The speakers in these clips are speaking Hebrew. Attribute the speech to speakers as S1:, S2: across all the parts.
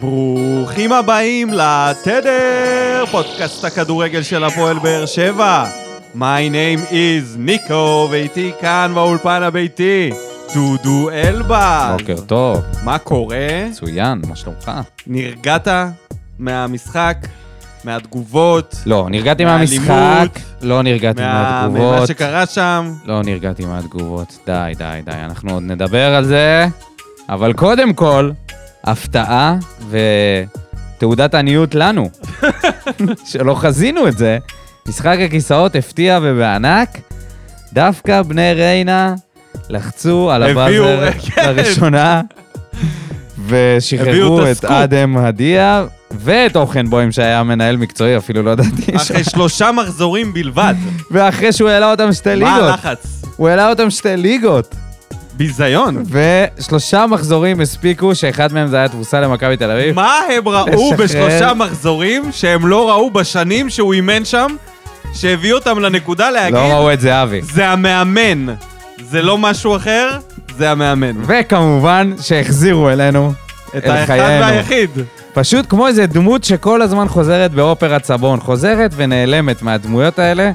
S1: ברוכים הבאים לתדר, פודקאסט הכדורגל של הפועל באר שבע. My name is ניקו, ואיתי כאן באולפן הביתי, דודו אלבז.
S2: בוקר טוב,
S1: מה קורה?
S2: מצוין, מה שלומך?
S1: נרגעת מהמשחק, מהתגובות,
S2: לא, נרגעתי
S1: מהאלימות,
S2: מהמשחק, לא נרגעתי
S1: מה- ממה
S2: מהתגובות,
S1: שקרה שם?
S2: לא נרגעתי מהתגובות, די, די, די, אנחנו עוד נדבר על זה, אבל קודם כל, הפתעה ותעודת עניות לנו, שלא חזינו את זה, משחק הכיסאות הפתיע ובענק, דווקא בני ריינה לחצו על
S1: הביאו,
S2: הבאזר
S1: כן.
S2: לראשונה.
S1: הביאו את
S2: ושחררו את
S1: הסקופ.
S2: אדם הדיה ואת אורחן בוים שהיה מנהל מקצועי, אפילו לא ידעתי שם.
S1: אחרי שלושה מחזורים בלבד.
S2: ואחרי שהוא העלה אותם שתי
S1: מה
S2: ליגות.
S1: הלחץ?
S2: הוא העלה אותם שתי ליגות.
S1: ביזיון.
S2: ושלושה מחזורים הספיקו, שאחד מהם זה היה תבוסה למכבי תל אביב.
S1: מה הם ראו
S2: לשחרר.
S1: בשלושה מחזורים שהם לא ראו בשנים שהוא אימן שם, שהביא אותם לנקודה להגיד,
S2: לא ראו את זהבי.
S1: זה המאמן, זה לא משהו אחר, זה המאמן.
S2: וכמובן שהחזירו אלינו
S1: את
S2: את
S1: האחד
S2: חיינו.
S1: והיחיד.
S2: פשוט כמו איזה דמות שכל הזמן חוזרת באופרת סבון. חוזרת ונעלמת מהדמויות האלה,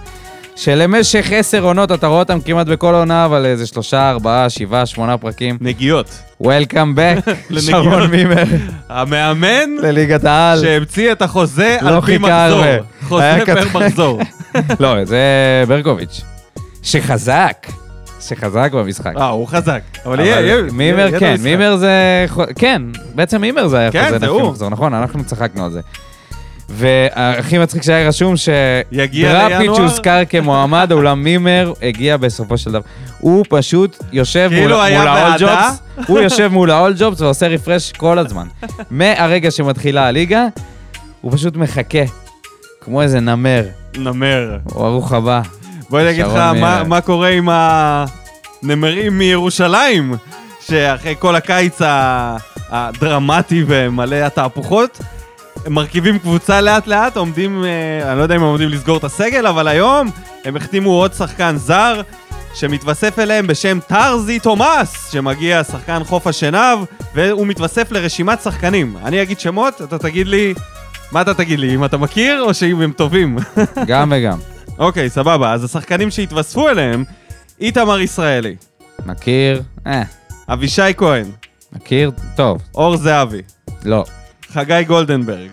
S2: שלמשך עשר עונות אתה רואה אותם כמעט בכל עונה, אבל איזה שלושה, ארבעה, שבעה, שמונה פרקים.
S1: נגיעות.
S2: וולקאם בק,
S1: לנגיעות.
S2: שרון מימר,
S1: המאמן
S2: לליגת העל.
S1: שהמציא את החוזה
S2: לא
S1: על פי
S2: חיכה
S1: מחזור.
S2: הרבה.
S1: חוזה פר
S2: היה כתב-
S1: מחזור.
S2: לא, זה ברקוביץ'. שחזק, שחזק במשחק.
S1: אה, הוא חזק. אבל
S2: אבל
S1: יהיה, יהיה. יהיה
S2: מימר
S1: לו
S2: כן,
S1: משחק.
S2: מימר זה... חו- כן, בעצם מימר זה היה
S1: כן,
S2: חוזה
S1: זה
S2: לפי
S1: הוא.
S2: מחזור, נכון, אנחנו צחקנו על זה. והכי מצחיק שהיה רשום ש...
S1: יגיע
S2: דראפיץ'
S1: לינואר.
S2: הוזכר כמועמד, אולם מימר הגיע בסופו של דבר. הוא פשוט יושב
S1: כאילו
S2: מול
S1: היה
S2: מול ה-all
S1: ועדה.
S2: jobs, הוא יושב מול ה-all jobs ועושה רפרש כל הזמן. מהרגע שמתחילה הליגה, הוא פשוט מחכה, כמו איזה נמר,
S1: נמר.
S2: או ברוך הבא.
S1: בוא אני אגיד לך
S2: שרון
S1: מה,
S2: מירר.
S1: מה קורה עם הנמרים מירושלים, שאחרי כל הקיץ ה- הדרמטי ומלא התהפוכות, הם מרכיבים קבוצה לאט-לאט, עומדים, אה, אני לא יודע אם הם עומדים לסגור את הסגל, אבל היום הם החתימו עוד שחקן זר שמתווסף אליהם בשם טרזי תומאס, שמגיע שחקן חוף השנהב, והוא מתווסף לרשימת שחקנים. אני אגיד שמות, אתה תגיד לי... מה אתה תגיד לי, אם אתה מכיר או שאם הם טובים?
S2: גם וגם.
S1: אוקיי, סבבה. אז השחקנים שהתווספו אליהם, איתמר ישראלי,
S2: מכיר, אה,
S1: אבישי כהן,
S2: מכיר, טוב,
S1: אור זהבי,
S2: לא.
S1: חגי גולדנברג,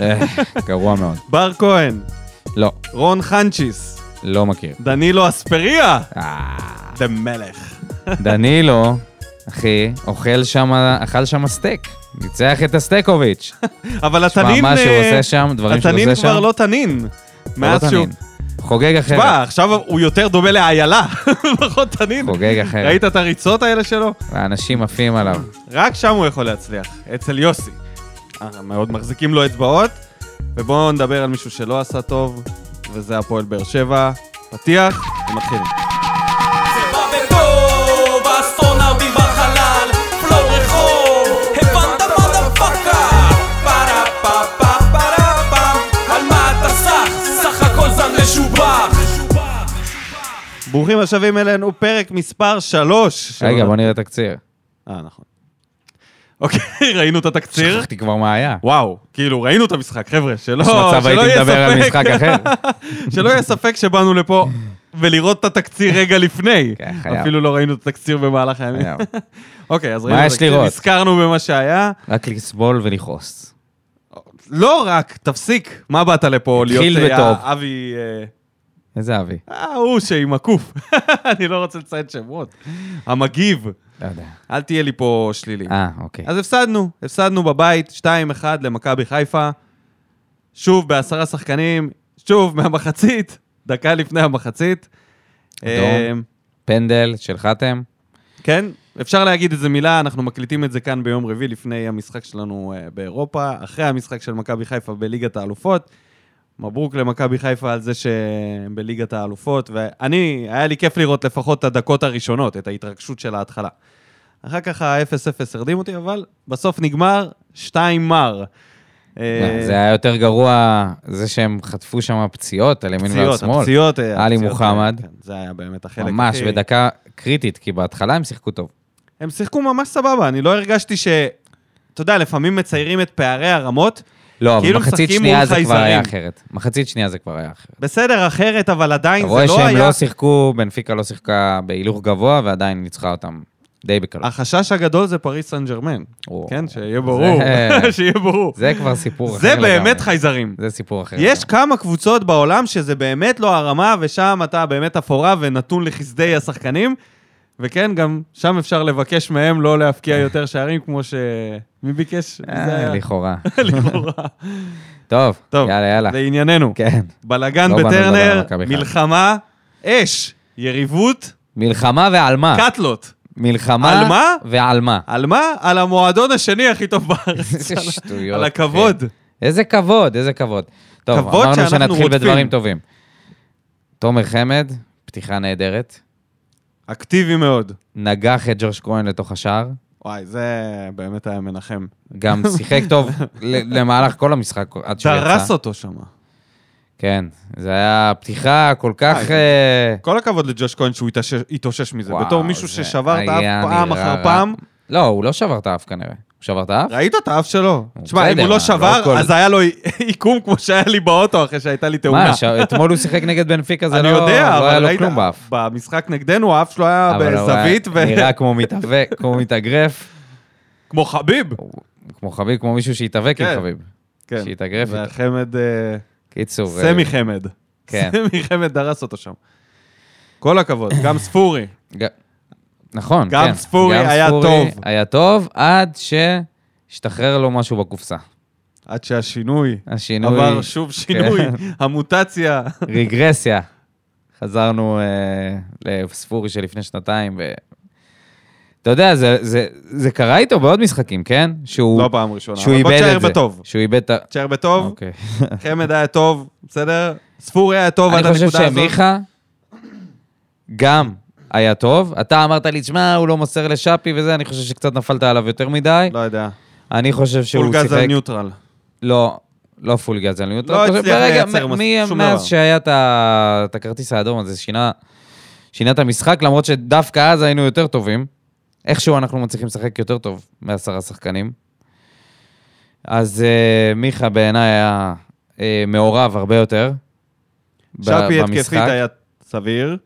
S2: אה, גרוע מאוד.
S1: בר כהן,
S2: לא,
S1: רון חנצ'יס,
S2: לא מכיר.
S1: דנילו אספריה,
S2: אה,
S1: דה מלך.
S2: דנילו, אחי, אוכל שם, אכל שם סטייק. ניצח את הסטייקוביץ'.
S1: אבל
S2: מה
S1: התנין...
S2: מה שהוא
S1: אה,
S2: עושה שם, דברים שהוא
S1: התנין
S2: עושה שם.
S1: כבר לא תנין. מאז
S2: לא
S1: שהוא...
S2: תנין. כן. חוגג
S1: תשמע,
S2: אחרת.
S1: עכשיו הוא יותר דומה לאיילה, פחות תנין.
S2: חוגג אחרת.
S1: ראית את הריצות האלה שלו?
S2: האנשים עפים עליו.
S1: רק שם הוא יכול להצליח, אצל יוסי. אה, מאוד מחזיקים לו אצבעות, ובואו נדבר על מישהו שלא עשה טוב, וזה הפועל באר שבע. פתיח, ומתחילים.
S3: בא בטוב, האסטרונאוטים בחלל, פלואו רחוב, הבנת מה דה פאקה? פרה פה פה פרה פם, על מה אתה סח? סך הכל זן משובח.
S1: ברוכים השבים אלינו, פרק מספר 3.
S2: רגע, בוא נראה תקציר.
S1: אה, נכון. אוקיי, ראינו את התקציר.
S2: שכחתי כבר מה היה.
S1: וואו, כאילו, ראינו את המשחק, חבר'ה, שלא
S2: יש מצב
S1: שלא
S2: הייתי
S1: יהיה
S2: מדבר על
S1: ספק.
S2: משחק אחר.
S1: שלא יהיה ספק שבאנו לפה ולראות את התקציר רגע לפני.
S2: כן, חייב.
S1: אפילו לא ראינו את התקציר במהלך הימים.
S2: היה.
S1: אוקיי, אז
S2: מה
S1: ראינו את
S2: יש
S1: התקציר,
S2: לראות?
S1: נזכרנו במה שהיה.
S2: רק לסבול ולכעוס.
S1: לא רק, תפסיק. מה באת לפה להיות...
S2: התחיל
S1: אה,
S2: בטוב.
S1: אבי... אה,
S2: איזה אבי.
S1: אה, הוא שעם הקוף. אני לא רוצה לציין שמות. המגיב.
S2: לא יודע.
S1: אל תהיה לי פה שלילי.
S2: אה, אוקיי.
S1: אז הפסדנו, הפסדנו בבית, 2-1 למכבי חיפה. שוב בעשרה שחקנים, שוב מהמחצית, דקה לפני המחצית.
S2: אדום.
S1: אה,
S2: פנדל של חתם.
S1: כן, אפשר להגיד איזה מילה, אנחנו מקליטים את זה כאן ביום רביעי לפני המשחק שלנו אה, באירופה, אחרי המשחק של מכבי חיפה בליגת האלופות. מברוק למכבי חיפה על זה שהם בליגת האלופות, ואני, היה לי כיף לראות לפחות את הדקות הראשונות, את ההתרגשות של ההתחלה. אחר כך ה-0-0 הרדים אותי, אבל בסוף נגמר, שתיים מר. אה,
S2: זה היה יותר גרוע, זה שהם חטפו שם פציעות על ימין ועל
S1: הפציעות,
S2: שמאל.
S1: הפציעות. אה,
S2: עלי
S1: הפציעות,
S2: מוחמד.
S1: כן, זה היה באמת החלק
S2: ממש,
S1: הכי-
S2: בדקה קריטית, כי בהתחלה הם שיחקו טוב.
S1: הם שיחקו ממש סבבה, אני לא הרגשתי ש... אתה יודע, לפעמים מציירים את פערי הרמות.
S2: לא, אבל
S1: כאילו
S2: מחצית
S1: משחקים
S2: שנייה
S1: מול
S2: זה כבר היה
S1: חייזרים.
S2: אחרת. מחצית שנייה זה כבר היה אחרת.
S1: בסדר, אחרת, אבל
S2: אתה
S1: עדיין זה לא
S2: רואה
S1: היה...
S2: שהם לא שיחקו, בנפיקה לא שיחקה בהילוך גבוה, ועדיין ניצחה אותם די בקלות.
S1: החשש הגדול זה פריס סן ג'רמן.
S2: או.
S1: אה, כן, שיהיה ברור.
S2: זה-
S1: שיהיה ברור.
S2: זה כבר סיפור אחר
S1: זה
S2: לגמרי.
S1: באמת חייזרים.
S2: זה סיפור אחר.
S1: יש כמה קבוצות בעולם שזה באמת לא הרמה, ושם אתה באמת אפורה ונתון לחסדי השחקנים. וכן, גם שם אפשר לבקש מהם לא להבקיע יותר שערים, כמו ש... מי ביקש?
S2: לגמרי.
S1: זה היה-
S2: אה, לכאורה.
S1: לכאורה.
S2: טוב,
S1: טוב,
S2: יאללה, יאללה.
S1: לענייננו.
S2: כן.
S1: בלגן
S2: לא באנו לדבר על
S1: בטרנר,
S2: מכבי חיפה.
S1: מלחמה, אש, יריבות,
S2: מלחמה ועל מה?
S1: קאטלות.
S2: מלחמה
S1: על מה?
S2: ועל מה?
S1: על מה? על המועדון השני הכי טוב בארץ.
S2: איזה
S1: על-
S2: שטויות, כן.
S1: על הכבוד.
S2: איזה כבוד, איזה כבוד. טוב,
S1: כבוד
S2: אמרנו
S1: שאנחנו
S2: שנתחיל
S1: רודפים.
S2: בדברים טובים. תומר חמד, פתיחה נהדרת,
S1: אקטיבי מאוד.
S2: נגח את ג'וש כהן לתוך השער,
S1: וואי, זה באמת היה מנחם.
S2: גם שיחק טוב ל- למהלך כל המשחק עד שהוא יצא.
S1: דרס אותו שם.
S2: כן, זה היה פתיחה כל כך...
S1: אה,
S2: אה,
S1: כל הכבוד לג'וש כהן שהוא התאושש- התאושש מזה.
S2: וואו,
S1: בתור מישהו
S2: זה
S1: ששבר את האף
S2: היה
S1: פעם
S2: נראה
S1: אחר
S2: רע.
S1: פעם,
S2: לא, הוא לא שבר את האף כנראה. הוא שבר את האף?
S1: ראית את האף שלו?
S2: אה. הוא
S1: תשמע, אם
S2: בסדר,
S1: הוא
S2: לא
S1: לא שבר,
S2: הכל-
S1: אז היה לו עיקום כמו שהיה לי באוטו אחרי שהייתה לי תאונה.
S2: מה, ש- אתמול הוא שיחק נגד בנפיקה, זה
S1: אני
S2: לא...
S1: יודע,
S2: לא היה
S1: אבל
S2: לו
S1: ראית,
S2: כלום באף.
S1: במשחק נגדנו, האף שלו היה
S2: אבל הוא היה-
S1: בזווית, ו-
S2: נראה כמו מתאבק, כמו מתאגרף,
S1: כמו חביב.
S2: כמו חביב, כמו מישהו שהתאבק עם
S1: כן.
S2: חביב.
S1: כן,
S2: שהתאגרף איתו.
S1: והחמד, אה,
S2: קיצור... אה,
S1: סמי חמד.
S2: כן.
S1: סמי חמד דרס אותו שם. כל הכבוד, גם ספורי.
S2: ג- נכון,
S1: גם
S2: כן.
S1: ספורי היה טוב.
S2: היה טוב עד שהשתחרר לו משהו בקופסה.
S1: עד שהשינוי
S2: השינוי... כן.
S1: עבר שוב שינוי, המוטציה.
S2: רגרסיה. חזרנו אה, לספורי שלפני שנתיים, ו... אתה יודע, זה, זה, זה קרה איתו בעוד משחקים, כן? שהוא,
S1: לא פעם ראשונה,
S2: שהוא
S1: אבל בוא
S2: איבד
S1: תשאר
S2: את זה.
S1: בטוב.
S2: שהוא איבד את ה...
S1: תשאר בטוב,
S2: אוקיי.
S1: חמד היה טוב, בסדר? ספורי היה טוב עד
S2: אני
S1: הנקודה
S2: חושב
S1: הזאת.
S2: שמיכה גם היה טוב. אתה אמרת לי, תשמע, הוא לא מוסר לשאפי וזה, אני חושב שקצת נפלת עליו יותר מדי.
S1: לא יודע.
S2: אני חושב שהוא
S1: פולגז
S2: שיחק...
S1: על ניוטרל.
S2: לא, לא פול גז על ניוטרל.
S1: לא
S2: פשוט
S1: הצליח
S2: ברגע-
S1: לייצר
S2: מ-
S1: מס-
S2: מי-
S1: שום
S2: מאז
S1: דבר.
S2: שהיה את ה- את הכרטיס האדום הזה, שינה, שינה את המשחק, למרות שדווקא אז היינו יותר טובים. איכשהו אנחנו מצליחים לשחק יותר טוב מעשרה שחקנים. אז אה, מיכה בעיניי היה אה, מעורב הרבה יותר ב-
S1: שפי התקפית
S2: במשחק.
S1: היה סביר.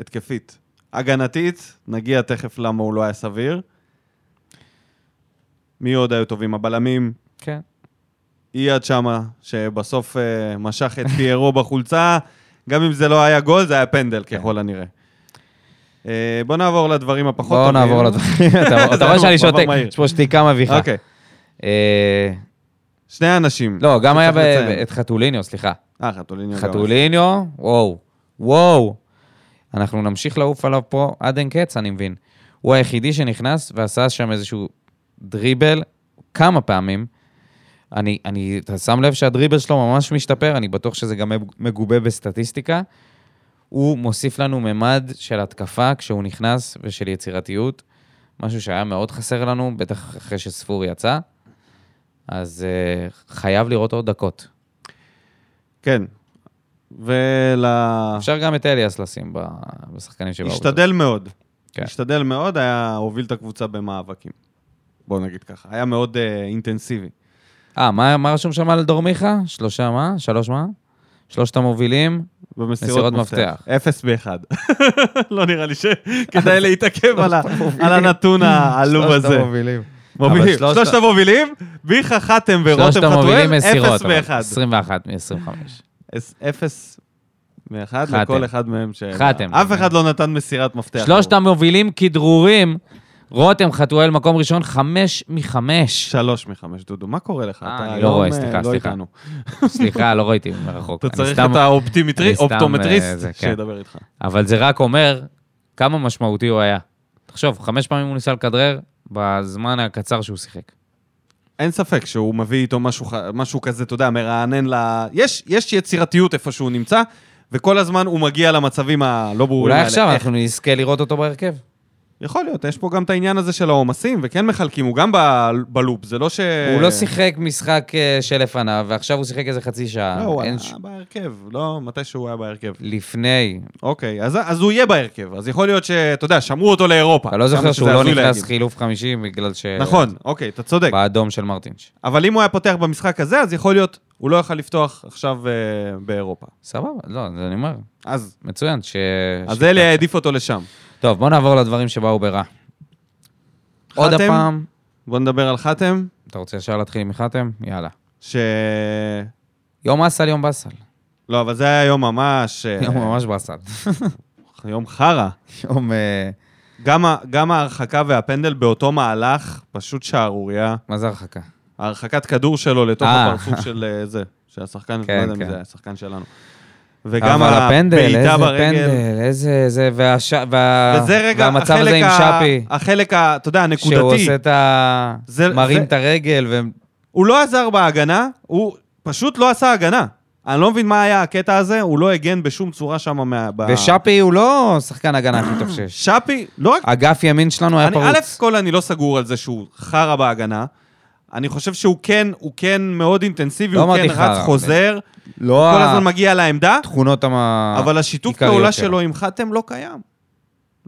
S1: התקפית. הגנתית, נגיע תכף למה הוא לא היה סביר. מי עוד היו טובים? הבלמים,
S2: כן.
S1: אייד שמה, שבסוף אה, משך את פיירו בחולצה. גם אם זה לא היה גול, זה היה פנדל
S2: כן.
S1: ככל הנראה. אה, בוא נעבור לדברים הפחות
S2: בואו
S1: טובים.
S2: נעבור לדברים. אתה- אתה
S1: זה
S2: רואה
S1: היה
S2: שאני
S1: מעבר
S2: שותק,
S1: מהיר.
S2: יש פה שתיקה מביכה.
S1: אוקיי,
S2: אה,
S1: שני אנשים.
S2: לא, גם היה ב-
S1: שצריך לציין.
S2: את חתוליניו, סליחה.
S1: אה, חתוליניו. גם.
S2: חתוליניו, וואו, וואו. אנחנו נמשיך לעוף עליו פה עד אין קץ, אני מבין. הוא היחידי שנכנס ועשה שם איזשהו דריבל כמה פעמים. אני, אני, אתה שם לב שהדריבל שלו ממש משתפר, אני בטוח שזה גם מגובה בסטטיסטיקה. הוא מוסיף לנו ממד של התקפה כשהוא נכנס ושל יצירתיות, משהו שהיה מאוד חסר לנו, בטח אחרי שספור יצא. אז uh, חייב לראות עוד דקות.
S1: כן. ול...
S2: אפשר גם את אליאס לשים ב- בשחקנים שבאו.
S1: השתדל מאוד.
S2: כן.
S1: כן. השתדל מאוד, היה הוביל את הקבוצה במאבקים. בואו נגיד ככה. היה מאוד אה, אינטנסיבי.
S2: אה, מה מה רשום שם על דור מיכה? שלושה מה? שלוש מה? שלושת המובילים. מסירות
S1: במסירות
S2: מפתח.
S1: מפתח. אפס באחד. לא נראה לי שכדאי להתעכב על ה-
S2: המובילים.
S1: על הנתון העלוב הזה.
S2: המובילים.
S1: מובילים.
S2: שלושת-
S1: שלושת המובילים, ביכה חתם ורותם
S2: שלושת המובילים
S1: חתואל,
S2: מסירות.
S1: אפס
S2: אבל.
S1: באחד.
S2: 21 מ-25.
S1: אס- אפס מאחד
S2: חתם.
S1: לכל אחד מהם ש...
S2: חתם.
S1: אף אחד לא נתן מסירת מפתח.
S2: שלושת המובילים כדרורים. רותם חתואל, מקום ראשון, חמש מחמש.
S1: שלוש מחמש, דודו, מה קורה לך?
S2: אה,
S1: אתה
S2: אני לא
S1: היום,
S2: רואה,
S1: אה,
S2: סליחה, סליחה.
S1: איתנו.
S2: סליחה, לא ראיתי מרחוק.
S1: אתה
S2: אני
S1: צריך
S2: סתם-
S1: את
S2: אני
S1: האופטימטריסט,
S2: סתם, אה,
S1: אופטומטריסט,
S2: זה, כן.
S1: שידבר איתך.
S2: אבל זה רק אומר כמה משמעותי הוא היה. תחשוב, חמש פעמים הוא ניסה לכדרר בזמן הקצר שהוא שיחק.
S1: אין ספק שהוא מביא איתו משהו, ח- משהו כזה, אתה יודע, מרענן ל... יש, יש יצירתיות איפה שהוא נמצא, וכל הזמן הוא מגיע למצבים הלא ברורים
S2: אולי
S1: האלה.
S2: עכשיו
S1: איך-
S2: אנחנו נזכה לראות אותו בהרכב.
S1: יכול להיות, יש פה גם את העניין הזה של העומסים, וכן מחלקים, הוא גם ב- בלופ, זה לא ש...
S2: הוא לא שיחק משחק אה, שלפניו, ועכשיו הוא שיחק איזה חצי
S1: לא,
S2: שעה.
S1: הוא היה
S2: אין ש-
S1: בהרכב, לא מתי שהוא היה בהרכב.
S2: לפני.
S1: אוקיי, אז, אז הוא יהיה בהרכב, אז יכול להיות שאתה יודע, שמרו אותו לאירופה.
S2: אתה לא זוכר
S1: כמה
S2: שהוא
S1: שזה
S2: לא
S1: הזוי
S2: נכנס
S1: להגיד.
S2: חילוף חמישי בגלל ש...
S1: נכון, אוקיי, אתה צודק.
S2: באדום של מרטינש.
S1: אבל אם הוא היה פותח במשחק הזה, אז יכול להיות, הוא לא יכל לפתוח עכשיו אה, באירופה.
S2: סבבה, לא, זה אני אומר.
S1: אז,
S2: מצוין, ש...
S1: אז
S2: ש-
S1: אלי העדיף אותו לשם.
S2: טוב, בוא נעבור לדברים שבאו ברע.
S1: חתם?
S2: עוד הפעם,
S1: בוא נדבר על חתם,
S2: אתה רוצה ישר להתחיל עם חתם? יאללה.
S1: ש...
S2: יום אסל, יום באסל.
S1: לא, אבל זה היה יום ממש... אה,
S2: יום ממש באסל.
S1: יום חרא.
S2: יום... אה,
S1: גם, ה- גם ההרחקה והפנדל באותו מהלך, פשוט שערורייה.
S2: מה זה הרחקה?
S1: הרחקת כדור שלו לתוך
S2: אה.
S1: הפרצוף של אה, זה, של השחקן,
S2: כן,
S1: לא יודע
S2: כן.
S1: מי זה, השחקן שלנו.
S2: וגם אבל הפנדל, איזה
S1: הבעיטה ברגל.
S2: פנדל, איזה... זה, והש... וה...
S1: וזה רגע,
S2: והמצב הזה עם
S1: החלק ה-
S2: שפי,
S1: החלק, ה- אתה יודע,
S2: שהוא
S1: הנקודתי.
S2: עושה את ה...
S1: זה-
S2: מרים
S1: זה-
S2: את הרגל, ו...
S1: הוא לא עזר בהגנה, הוא פשוט לא עשה הגנה. אני לא מבין מה היה הקטע הזה, הוא לא הגן בשום צורה שם מה... ב-
S2: ושפי הוא לא שחקן הגנה הכי טוב שיש.
S1: שפי, לא רק...
S2: אגף ימין שלנו היה
S1: אני, א'
S2: פרוץ.
S1: כל אני לא סגור על זה שהוא חרא בהגנה. אני חושב שהוא כן, הוא כן מאוד אינטנסיבי,
S2: לא
S1: הוא כן
S2: אמרתי
S1: רץ
S2: חרא.
S1: חוזר,
S2: לא
S1: כל הזמן מגיע לעמדה,
S2: התכונות המ...
S1: אבל השיתוף
S2: העיקריות
S1: פעולה
S2: שלו.
S1: שלו עם חתם לא קיים.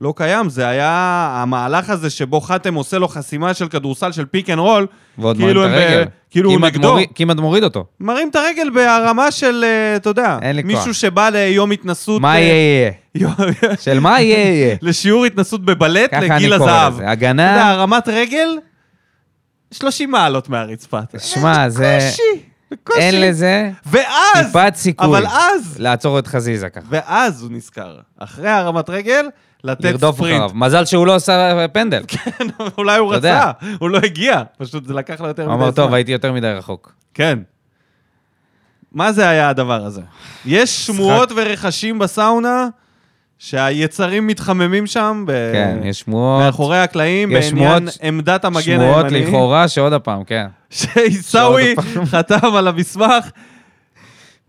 S1: לא קיים, זה היה המהלך הזה שבו חתם עושה לו חסימה של כדורסל של פיק אנד רול,
S2: ועוד
S1: כאילו
S2: מרים
S1: הם
S2: את
S1: ב-
S2: הרגל.
S1: כאילו הוא
S2: כמעט
S1: נגדו.
S2: מוריד- כמעט מוריד אותו.
S1: מרים את הרגל בהרמה של, אה, אתה יודע,
S2: אין לי כוח.
S1: מישהו שבא ליום התנסות...
S2: מה
S1: אה,
S2: יהיה יהיה?
S1: יום-
S2: של מה יהיה יהיה?
S1: לשיעור התנסות בבלט
S2: ככה אני
S1: לגיל
S2: קורא
S1: הזהב.
S2: לזה.
S1: אתה יודע,
S2: הגנה,
S1: הרמת רגל, 30 מעלות מהרצפה. אתה יודע,
S2: שמע, זה...
S1: בקושי, בקושי.
S2: אין לזה
S1: ואז,
S2: טיפת סיכוי.
S1: אבל אז,
S2: לעצור את חזיזה ככה.
S1: ואז הוא נזכר. אחרי הרמת רגל, לתת
S2: לרדוף אחריו.
S1: ספרינט. כן,
S2: מזל שהוא לא עשה פנדל.
S1: אולי הוא
S2: אתה יודע.
S1: רצה, הוא לא הגיע. פשוט זה לקח לו יותר
S2: הוא
S1: מדי
S2: אמר,
S1: זמן.
S2: טוב, הייתי יותר מדי רחוק.
S1: כן. מה זה היה הדבר הזה? יש שמועות ורכשים בסאונה שהיצרים מתחממים שם ב...
S2: כן, יש שמועות.
S1: מאחורי הקלעים
S2: יש
S1: בעניין
S2: שמועות-
S1: עמדת המגן הימני.
S2: שמועות לכאורה שעוד הפעם, כן.
S1: שעיסאווי
S2: שעוד
S1: חתם על המסמך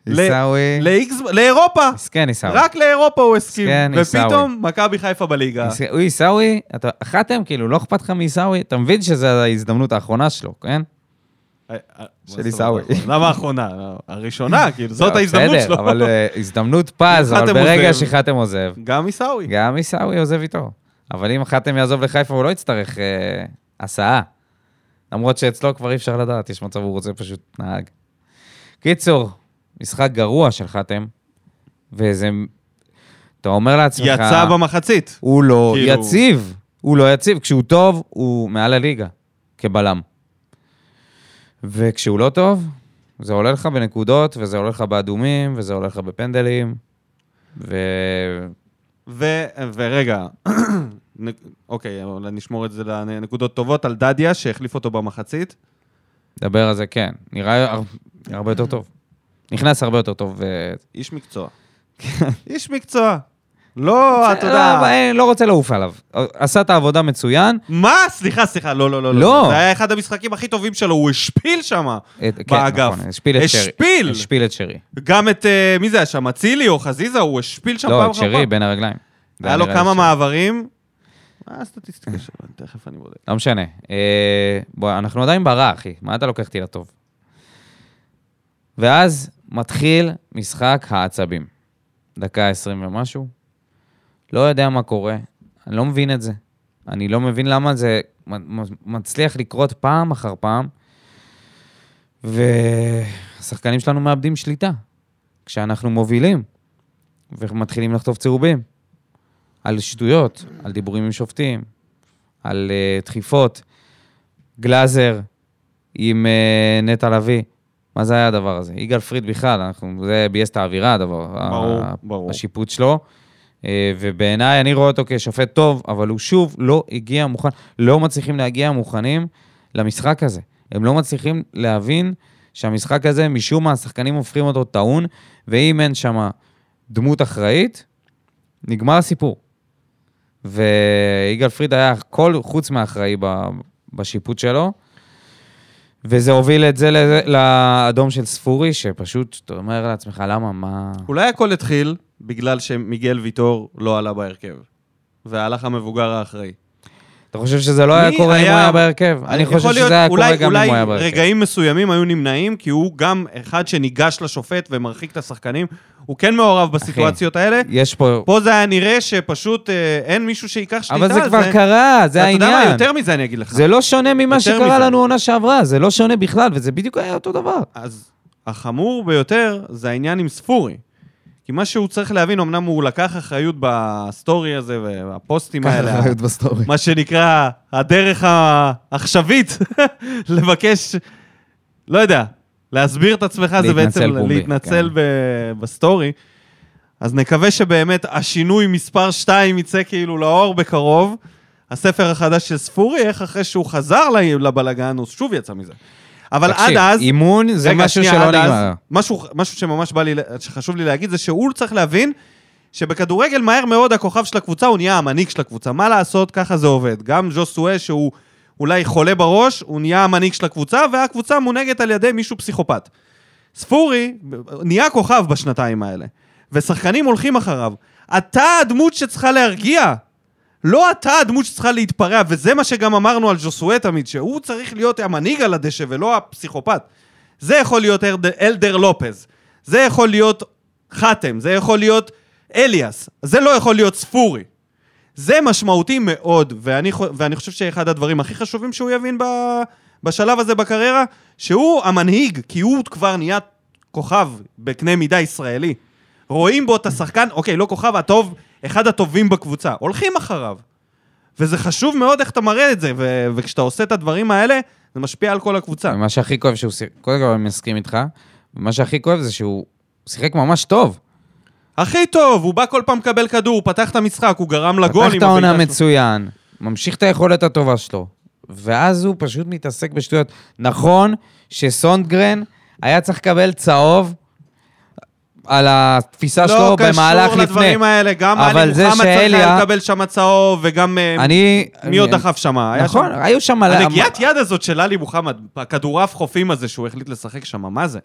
S1: ל-
S2: עיסאווי.
S1: לאיקס- לאירופה.
S2: מסכן כן, עיסאווי.
S1: רק לאירופה הוא הסכים.
S2: כן, עיסאווי.
S1: ופתאום מכבי חיפה בליגה.
S2: עיסא- הוא כן, עיסאווי, אתה חתם, כאילו, לא אכפת לך מעיסאווי, אתה מבין שזו ההזדמנות האחרונה שלו, כן?
S1: אה, אה,
S2: של עיסאווי.
S1: למה האחרונה? הראשונה, כאילו, זאת
S2: לא,
S1: ההזדמנות
S2: בסדר,
S1: שלו.
S2: אבל אה, הזדמנות פז,
S1: אם
S2: אבל
S1: חתם
S2: ברגע
S1: עוזב.
S2: שחתם עוזב,
S1: גם עיסאווי.
S2: גם עיסאווי עוזב איתו. אבל אם חתם יעזוב לחיפה, הוא לא יצטרך אה, הסעה. למרות שאצלו כבר אי אפשר לדעת, יש מצב הוא רוצה פשוט נהג. קיצור, משחק גרוע של חתם, וזה... אתה אומר לעצמך...
S1: יצא במחצית.
S2: הוא לא
S1: כאילו-
S2: יציב. הוא לא יציב. כשהוא טוב, הוא מעל הליגה, כבלם. וכשהוא לא טוב, זה עולה לך בנקודות, וזה עולה לך באדומים, וזה עולה לך בפנדלים, ו...
S1: ו- ורגע, נק- אוקיי, אבל נשמור את זה לנקודות טובות על דדיה, שהחליף אותו במחצית.
S2: דבר על זה, כן. נראה הר... הרבה יותר טוב. נכנס הרבה יותר טוב. אה, ו...
S1: איש מקצוע. איש מקצוע. לא, אתה יודע...
S2: כן. לא, אין- לא רוצה לעוף עליו. עשה את העבודה מצוין.
S1: מה? סליחה, סליחה, לא, לא, לא.
S2: לא.
S1: זה היה אחד המשחקים הכי טובים שלו, הוא השפיל שם.
S2: את- כן,
S1: באגף.
S2: נכון, השפיל את שרי.
S1: השפיל!
S2: השפיל את שרי.
S1: גם את, אה, מי זה היה שם? אצילי או חזיזה? הוא השפיל שם
S2: לא,
S1: פעם
S2: את
S1: אחר פעם.
S2: שרי בין הרגליים. זה
S1: היה לו
S2: נראה לי
S1: כמה
S2: שרי.
S1: מעברים. מה הסטטיסטיקה שלו? תכף אני בודק.
S2: לא משנה. אה, בוא, אנחנו עדיין ברע, אחי. מה אתה לוקח אותי לטוב? ואז מתחיל משחק העצבים. דקה עשרים ומשהו. לא יודע מה קורה. אני לא מבין את זה. אני לא מבין למה זה מ- מ- מצליח לקרות פעם אחר פעם. והשחקנים שלנו מאבדים שליטה. כשאנחנו מובילים ומתחילים לחטוף צהובים. על שטויות, על דיבורים עם שופטים, על uh, דחיפות. גלאזר עם uh, נטע לביא. מה זה היה הדבר הזה? יגאל פריד בכלל, אנחנו, זה ביאס את האווירה, הדבר.
S1: ברור,
S2: ה-
S1: ברור.
S2: השיפוט שלו. אה, ובעיניי, אני רואה אותו כשופט טוב, אבל הוא שוב לא הגיע מוכן, לא מצליחים להגיע מוכנים למשחק הזה. הם לא מצליחים להבין שהמשחק הזה, משום מה, השחקנים הופכים אותו טעון, ואם אין שם דמות אחראית, נגמר הסיפור. ויגאל פריד היה הכל חוץ מאחראי ב- בשיפוט שלו, וזה הוביל את זה לזה- לאדום של ספורי, שפשוט, אתה אומר לעצמך, למה, מה...
S1: אולי הכל התחיל בגלל שמיגל ויטור לא עלה בהרכב, והלך המבוגר האחראי.
S2: אתה חושב שזה לא היה
S1: מי
S2: קורה אם הוא
S1: היה- אה,
S2: היה בהרכב? אני
S1: יכול
S2: חושב
S1: להיות,
S2: שזה היה
S1: אולי-
S2: קורה גם אם הוא היה
S1: אולי
S2: בהרכב.
S1: רגעים מסוימים היו נמנעים, כי הוא גם אחד שניגש לשופט ומרחיק את השחקנים. הוא כן מעורב בסיטואציות האלה.
S2: יש פה...
S1: פה זה היה נראה שפשוט אה, אין מישהו שייקח שליטה.
S2: אבל זה
S1: על
S2: כבר קרה, זה
S1: אתה יודע מה,
S2: העניין.
S1: יותר מזה אני אגיד לך.
S2: זה לא שונה ממה
S1: יותר
S2: שקרה
S1: מזה.
S2: לנו עונה שעברה, זה לא שונה בכלל, וזה בדיוק היה אותו דבר.
S1: אז החמור ביותר זה העניין עם ספורי. כי מה שהוא צריך להבין, אמנם הוא לקח אחריות בסטורי הזה והפוסטים האלה,
S4: אחריות בסטורי.
S2: אוקיי.
S1: מה שנקרא הדרך העכשווית לבקש, לא יודע, להסביר את עצמך זה
S2: להתנצל
S1: בעצם
S2: פומבי,
S1: להתנצל
S2: כן.
S1: ב- בסטורי. אז נקווה שבאמת השינוי מספר 2 יצא כאילו לאור בקרוב. הספר החדש של ספורי, איך אחרי שהוא חזר ל- לבלגן, הוא שוב יצא מזה. אבל עד
S2: תקשיב,
S1: אז...
S2: אימון זה
S1: רגע,
S2: משהו
S1: שנייה,
S2: שלא
S1: עד אז,
S2: נגמר.
S1: משהו, משהו שממש בא לי, שחשוב לי להגיד, זה שהוא צריך להבין שבכדורגל מהר מאוד הכוכב של הקבוצה, הוא נהיה המנהיג של הקבוצה. מה לעשות, ככה זה עובד. גם ז'וסואה, שהוא אולי חולה בראש, הוא נהיה המנהיג של הקבוצה, והקבוצה מונהגת על ידי מישהו פסיכופת. ספורי נהיה כוכב בשנתיים האלה, ושחקנים הולכים אחריו. אתה הדמות שצריכה להרגיע. לא אתה הדמות שצריכה להתפרע, וזה מה שגם אמרנו על ז'וסואה תמיד, שהוא צריך להיות המנהיג על הדשא ולא הפסיכופת. זה יכול להיות אלדר, אלדר לופז, זה יכול להיות חתם, זה יכול להיות אליאס, זה לא יכול להיות ספורי. זה משמעותי מאוד, ואני, חו- ואני חושב שאחד הדברים הכי חשובים שהוא יבין ב, בשלב הזה בקריירה, שהוא המנהיג, כי הוא כבר נהיה כוכב בקנה מידה ישראלי. רואים בו את השחקן, אוקיי, לא כוכב, הטוב, אחד הטובים בקבוצה. הולכים אחריו. וזה חשוב מאוד איך אתה מראה את זה, ו- וכשאתה עושה את הדברים האלה, זה משפיע על כל הקבוצה.
S2: מה שהכי כואב שהוא שיחק, קודם כל אני מסכים איתך, ומה שהכי כואב זה שהוא שיחק ממש טוב.
S1: הכי טוב, הוא בא כל פעם לקבל כדור, הוא פתח את המשחק, הוא גרם לגול.
S2: פתח
S1: עם
S2: את העונה
S1: הבעיטה שלו.
S2: מצוין, ממשיך את היכולת הטובה שלו, ואז הוא פשוט מתעסק בשטויות. נכון שסונדגרן היה צריך לקבל צהוב על התפיסה שלו במהלך
S1: לא קשור
S2: לפני.
S1: לדברים האלה, גם
S2: אבל
S1: עלי
S2: זה
S1: מוחמד צריך היה
S2: שאליה-
S1: לקבל שם צהוב, וגם... אה,
S2: אני...
S1: מי עוד
S2: אני-
S1: דחף שם? היה
S2: נכון,
S1: שם-
S2: היו שם...
S1: הנגיעת יד הזאת של עלי מוחמד, הכדורעף חופים הזה שהוא החליט לשחק שם, מה זה?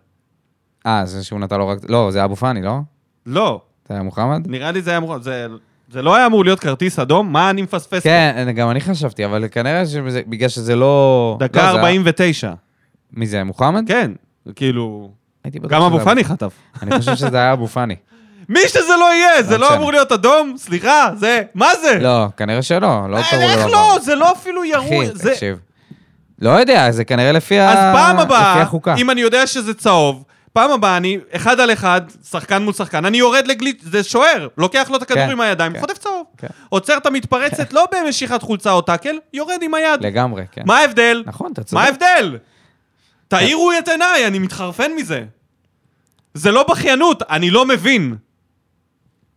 S2: אה, זה שהוא נתן לו רק... לא, זה אבו פאני, לא?
S1: לא,
S2: זה היה מוחמד?
S1: נראה לי זה היה אמור... זה- זה לא היה אמור להיות כרטיס אדום? מה אני מפספס? פה?
S2: כן, אני- גם אני חשבתי, אבל כנראה שבגלל שזה לא... לא,
S1: דקה
S2: זה היה-
S1: 49.
S2: מי זה, מוחמד?
S1: כן, כאילו...
S2: הייתי בטוח
S1: גם
S2: שזה
S1: אבו
S2: היה-
S1: פאני כן. חטף.
S2: אני חושב שזה היה אבו פאני.
S1: מי שזה לא יהיה, זה
S2: רק
S1: לא
S2: שם.
S1: אמור להיות אדום? סליחה, זה... מה זה?
S2: לא, כנראה שלא, לא קראו לו...
S1: איך
S2: אבו.
S1: לא? זה לא אפילו ירו...
S2: אחי,
S1: זה-
S2: תקשיב. לא יודע, זה כנראה לפי ה...
S1: אז פעם
S2: לפי
S1: הבאה,
S2: החוקה.
S1: אם אני יודע שזה צהוב, פעם הבאה אני אחד על אחד, שחקן מול שחקן, אני יורד לגליץ', זה שוער, לוקח לו את הכדור
S2: כן,
S1: עם הידיים,
S2: כן.
S1: חוטף צהוב.
S2: כן.
S1: עוצר את המתפרצת, לא במשיכת חולצה או טאקל, יורד עם היד.
S2: לגמרי, כן.
S1: מה ההבדל?
S2: נכון, אתה צודק.
S1: מה ההבדל? תאירו את עיניי, אני מתחרפן מזה. זה לא בכיינות, אני לא מבין.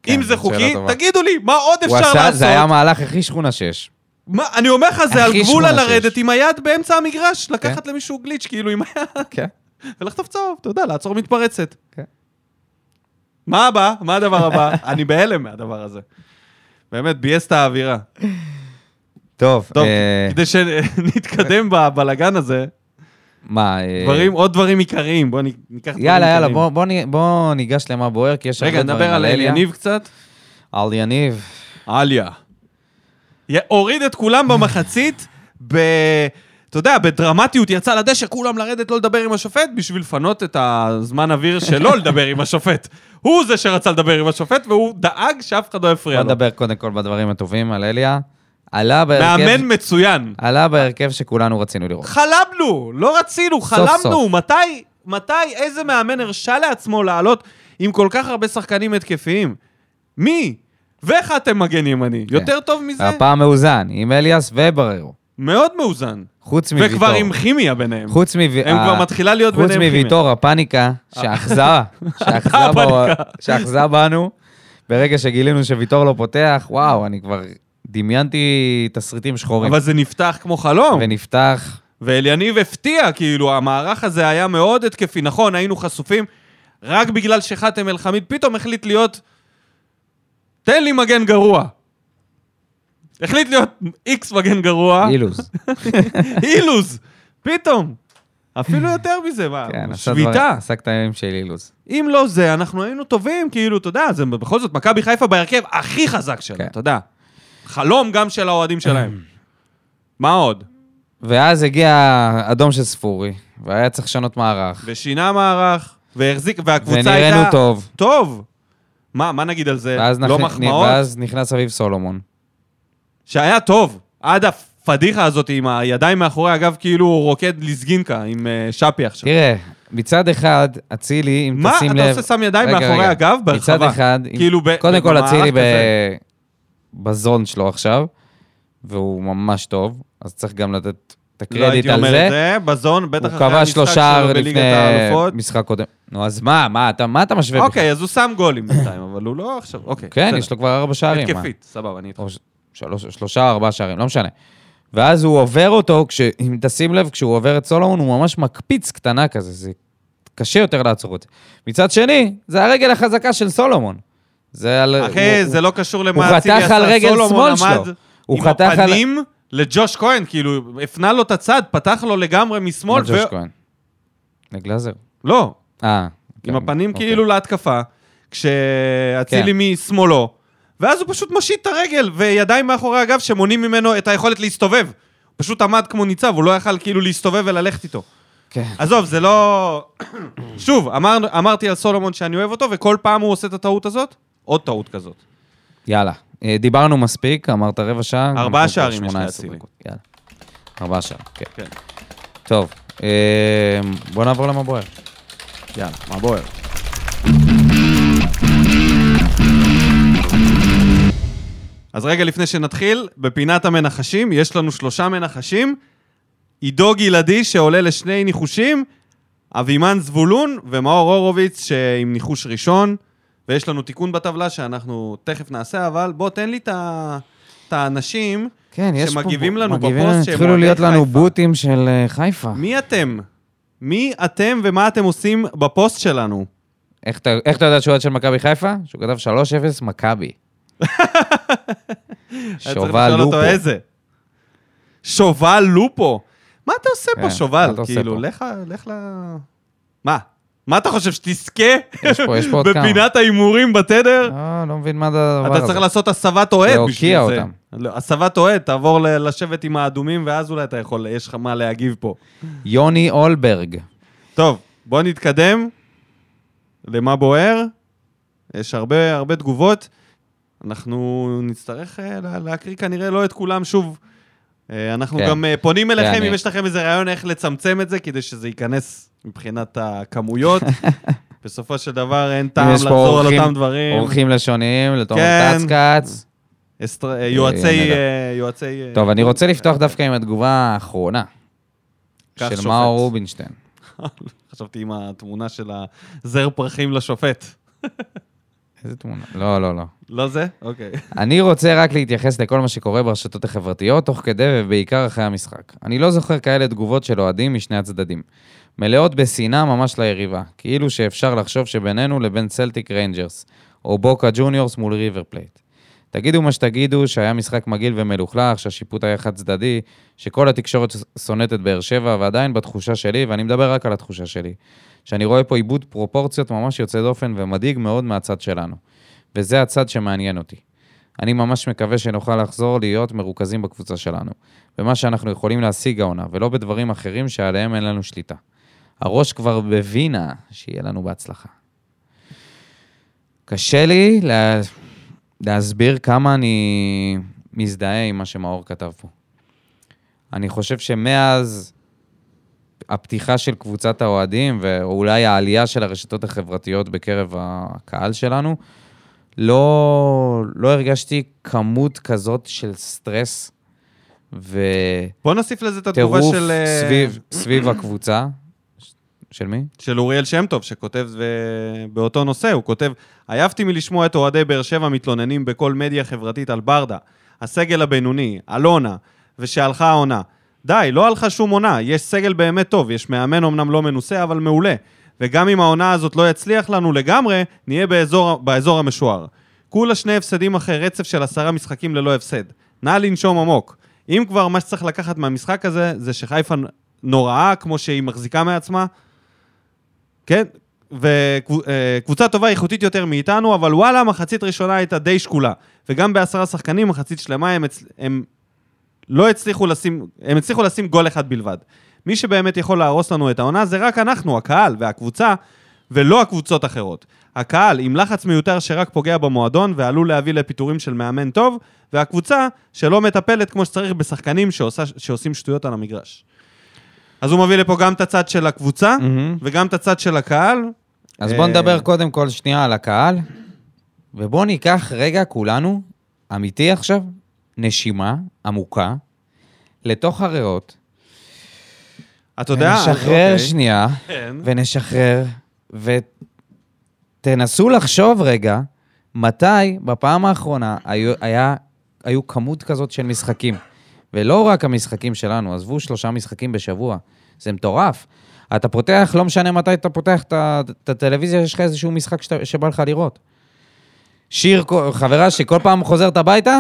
S2: כן,
S1: אם זה
S2: זו שאלה
S1: חוקי,
S2: טובה.
S1: תגידו לי, מה עוד
S2: הוא
S1: אפשר
S2: עשה, זה היה
S1: לעשות?
S2: המהלך הכי שכונה שיש.
S1: מה- אני אומר לך, זה על
S2: הכי
S1: גבול
S2: שמונה שש.
S1: הלרדת עם היד באמצע המגרש, לקחת למישהו גליץ', כאילו עם היד.
S2: כן.
S1: ולחטוף צהוב, אתה יודע, לעצור מתפרצת.
S2: כן.
S1: מה הבא? מה הדבר הבא? אני בהלם מהדבר הזה. באמת, ביאס את האווירה.
S2: טוב,
S1: טוב,
S2: אה,
S1: כדי שנתקדם בבלגן הזה,
S2: מה... אה,
S1: דברים, עוד דברים עיקריים, בוא נ- ניקח דברים
S2: יאללה, יאללה,
S1: עיקריים.
S2: בוא- בוא נ- בוא ניגש למה בוער, כי יש הרבה
S1: רגע,
S2: דברים
S1: נדבר על
S2: אליה.
S1: יניב קצת.
S2: על יניב.
S1: עליה. י- הוריד את כולם במחצית, ב... אתה יודע, בדרמטיות יצא לדשא, כולם לרדת לא לדבר עם השופט, בשביל לפנות את הזמן אוויר שלא לדבר עם השופט. הוא זה שרצה לדבר עם השופט, והוא דאג שאף אחד לא יפריע
S2: בוא
S1: לו.
S2: נדבר קודם כל בדברים הטובים על אליה. עלה בהרכב...
S1: מאמן מצוין.
S2: עלה בהרכב שכולנו רצינו לראות.
S1: חלמנו, לא רצינו, חלמנו.
S2: סוף.
S1: מתי, מתי, איזה מאמן הרשה לעצמו לעלות עם כל כך הרבה שחקנים התקפיים? מי? וחתם מגן ימני.
S2: כן.
S1: יותר טוב מזה?
S2: הפעם מאוזן, עם אליאס ובררו.
S1: מאוד מאוזן.
S2: חוץ מוויטור.
S1: וכבר עם כימיה ביניהם.
S2: חוץ מוו...
S1: הם כבר מתחילה להיות
S2: חוץ
S1: ביניהם כימיה. אה,
S2: מוויטור, הפאניקה שאחזה, שאחזה ב-
S1: הפאניקה.
S2: שאחזה בנו, ברגע שגילינו שוויטור לא פותח, וואו, אני כבר דמיינתי תסריטים שחורים.
S1: אבל זה נפתח כמו חלום.
S2: ונפתח,
S1: ואליניב הפתיע, כאילו, המערך הזה היה מאוד התקפי. נכון, היינו חשופים, רק בגלל שחאתם אל-חמיד פתאום החליט להיות... תן לי מגן גרוע. החליט להיות איקס מגן גרוע.
S2: אילוז.
S1: אילוז. פתאום. אפילו יותר מזה, מה?
S2: כן, עשה דברים-
S1: שביתה.
S2: עשה קטעים של אילוז.
S1: אם לא זה, אנחנו היינו טובים, כאילו, אתה יודע, זה בכל זאת מכבי חיפה בהרכב הכי חזק שלה,
S2: כן.
S1: אתה יודע. חלום גם של האוהדים שלהם. מה עוד?
S2: ואז הגיע האדום של ספורי, והיה צריך לשנות מערך.
S1: ושינה מערך, והחזיק, והקבוצה הייתה...
S2: ונראינו טוב.
S1: טוב. מה, מה נגיד על זה?
S2: ואז,
S1: לא
S2: נכ-
S1: מחמאות?
S2: ואז נכנס אביב סולומון.
S1: שהיה טוב, עד הפדיחה הזאת עם הידיים מאחורי הגב, כאילו הוא רוקד לזגינקה עם אה, שפי עכשיו.
S2: תראה, מצד אחד, אצילי, אם
S1: מה
S2: תשים לב...
S1: אתה עושה שם ידיים
S2: רגע,
S1: מאחורי
S2: רגע.
S1: הגב?
S2: מצד
S1: בהרחבה.
S2: אחד,
S1: כאילו, ב-
S2: קודם כל
S1: במערך
S2: אצילי ב...
S1: כזה.
S2: בזון שלו עכשיו, והוא ממש טוב, אז צריך גם לתת את
S1: לא
S2: הקרדיט
S1: הייתי
S2: על
S1: אומר את
S2: זה.
S1: זה, בזון, בטח
S2: הוא
S1: אחרי
S2: כבש
S1: המשחק
S2: לו שער
S1: שלו בליגת
S2: לפני
S1: האלופות.
S2: משחק קודם. נו, אז מה, מה אתה, מה אתה משווה? בכלל?
S1: אוקיי, אז הוא שם גולים בינתיים, אבל הוא לא עכשיו, אוקיי.
S2: כן,
S1: בסדר.
S2: יש לו כבר ארבע שערים. מה? אה,
S1: התקפית, סבבה, אני איתך.
S2: או ש- שלוש- שלושה, ארבעה שערים, לא משנה. ואז הוא עובר אותו, כש... אם תשים לב, כשהוא עובר את סולומון, הוא ממש מקפיץ קטנה כזה, זה קשה יותר לעצור את זה. מצד שני, זה הרגל החזקה של סולומון. זה על...
S1: אחי,
S2: הוא-
S1: זה לא קשור
S2: הוא
S1: למה אצילי
S2: חתך על
S1: עשה,
S2: רגל
S1: סולומון
S2: שמאל
S1: עמד
S2: שלו. הוא
S1: עם
S2: חתך על-
S1: הפנים לג'וש כהן, כאילו, הפנה לו את הצד, פתח לו לגמרי
S2: הוא...
S1: משמאל.
S2: על ג'וש
S1: ו-
S2: כהן. לגלאזר.
S1: לא,
S2: אה.
S1: עם
S2: כן,
S1: הפנים
S2: אוקיי.
S1: כאילו להתקפה, כשאצילי
S2: כן.
S1: משמאלו, ואז הוא פשוט מושיט את הרגל וידיים מאחורי הגב שמונעים ממנו את היכולת להסתובב. הוא פשוט עמד כמו ניצב, הוא לא יכל כאילו להסתובב וללכת איתו.
S2: כן.
S1: עזוב, זה לא... שוב, אמר, אמרתי על סולומון שאני אוהב אותו, וכל פעם הוא עושה את הטעות הזאת, עוד טעות כזאת.
S2: יאללה. אה, דיברנו מספיק, אמרת רבע שעה.
S1: ארבעה
S2: אנחנו כבר
S1: שערים יש
S2: 18
S1: לאצילי.
S2: דקות. יאללה. ארבעה שערים, כן.
S1: כן.
S2: טוב, אה, בוא נעבור למה בוער.
S1: יאללה, מה בוער? אז רגע לפני שנתחיל, בפינת המנחשים, יש לנו שלושה מנחשים. עידו גלעדי שעולה לשני ניחושים, אבימן זבולון ומאור הורוביץ עם ניחוש ראשון, ויש לנו תיקון בטבלה שאנחנו תכף נעשה, אבל בוא תן לי את ה- את האנשים.
S2: כן, יש פה...
S1: שמגיבים לנו
S2: מגיבים
S1: בפוסט שהם
S2: התחילו
S1: אוהדי
S2: להיות לנו
S1: חיפה.
S2: בוטים של אה, חיפה.
S1: מי אתם? מי אתם ומה אתם עושים בפוסט שלנו?
S2: איך אתה איך אתה יודע שהוא אוהד של מכבי חיפה? שהוא כתב 3-0 מכבי.
S1: היה צריך
S2: שובל
S1: לשאול
S2: לופו.
S1: אותו לא איזה. שובל לופו. מה אתה עושה
S2: כן,
S1: פה, שובל?
S2: מה אתה עושה
S1: כאילו,
S2: פה?
S1: לך לך ל... מה? מה אתה חושב, שתזכה?
S2: יש פה- יש פה עוד כמה.
S1: בפינת ההימורים בתדר?
S2: לא, לא מבין מה הדבר הזה.
S1: אתה צריך לעשות הסבת אוהד
S2: להוקיע
S1: בשביל זה.
S2: אותם.
S1: לא, הסבת אוהד, תעבור ל- לשבת עם האדומים, ואז אולי אתה יכול, יש לך מה להגיב פה.
S2: יוני אולברג.
S1: טוב, בוא נתקדם. למה בוער? יש הרבה הרבה תגובות. אנחנו נצטרך אה, לה- להקריא כנראה לא את כולם שוב. אה, אנחנו
S2: כן.
S1: גם אה, פונים אליכם,
S2: אני-
S1: אם יש לכם איזה רעיון איך לצמצם את זה, כדי שזה ייכנס מבחינת הכמויות. בסופו של דבר אין טעם
S2: יש פה
S1: לחזור על
S2: אורחים-
S1: אותם דברים.
S2: אורחים לשוניים, לתומר
S1: כן.
S2: טצקץ.
S1: אסטר- אה, יועצי...
S2: נדע.
S1: אה, יועצי... אה,
S2: טוב, אני רוצה לפתוח דווקא עם התגובה האחרונה.
S1: כך שופט.
S2: של מאור רובינשטיין.
S1: חשבתי עם התמונה של הזר פרחים לשופט.
S2: איזה תמונה. לא, לא, לא.
S1: לא זה? אוקיי.
S2: אני רוצה רק להתייחס לכל מה שקורה ברשתות החברתיות, תוך כדי ובעיקר אחרי המשחק. אני לא זוכר כאלה תגובות של אוהדים משני הצדדים. מלאות בשנאה ממש ליריבה, כאילו שאפשר לחשוב שבינינו לבין צלטיק ריינג'רס, או בוקה ג'וניורס מול ריבר פלייט. תגידו מה שתגידו, שהיה משחק מגעיל ומלוכלך, שהשיפוט היה חד צדדי, שכל התקשורת שונאת את באר שבע, ועדיין בתחושה שלי, ואני מדבר רק על התחושה שלי, שאני רואה פה עיבוד פרופורציות ממש יוצא דופן ומדאיג מאוד מהצד שלנו. וזה הצד שמעניין אותי. אני ממש מקווה שנוכל לחזור להיות מרוכזים בקבוצה שלנו, במה שאנחנו יכולים להשיג העונה, ולא בדברים אחרים שעליהם אין לנו שליטה. הראש כבר בווינה, שיהיה לנו בהצלחה. קשה לי לה... להסביר כמה אני מזדהה עם מה שמאור כתב פה. אני חושב שמאז הפתיחה של קבוצת האוהדים, ואולי העלייה של הרשתות החברתיות בקרב הקהל שלנו, לא, לא הרגשתי כמות כזאת של סטרס וטירוף
S1: בוא נוסיף לזה את התגובה של... אה,
S2: סביב, סביב הקבוצה. ש- של מי?
S1: של אוריאל שם טוב, שכותב ו- באותו נושא, הוא כותב, עייפתי מלשמוע את אוהדי באר שבע מתלוננים בכל מדיה חברתית על ברדה, הסגל הבינוני, אלונה, ושהלכה העונה. די, לא הלכה שום עונה, יש סגל באמת טוב, יש מאמן אמנם לא מנוסה, אבל מעולה. וגם אם העונה הזאת לא יצליח לנו לגמרי, נהיה באזור, באזור המשוער. כולה שני הפסדים אחרי רצף של עשרה משחקים ללא הפסד. נא לנשום עמוק. אם כבר, מה שצריך לקחת מהמשחק הזה, זה שחיפה נוראה, כמו שהיא מחזיקה מעצמה, כן? וקבוצה טובה איכותית יותר מאיתנו, אבל וואלה, מחצית ראשונה הייתה די שקולה. וגם בעשרה שחקנים, מחצית שלמה הם, הצ... הם לא הצליחו לשים, הם הצליחו לשים גול אחד בלבד. מי שבאמת יכול להרוס לנו את העונה זה רק אנחנו, הקהל והקבוצה, ולא הקבוצות אחרות. הקהל עם לחץ מיותר שרק פוגע במועדון ועלול להביא לפיטורים של מאמן טוב, והקבוצה שלא מטפלת כמו שצריך בשחקנים שעושה, שעושים שטויות על המגרש. אז הוא מביא לפה גם את הצד של הקבוצה,
S2: מהמם.
S1: וגם את הצד של הקהל.
S2: אז
S1: אה,
S2: בואו נדבר קודם כל שנייה על הקהל, ובואו ניקח רגע כולנו, אמיתי עכשיו, נשימה עמוקה, לתוך הריאות,
S1: אתה יודע...
S2: ונשחרר
S1: אוקיי.
S2: שנייה,
S1: כן.
S2: ונשחרר, ותנסו לחשוב רגע, מתי בפעם האחרונה היו, היה, היו כמות כזאת של משחקים. ולא רק המשחקים שלנו, עזבו שלושה משחקים בשבוע, זה מטורף. אתה פותח, לא משנה מתי אתה פותח את ה- את הטלוויזיה, יש לך איזשהו משחק שאתה- שבא לך לראות. שיר, כל- חברה שכל פעם חוזרת הביתה,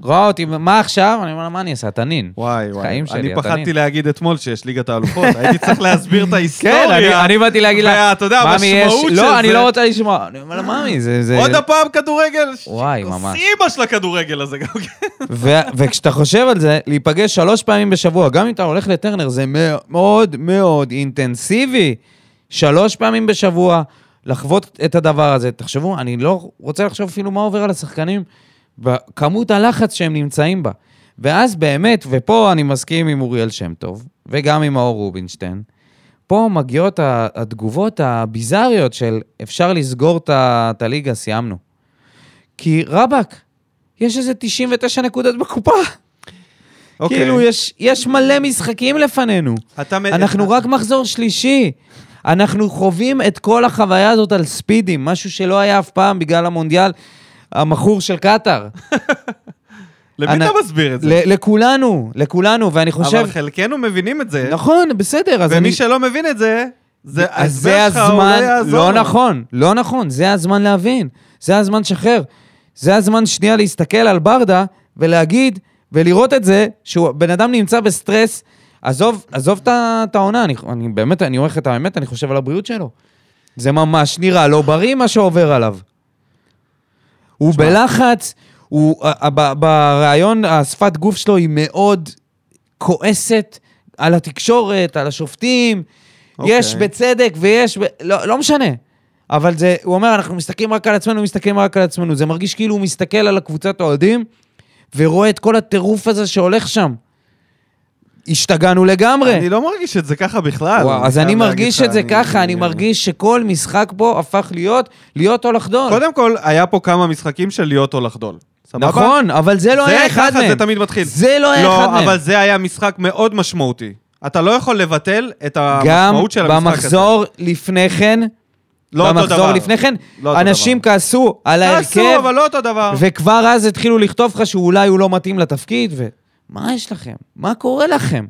S2: רואה אותי, מה עכשיו? אני אומר לה, מה אני אעשה? תנין.
S1: וואי, וואי.
S2: חיים שלי,
S1: אני
S2: אתה
S1: פחדתי
S2: נין.
S1: להגיד אתמול שיש ליגת האלופות, הייתי צריך להסביר את
S2: כן,
S1: ההיסטוריה.
S2: אני, אני באתי להגיד לה,
S1: ואתה יודע,
S2: "מאמי, יש-"
S1: המשמעות של
S2: לא, אני
S1: זה-
S2: לא רוצה לשמוע. אני אומר לה, מאמי, זה... זה...
S1: עוד הפעם כדורגל?
S2: וואי,
S1: כוס
S2: ממש.
S1: אימא של הכדורגל הזה גם כן.
S2: ו- וכשאתה חושב על זה, להיפגש שלוש פעמים בשבוע, גם אם אתה הולך לטרנר, זה מאוד מאוד אינטנסיבי. שלוש פעמים בשבוע, לחוות את הדבר הזה. תחשבו, אני לא רוצה לחשוב אפילו מה עובר על השחקנים, בכמות הלחץ שהם נמצאים בה. ואז באמת, ופה אני מסכים עם אוריאל שם טוב, וגם עם מאור רובינשטיין, פה מגיעות ה- התגובות הביזריות של אפשר לסגור את ה- את הליגה, סיימנו. כי רבאק, יש איזה 99 נקודות בקופה.
S1: אוקיי.
S2: כאילו, יש, יש מלא משחקים לפנינו.
S1: אתה מ-
S2: אנחנו רק מחזור שלישי. אנחנו חווים את כל החוויה הזאת על ספידים, משהו שלא היה אף פעם בגלל המונדיאל המכור של קטאר.
S1: למי
S2: אנ-
S1: אתה מסביר את זה?
S2: ל- לכולנו, לכולנו, ואני חושב...
S1: אבל חלקנו מבינים את זה,
S2: נכון, בסדר, אז אני...
S1: ומי שלא מבין את זה, זה
S2: אז
S1: ההסבר
S2: זה
S1: שלך, הוא
S2: הזמן,
S1: יעזור
S2: לא
S1: לנו.
S2: נכון, לא נכון, זה הזמן להבין, זה הזמן לשחרר, זה הזמן שנייה להסתכל על ברדה ולהגיד ולראות את זה שבן אדם נמצא בסטרס, עזוב, עזוב את ה- את העונה, אני, אני באמת, אני אומר לך את האמת, אני חושב על הבריאות שלו. זה ממש נראה לא בריא מה שעובר עליו. הוא בלחץ, הוא, ה- ה- ב- בריאיון, השפת גוף שלו היא מאוד כועסת על התקשורת, על השופטים.
S1: אוקיי.
S2: יש בצדק ויש, ב... לא, לא משנה. אבל זה, הוא אומר, אנחנו מסתכלים רק על עצמנו, מסתכלים רק על עצמנו. זה מרגיש כאילו הוא מסתכל על הקבוצת האוהדים ורואה את כל הטירוף הזה שהולך שם. השתגענו לגמרי.
S1: אני לא מרגיש את זה ככה בכלל.
S2: וואו, אז אני
S1: חייב להגיד
S2: מרגיש
S1: לך,
S2: את זה ככה, אני מרגיש שכל משחק פה הפך להיות, להיות או לחדול.
S1: קודם כל, היה פה כמה משחקים של להיות או לחדול. סבבה?
S2: נכון, אבל זה לא היה אחד
S1: ככה
S2: מהם.
S1: זה תמיד מתחיל.
S2: זה לא היה אחד
S1: לא,
S2: מהם.
S1: אבל זה היה משחק מאוד משמעותי. אתה לא יכול לבטל את
S2: גם
S1: המשמעות של המשחק הזה.
S2: במחזור לפני כן,
S1: לא אותו
S2: במחזור
S1: דבר.
S2: לפני כן,
S1: לא אותו
S2: אנשים כעסו על
S1: תעשו,
S2: ההרכב,
S1: אבל לא אותו דבר.
S2: וכבר אז התחילו לכתוב לך שאולי הוא לא מתאים לתפקיד, ו... מה יש לכם? מה קורה לכם?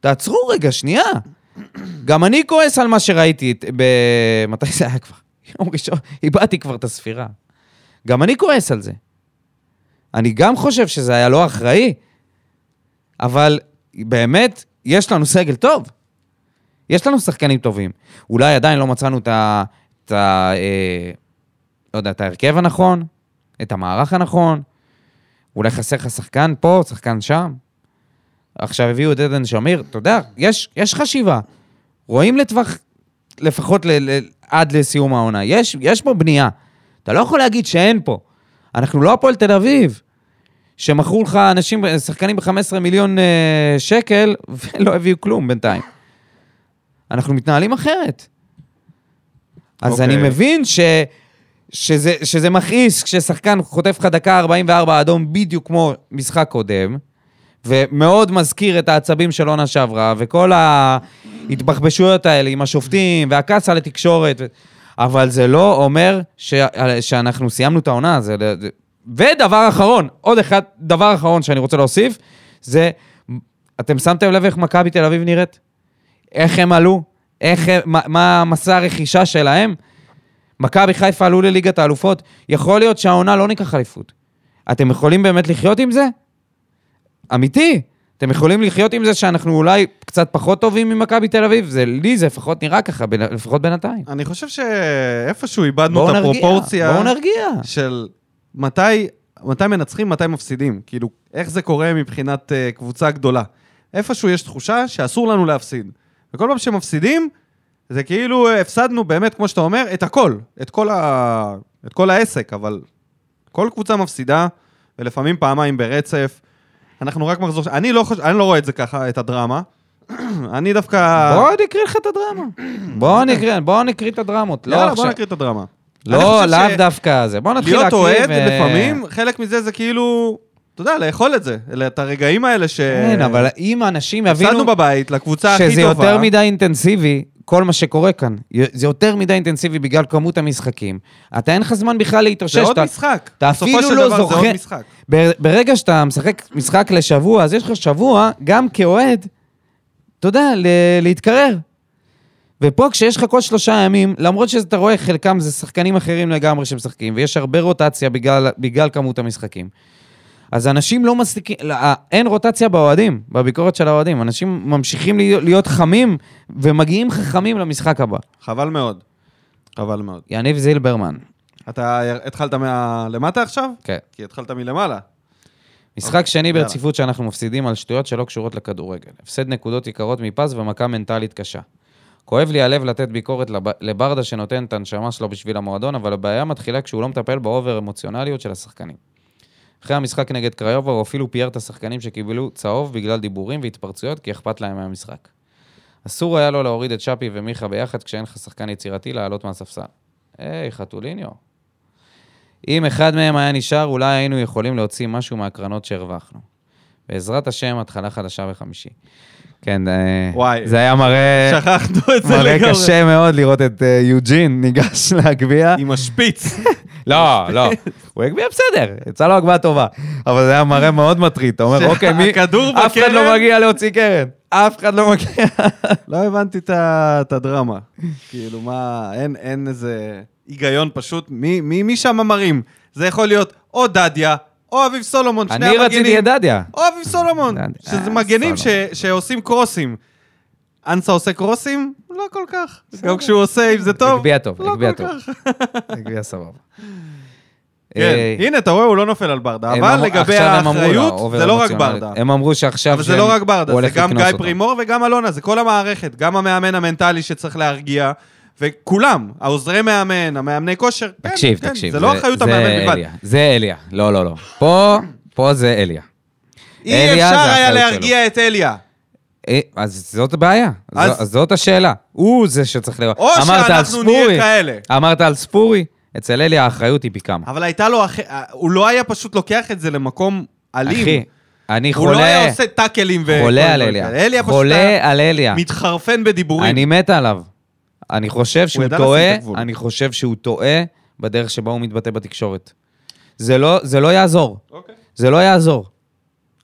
S2: תעצרו רגע, שנייה. גם אני כועס על מה שראיתי את- ב... מתי זה היה כבר? יום ראשון, איבדתי כבר את הספירה. גם אני כועס על זה. אני גם חושב שזה היה לא אחראי, אבל באמת, יש לנו סגל טוב. יש לנו שחקנים טובים. אולי עדיין לא מצאנו את ה... את ה... אה, לא יודע, את ההרכב הנכון, את המערך הנכון, אולי חסר לך שחקן פה, שחקן שם. עכשיו הביאו את עדן שמיר, אתה יודע, יש, יש חשיבה. רואים לטווח, לפחות ל, ל, עד לסיום העונה. יש, יש פה בנייה. אתה לא יכול להגיד שאין פה. אנחנו לא הפועל תל אביב, שמכרו לך אנשים, שחקנים ב-15 מיליון אה, שקל, ולא הביאו כלום בינתיים. אנחנו מתנהלים אחרת. אז okay. אני
S1: אוקיי.
S2: מבין ש, שזה, שזה מכעיס כששחקן חוטף לך דקה 44 אדום בדיוק כמו משחק קודם, ומאוד מזכיר את העצבים של עונה שעברה, וכל ההתבחבשויות האלה עם השופטים, והכעס על התקשורת, ו- אבל זה לא אומר ש... שאנחנו סיימנו את העונה. זה... זה- ודבר אחרון, עוד אחד, דבר אחרון שאני רוצה להוסיף, זה, אתם שמתם לב איך מכבי תל אביב נראית? איך הם עלו? איך הם, מה, מה מסע הרכישה שלהם? מכבי חיפה עלו לליגת האלופות, יכול להיות שהעונה לא ניקח אליפות. אתם יכולים באמת לחיות עם זה? אמיתי. אתם יכולים לחיות עם זה שאנחנו אולי קצת פחות טובים ממכבי תל אביב? זה, לי זה לפחות נראה ככה, בין- לפחות בינתיים.
S1: אני חושב שאיפשהו איבדנו
S2: בואו
S1: את
S2: נרגיע,
S1: הפרופורציה
S2: אה. בואו נרגיע.
S1: של מתי, מתי מנצחים, מתי מפסידים. כאילו, איך זה קורה מבחינת אה, קבוצה גדולה. איפשהו יש תחושה שאסור לנו להפסיד. וכל פעם שמפסידים, זה כאילו אה, הפסדנו באמת, כמו שאתה אומר, את הכל, את כל, ה... את כל העסק, אבל כל קבוצה מפסידה, ולפעמים פעמיים ברצף. אנחנו רק מחזור... ש- אני לא, חוש... אני לא רואה את זה ככה, את הדרמה. אני דווקא...
S2: בוא נקריא לך את הדרמה. בוא נקריא, בוא נקריא את הדרמות. לא
S1: יאללה, בוא
S2: עכשיו.
S1: נקריא את הדרמה. אני
S2: לא,
S1: חושב
S2: לאו
S1: ש-
S2: דווקא זה. בוא נתחיל
S1: להיות
S2: להקריא.
S1: אוהד,
S2: ו-
S1: לפעמים, חלק מזה זה כאילו, אתה יודע, לאכול את זה. אלה- את הרגעים האלה ש...
S2: כן, אבל אם אנשים יבינו
S1: אה, הפסדנו בבית, לקבוצה הכי טובה.
S2: שזה יותר מדי אינטנסיבי, כל מה שקורה כאן. זה יותר מדי אינטנסיבי בגלל כמות המשחקים. אתה אין לך זמן בכלל להתאושש.
S1: זה עוד
S2: אתה-
S1: משחק.
S2: אתה
S1: בסופו
S2: אפילו
S1: של
S2: לא
S1: דבר זה עוד
S2: זוכר-
S1: משחק.
S2: ב- ברגע שאתה משחק משחק לשבוע, אז יש לך שבוע, גם כאוהד, אתה יודע, ל- להתקרר. ופה כשיש לך כל שלושה ימים, למרות שאתה רואה, חלקם זה שחקנים אחרים לגמרי שמשחקים, ויש הרבה רוטציה בגלל, בגלל כמות המשחקים. אז אנשים לא מסליקים, לא, אה, אין רוטציה באוהדים, בביקורת של האוהדים. אנשים ממשיכים להיות, להיות חמים, ומגיעים חכמים למשחק הבא.
S1: חבל מאוד. חבל מאוד.
S2: יניב זילברמן,
S1: אתה התחלת מלמטה עכשיו?
S2: כן.
S1: כי התחלת מלמעלה.
S2: משחק שני
S1: יאללה.
S2: ברציפות שאנחנו מפסידים על שטויות שלא קשורות לכדורגל. הפסד נקודות יקרות מפז ומכה מנטלית קשה. כואב לי הלב לתת ביקורת לב... לברדה שנותן את הנשמה שלו בשביל המועדון, אבל הבעיה מתחילה כשהוא לא מטפל באובר אמוציונליות של השחקנים. אחרי המשחק נגד קריובה הוא אפילו פייר את השחקנים שקיבלו צהוב בגלל דיבורים והתפרצויות כי אכפת להם מהמשחק. אסור היה לו להוריד את שפי ומיכה ביחד כשאין לך שחקן יצירתי לעלות מהספסל. היי, חתוליניו. אם אחד מהם היה נשאר, אולי היינו יכולים להוציא משהו מהקרנות שהרווחנו. בעזרת השם, התחלה חדשה וחמישי. כן, אה,
S1: וואי.
S2: זה היה מראה...
S1: שכחנו את זה
S2: מראה
S1: לגמרי.
S2: קשה מאוד לראות את אה, יוג'ין ניגש להגביה.
S1: עם השפיץ.
S2: לא, לא. הוא הגביה בסדר, יצא לו הגביה טובה. אבל זה היה מראה מאוד מטריד. אתה אומר, אוקיי, מי...
S1: שהכדור
S2: אף אחד לא
S1: בקרן?"
S2: מגיע להוציא קרן. אף אחד לא מגיע.
S1: לא הבנתי את ה- את הדרמה. כאילו, מה, אין- אין איזה היגיון פשוט. מי- מי מי שם מרים? זה יכול להיות או דדיה, או אביב סולומון, שני
S2: אני
S1: המגנים.
S2: רציתי את דדיה.
S1: או אביב סולומון,
S2: אה,
S1: שזה מגנים ש-
S2: סולומון.
S1: שעושים קרוסים. אנסה עושה קרוסים? לא כל כך. גם כשהוא עושה, אם זה טוב,
S2: הגביה טוב,
S1: לא
S2: הגביה
S1: כל
S2: טוב.
S1: כך.
S2: הגביה סבבה.
S1: כן,
S2: אה,
S1: הנה, אתה רואה, הוא לא נופל על ברדה.
S2: הם
S1: אבל
S2: אמרו-
S1: לגבי
S2: עכשיו הם אמרו לה,
S1: האחריות,
S2: אובר
S1: זה לא רק
S2: אמוציונלית.
S1: ברדה.
S2: הם אמרו שעכשיו...
S1: אבל זה
S2: שהם-
S1: לא רק
S2: הוא
S1: ברדה, זה
S2: הולך
S1: גם
S2: לקנוס
S1: גיא
S2: אותם.
S1: פרימור וגם אלונה, זה כל המערכת, גם המאמן המנטלי שצריך להרגיע, וכולם, העוזרי מאמן, המאמני כושר. כן,
S2: תקשיב,
S1: כן,
S2: תקשיב.
S1: זה לא אחריות
S2: זה
S1: המאמן בלבד.
S2: אליה, זה אליה. לא, לא, לא. פה, פה זה אליה.
S1: אי
S2: אליה זה
S1: אפשר היה
S2: האחריות שלו.
S1: להרגיע את אליה.
S2: אה, אז זאת הבעיה,
S1: אז-
S2: אז... זו, זאת השאלה. הוא זה שצריך לראות.
S1: או
S2: אמרת על
S1: שאנחנו נהיה
S2: ספורי,
S1: כאלה.
S2: אמרת על ספורי, אצל אלי האחריות היא פי כמה.
S1: אבל הייתה לו, אח- הוא לא היה פשוט לוקח את זה למקום אלים.
S2: אחי, אני
S1: הוא לא
S2: חולה,
S1: היה עושה טאקלים ו...
S2: חולה על
S1: אליה
S2: אליה.
S1: פשוט היה
S2: חולה על אליה.
S1: מתחרפן בדיבורים.
S2: אני מת עליו. אני חושב שהוא
S1: ידע לשים
S2: טועה,
S1: את הגבול.
S2: אני חושב שהוא טועה בדרך שבה הוא מתבטא בתקשורת. זה לא, זה לא יעזור,
S1: אוקיי.
S2: זה לא יעזור.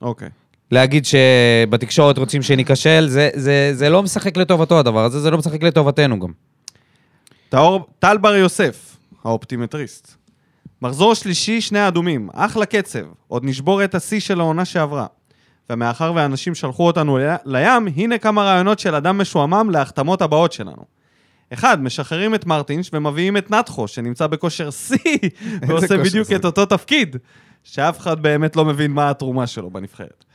S1: אוקיי.
S2: להגיד שבתקשורת רוצים שניכשל, זה, זה, זה לא משחק לטובתו הדבר הזה, זה לא משחק לטובתנו גם.
S1: טהור, טל בר יוסף, האופטימטריסט. מחזור שלישי, שני האדומים. אחלה קצב. עוד נשבור את השיא של העונה שעברה. ומאחר והאנשים שלחו אותנו ל- לים, הנה כמה רעיונות של אדם משועמם להחתמות הבאות שלנו. אחד, משחררים את מרטינש ומביאים את נטחו, שנמצא בכושר שיא, ועושה
S2: כושר
S1: בדיוק
S2: זה?
S1: את אותו תפקיד, שאף אחד באמת לא מבין מה התרומה שלו בנבחרת.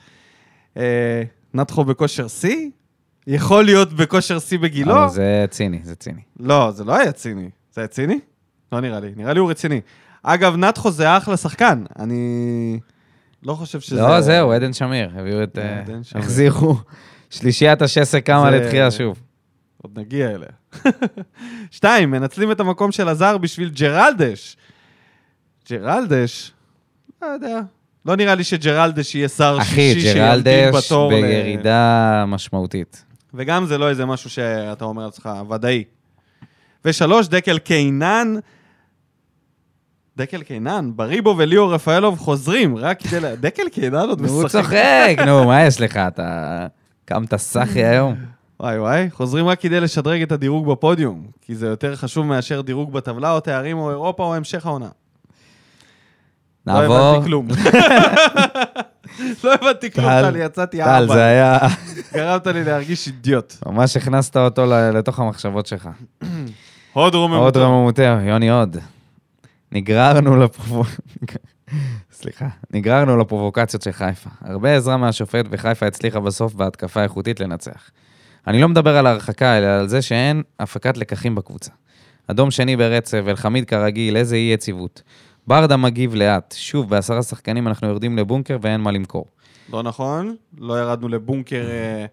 S1: אה, נטחו בכושר שיא? יכול להיות בכושר שיא בגילו?
S2: אבל זה ציני, זה ציני.
S1: לא, זה לא היה ציני. זה היה ציני? לא נראה לי. נראה לי הוא רציני. אגב, נתחו זה אחלה שחקן. אני לא חושב שזה...
S2: לא, זהו, עדן שמיר, הביאו את... אה,
S1: עדן שמיר.
S2: החזירו. שלישיית השסק קמה
S1: זה-
S2: לתחייה שוב.
S1: עוד נגיע אליה. שתיים, מנצלים את המקום של הזר בשביל ג'רלדש. ג'רלדש? לא יודע. לא נראה לי שג'רלדש יהיה שר
S2: אחי,
S1: שישי שימתין
S2: ג'רלדש
S1: בתור ל-
S2: בירידה משמעותית.
S1: וגם זה לא איזה משהו שאתה אומר לעצמך, ודאי. ושלוש, דקל קינן. דקל קינן, בריבו וליאור רפאלוב חוזרים, רק כדי ל... דקל קינן עוד
S2: נו, הוא
S1: משחק.
S2: צוחק, נו, מה יש לך? אתה קמת סאחי היום?
S1: וואי וואי, חוזרים רק כדי לשדרג את הדירוג בפודיום, כי זה יותר חשוב מאשר דירוג בטבלה או תארים או אירופה או המשך העונה. לא
S2: נעבור.
S1: הבנתי כלום. לא הבנתי כלום,
S2: טל,
S1: טלי, יצאתי
S2: טל, זה
S1: אבא.
S2: היה...
S1: גרמת לי להרגיש אידיוט.
S2: ממש הכנסת אותו ל- לתוך המחשבות שלך.
S1: הוד רוממות.
S2: עוד רממותיה, יוני עוד. נגררנו לפרופורציה. סליחה. נגררנו לפרובוקציות של חיפה. הרבה עזרה מהשופט, וחיפה הצליחה בסוף בהתקפה איכותית לנצח. אני לא מדבר על ההרחקה, אלא על זה שאין הפקת לקחים בקבוצה. אדום שני ברצף, אלחמיד כרגיל, איזה אי יציבות. ברדה מגיב לאט. שוב, בעשרה שחקנים אנחנו יורדים לבונקר ואין מה למכור.
S1: לא נכון, לא ירדנו לבונקר אה,
S2: כן,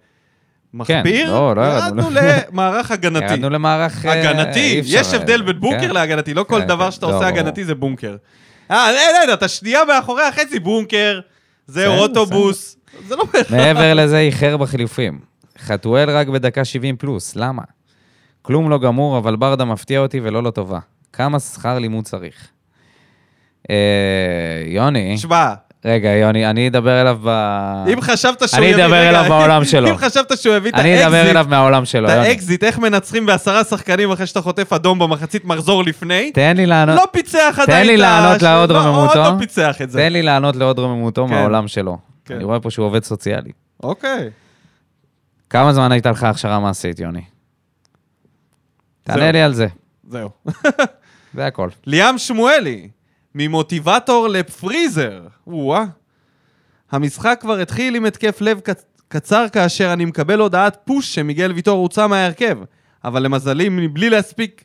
S1: מחפיר,
S2: לא, לא ירדנו.
S1: ירדנו למערך הגנתי.
S2: ירדנו למערך... אה, אי
S1: הגנתי,
S2: אפשר,
S1: יש הבדל בין
S2: כן.
S1: בונקר להגנתי, לא כל
S2: כן,
S1: דבר
S2: כן,
S1: שאתה
S2: לא,
S1: עושה
S2: ברור.
S1: הגנתי זה בונקר. אה, אין, אין, אתה שנייה מאחורי החצי, בונקר,
S2: בסדר,
S1: זה אוטובוס, זה לא...
S2: מעבר לזה, איחר בחילופים. חתואל רק בדקה 70 פלוס, למה? כלום לא גמור, אבל ברדה מפתיע אותי ולא לטובה. כמה שכר לימוד צריך? אה, יוני,
S1: שמע,
S2: רגע, יוני, אני אדבר אליו ב...
S1: אם חשבת שהוא
S2: אה. אני
S1: יביא...
S2: אדבר
S1: רגע,
S2: אליו בעולם שלו.
S1: אם חשבת שהוא יביא את
S2: אני אדבר אליו לא
S1: האקזיט,
S2: מהעולם שלו,
S1: את
S2: יוני.
S1: האקזיט, איך מנצחים בעשרה שחקנים אחרי שאתה חוטף אדום במחצית מחזור לפני,
S2: תן לי לענות,
S1: לא פיצח עדיין
S2: תן לי
S1: את ה-
S2: לענות
S1: של-
S2: לעוד
S1: לא,
S2: רממותו.
S1: עוד לא פיצח את זה.
S2: תן לי לענות לעוד רוממותו
S1: כן.
S2: מהעולם שלו.
S1: כן.
S2: אני רואה פה שהוא עובד סוציאלי.
S1: אוקיי.
S2: כמה זמן הייתה לך הכשרה מעשית, יוני? תענה
S1: זהו.
S2: לי על זה,
S1: זהו.
S2: זה הכל.
S1: ליאם שמואלי, ממוטיבטור לפריזר. וואה. המשחק כבר התחיל עם התקף לב קצ- קצר כאשר אני מקבל הודעת פוש שמיגל ויטור הוצא מההרכב. אבל למזלי, מבלי להספיק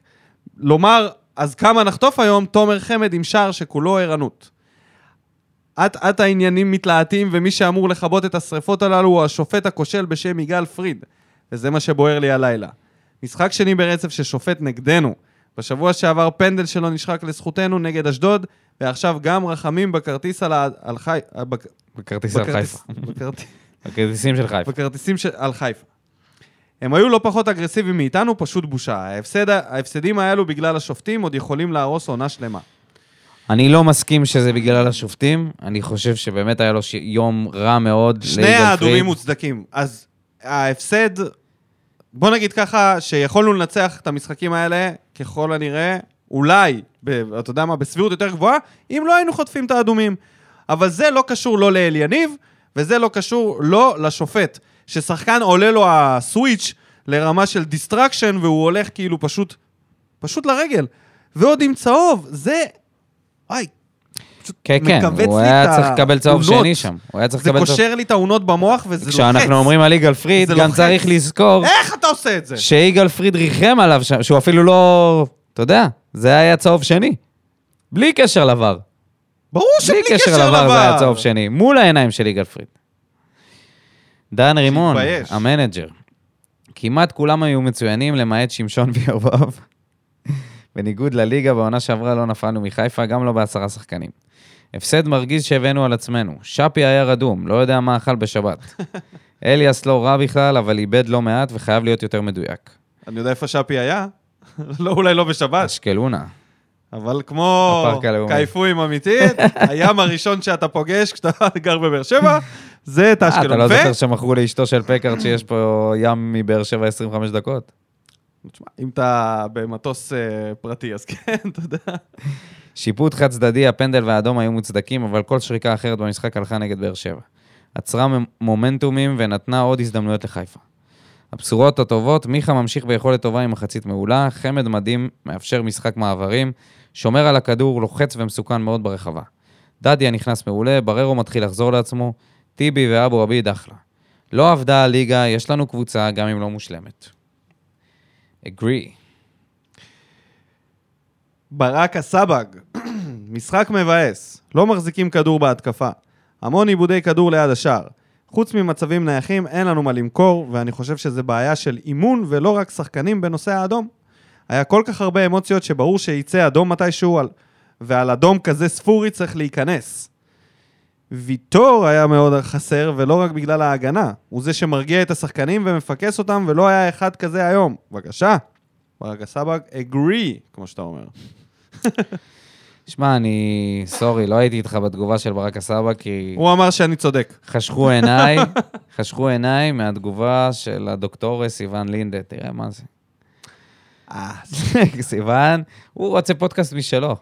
S1: לומר אז כמה נחטוף היום, תומר חמד עם שער שכולו ערנות. אט אט העניינים מתלהטים ומי שאמור לכבות את השריפות הללו הוא השופט הכושל בשם יגאל פריד. וזה מה שבוער לי הלילה. משחק שני ברצף ששופט נגדנו. בשבוע שעבר פנדל שלא נשחק לזכותנו נגד אשדוד, ועכשיו גם רחמים בכרטיס על, ה... על חי... בכ...
S2: בכרטיס על
S1: בכרטיס-
S2: חיפה.
S1: בכרטיס-
S2: בכרטיסים של חיפה.
S1: בכרטיסים של- על חיפה. הם היו לא פחות אגרסיביים מאיתנו, פשוט בושה. ההפסד... ההפסדים האלו בגלל השופטים עוד יכולים להרוס עונה שלמה.
S2: אני לא מסכים שזה בגלל השופטים, אני חושב שבאמת היה לו ש... יום רע מאוד.
S1: שני
S2: ליגאל
S1: האדומים
S2: פריד.
S1: מוצדקים. אז ההפסד, בוא נגיד ככה, שיכולנו לנצח את המשחקים האלה, ככל הנראה, אולי, ב, אתה יודע מה, בסבירות יותר גבוהה, אם לא היינו חוטפים את האדומים. אבל זה לא קשור לא לאל יניב, וזה לא קשור לא לשופט. ששחקן עולה לו הסוויץ' לרמה של דיסטרקשן, והוא הולך כאילו פשוט, פשוט לרגל. ועוד עם צהוב, זה... וואי,
S2: כן, כן,
S1: מכווץ
S2: הוא
S1: לי את
S2: היה צריך לקבל צהוב
S1: התאונות.
S2: שני שם. הוא היה צריך
S1: זה
S2: לקבל צהוב...
S1: קושר לי את האונות במוח, וזה לוחץ.
S2: כשאנחנו אומרים על יגאל פריד,
S1: זה
S2: גם
S1: לוחץ.
S2: צריך לזכור
S1: איך אתה עושה את זה?
S2: שיגאל פריד ריחם עליו שם, שהוא אפילו לא... אתה יודע, זה היה צהוב שני. בלי קשר לבר.
S1: ברור
S2: בלי
S1: שבלי
S2: קשר לבר זה היה צהוב שני. מול העיניים של יגאל פריד. דן רימון,
S1: שיתבייש.
S2: המנג'ר. כמעט כולם היו מצוינים, למעט שמשון ויובב. בניגוד לליגה, בעונה שעברה לא נפלנו מחיפה, גם לא בעשרה שחקנים. הפסד מרגיז שהבאנו על עצמנו. שפי היה רדום, לא יודע מה אכל בשבת. אליאס לא רע בכלל, אבל איבד לא מעט וחייב להיות יותר מדויק.
S1: אני יודע איפה שפי היה. לא, אולי לא בשבת,
S2: אשקלונה.
S1: אבל כמו
S2: הפארק הלאומי.
S1: קייפואים אמיתית, הים הראשון שאתה פוגש כשאתה גר בבאר שבע, זה את
S2: אה, אתה
S1: אשקלון.
S2: לא
S1: ו-
S2: זוכר שמכרו לאשתו של פקארט שיש פה ים מבאר שבע 25 דקות?
S1: תשמע, אם אתה במטוס אה, פרטי, אז כן, אתה יודע.
S2: שיפוט חד צדדי, הפנדל והאדום היו מוצדקים, אבל כל שריקה אחרת במשחק הלכה נגד באר שבע. עצרה מ- מומנטומים ונתנה עוד הזדמנויות לחיפה. הבשורות הטובות, מיכה ממשיך ביכולת טובה עם מחצית מעולה, חמד מדהים, מאפשר משחק מעברים, שומר על הכדור, לוחץ ומסוכן מאוד ברחבה. דדיה נכנס מעולה, בררו מתחיל לחזור לעצמו, טיבי ואבו עביד אחלה. לא עבדה הליגה, יש לנו קבוצה, גם אם לא מושלמת. אגרי.
S1: ברק הסבג, משחק מבאס, לא מחזיקים כדור בהתקפה. המון עיבודי כדור ליד השער. חוץ ממצבים נייחים, אין לנו מה למכור, ואני חושב שזה בעיה של אימון ולא רק שחקנים בנושא האדום. היה כל כך הרבה אמוציות שברור שיצא אדום מתישהו, על... ועל אדום כזה ספורי צריך להיכנס. ויטור היה מאוד חסר, ולא רק בגלל ההגנה. הוא זה שמרגיע את השחקנים ומפקס אותם, ולא היה אחד כזה היום. בבקשה. ברק הסבג, agree, כמו שאתה אומר.
S2: שמע, אני... סורי, לא הייתי איתך בתגובה של ברק הסבא, כי
S1: הוא אמר שאני צודק.
S2: חשכו עיניי, חשכו עיניי מהתגובה של הדוקטור סיוון לינדה, תראה מה זה. סיוון, הוא רוצה פודקאסט משלו.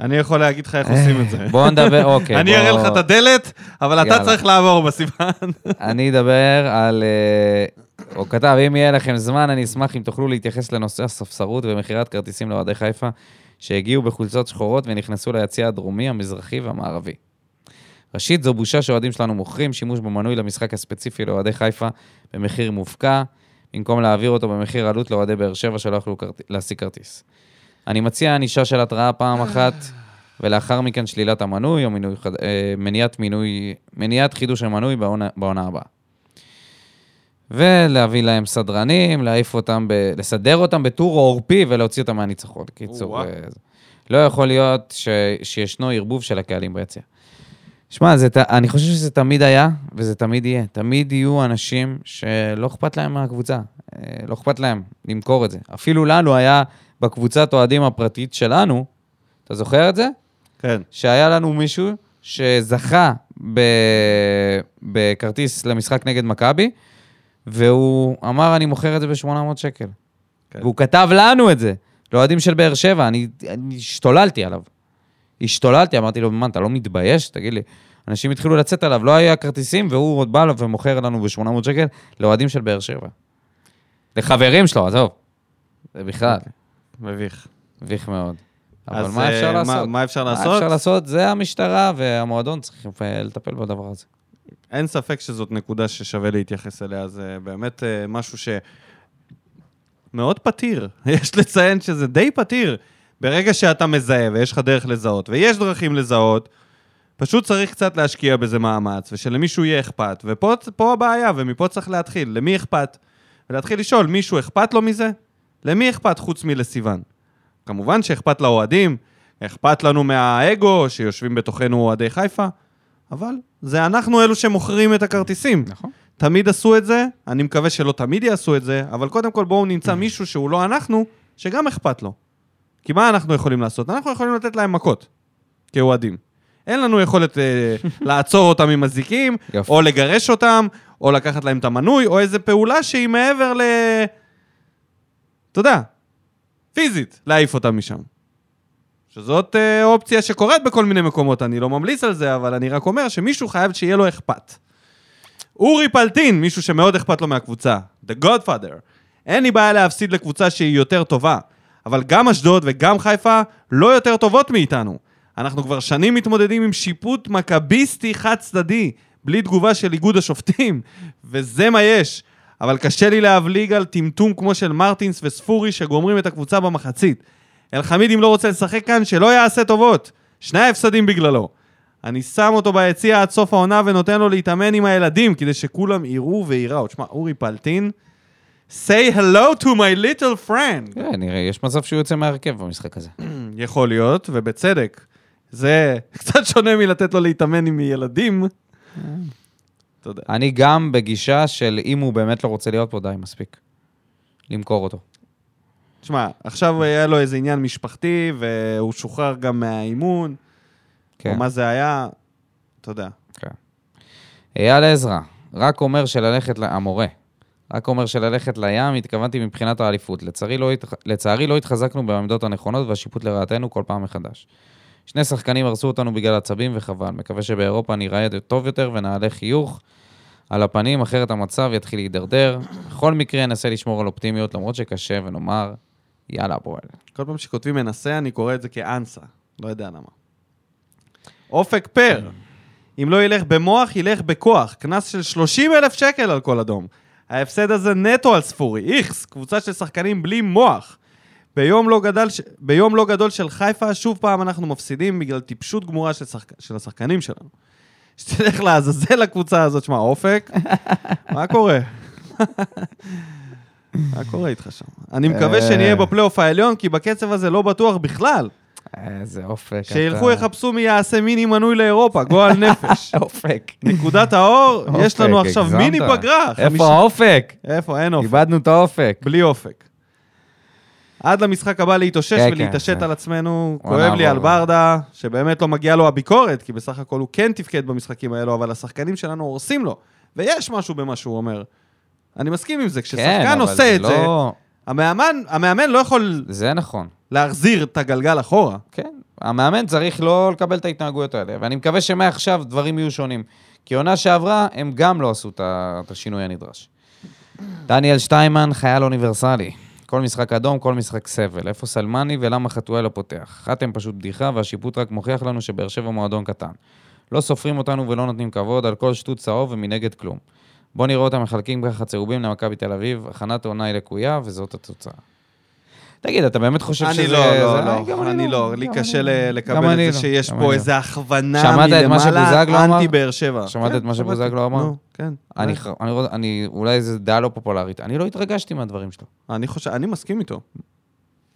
S1: אני יכול להגיד לך איך עושים את זה.
S2: בואו נדבר, אוקיי.
S1: אני אראה
S2: בוא-
S1: לך את הדלת, אבל אתה
S2: יאללה.
S1: צריך לעבור בסיוון.
S2: אני אדבר על... אה, הוא כתב, אם יהיה לכם זמן, אני אשמח אם תוכלו להתייחס לנושא הספסרות ומכירת כרטיסים לאוהדי חיפה, שהגיעו בחולצות שחורות ונכנסו ליציע הדרומי, המזרחי והמערבי. ראשית, זו בושה שאוהדים שלנו מוכרים שימוש במנוי למשחק הספציפי לאוהדי חיפה במחיר מופקע, במקום להעביר אותו במחיר עלות לאוהדי באר שבע שלא יכלו כרט... להשיג כרטיס. אני מציע ענישה של התראה פעם אחת, ולאחר מכן שלילת המנוי או מינוי חד... אה, מניעת, מינוי... מניעת חידוש המנוי בעונה, בעונה הבאה. ולהביא להם סדרנים, להעיף אותם, ב... לסדר אותם בטור עורפי ולהוציא אותם מהניצחון. קיצור,
S1: או-אה.
S2: אה, זה- לא יכול להיות ש... שישנו ערבוב של הקהלים ביציע. שמע, זה ת- אני חושב שזה תמיד היה, וזה תמיד יהיה. תמיד יהיו אנשים שלא אכפת להם מהקבוצה. אה, לא אכפת להם למכור את זה. אפילו לנו היה בקבוצת אוהדים הפרטית שלנו, אתה זוכר את זה?
S1: כן.
S2: שהיה לנו מישהו שזכה ב... בכרטיס למשחק נגד מכבי, והוא אמר, אני מוכר את זה ב-800 שקל.
S1: כן.
S2: כן. והוא כתב לנו את זה, לאוהדים של באר שבע, אני, אני השתוללתי עליו. השתוללתי, אמרתי לו, מה, אתה לא מתבייש? תגיד לי. אנשים התחילו לצאת עליו, לא היה כרטיסים, והוא עוד בא לו ומוכר לנו ב-800 שקל לאוהדים של באר שבע. לחברים שלו, עזוב. אוקיי. זה בכלל,
S1: מביך.
S2: מביך מאוד. אבל
S1: אז,
S2: מה
S1: אה,
S2: אפשר לעשות?
S1: מה אפשר
S2: מה
S1: לעשות?
S2: אפשר לעשות? זה המשטרה והמועדון צריכים אה, לטפל בדבר הזה.
S1: אין ספק שזאת נקודה ששווה להתייחס אליה, זה באמת אה, משהו ש... מאוד פתיר. יש לציין שזה די פתיר. ברגע שאתה מזהה ויש לך דרך לזהות, ויש דרכים לזהות, פשוט צריך קצת להשקיע בזה מאמץ, ושלמישהו יהיה אכפת. ופה פה הבעיה, ומפה צריך להתחיל. למי אכפת? ולהתחיל לשאול, מישהו אכפת לו מזה? למי אכפת חוץ מלסיוון? כמובן שאכפת לאוהדים, אכפת לנו מהאגו שיושבים בתוכנו אוהדי חיפה, אבל זה אנחנו אלו שמוכרים את הכרטיסים.
S2: נכון.
S1: תמיד עשו את זה, אני מקווה שלא תמיד יעשו את זה, אבל קודם כל בואו נמצא מישהו שהוא לא אנחנו, שגם אכפת לו. כי מה אנחנו יכולים לעשות? אנחנו יכולים לתת להם מכות, כאוהדים. אין לנו יכולת אה, לעצור אותם עם אזיקים,
S2: יפה.
S1: או לגרש אותם, או לקחת להם את המנוי, או איזו פעולה שהיא מעבר ל... אתה יודע, פיזית, להעיף אותם משם. שזאת אה, אופציה שקורית בכל מיני מקומות, אני לא ממליץ על זה, אבל אני רק אומר שמישהו חייב שיהיה לו אכפת. אורי פלטין, מישהו שמאוד אכפת לו מהקבוצה. The Godfather. אין לי בעיה להפסיד לקבוצה שהיא יותר טובה, אבל גם אשדוד וגם חיפה לא יותר טובות מאיתנו. אנחנו כבר שנים מתמודדים עם שיפוט מכביסטי חד-צדדי, בלי תגובה של איגוד השופטים, וזה מה יש. אבל קשה לי להבליג על טמטום כמו של מרטינס וספורי שגומרים את הקבוצה במחצית. אלחמיד, אם לא רוצה לשחק כאן, שלא יעשה טובות. שני ההפסדים בגללו. אני שם אותו ביציע עד סוף העונה ונותן לו להתאמן עם הילדים כדי שכולם יראו וייראו. תשמע, אורי פלטין, say hello to my little friend.
S2: תראה, נראה, יש מצב שהוא יוצא מהרכב במשחק הזה.
S1: יכול להיות, ובצדק. זה קצת שונה מלתת לו להתאמן עם ילדים. אתה יודע.
S2: אני גם בגישה של אם הוא באמת לא רוצה להיות פה, די, מספיק. למכור אותו.
S1: תשמע, עכשיו היה לו איזה עניין משפחתי, והוא שוחרר גם מהאימון,
S2: כן.
S1: או מה זה היה, אתה יודע.
S2: אייל עזרא, רק אומר שללכת, ל- המורה, רק אומר שללכת לים, התכוונתי מבחינת האליפות. לצערי לא, התח... לצערי לא התחזקנו בעמדות הנכונות והשיפוט לרעתנו כל פעם מחדש. שני שחקנים הרסו אותנו בגלל עצבים וחבל. מקווה שבאירופה ניראה טוב יותר ונעלה חיוך על הפנים, אחרת המצב יתחיל להידרדר. בכל מקרה, אנסה לשמור על אופטימיות, למרות שקשה, ונאמר, יאללה, הפועל.
S1: כל פעם שכותבים מנסה, אני קורא את זה כאנסה. לא יודע למה. אופק פר. אם לא ילך במוח, ילך בכוח. קנס של 30 אלף שקל על כל אדום. ההפסד הזה נטו על ספורי. איכס, קבוצה של שחקנים בלי מוח. ביום לא, גדל, ש- ביום לא גדול של חיפה, שוב פעם אנחנו מפסידים בגלל טיפשות גמורה של, שחק... של השחקנים שלנו. שתלך לעזאזל הקבוצה הזאת. שמע, אופק, מה קורה? מה קורה איתך שם? אני מקווה שנהיה בפלייאוף העליון, כי בקצב הזה לא בטוח בכלל.
S2: איזה אופק.
S1: שילכו יחפשו מי יעשה מיני מנוי לאירופה, גועל נפש.
S2: אופק.
S1: נקודת האור, יש לנו
S2: אופק,
S1: עכשיו
S2: אוקיי, הגזמת.
S1: מיני פגרה.
S2: איפה
S1: חמישה-
S2: האופק?
S1: איפה? אין אופק.
S2: איבדנו את האופק.
S1: בלי אופק. עד למשחק הבא להתאושש
S2: כן,
S1: ולהתעשת
S2: כן.
S1: על עצמנו.
S2: וואלה,
S1: כואב לי
S2: אבל-
S1: על ברדה, שבאמת לא מגיעה לו הביקורת, כי בסך הכל הוא כן תפקד במשחקים האלו, אבל השחקנים שלנו הורסים לו. ויש משהו במה שהוא אומר. אני מסכים עם
S2: כן,
S1: זה, כששחקן עושה
S2: לא-
S1: את זה, המאמן, המאמן לא יכול
S2: זה נכון.
S1: להחזיר את הגלגל אחורה.
S2: כן, המאמן צריך לא לקבל את ההתנהגויות האלה, ואני מקווה שמעכשיו דברים יהיו שונים. כי עונה שעברה, הם גם לא עשו את ה- את השינוי הנדרש. דניאל שטיימן, חייל אוניברסלי. כל משחק אדום, כל משחק סבל. איפה סלמני ולמה חתואל לא פותח? חתם פשוט בדיחה והשיפוט רק מוכיח לנו שבאר שבע מועדון קטן. לא סופרים אותנו ולא נותנים כבוד, על כל שטות צהוב ומנגד כלום. בואו נראה אותם מחלקים ככה צהובים למכבי תל אביב, הכנת עונה היא לקויה וזאת התוצאה. תגיד, אתה באמת חושב שזה...
S1: אני לא,
S2: זה- אה,
S1: לא,
S2: גם
S1: לא, אני לא, לי
S2: גם
S1: קשה
S2: אני
S1: ל-
S2: לא. גם
S1: לקבל
S2: אני
S1: את
S2: לא,
S1: זה שיש
S2: גם
S1: פה
S2: אני
S1: איזו הכוונה
S2: שמעת את מה שבוזגלו אמר?
S1: אנטי באר שבע.
S2: שמעת
S1: כן,
S2: את מה
S1: שמעתי.
S2: שבוזגלו אמר?
S1: נו, כן.
S2: לא. אני, ח- אני, רוצה- אני, אולי זו דעה לא פופולרית, אני לא התרגשתי מהדברים שלו.
S1: אני חושב, אני מסכים איתו.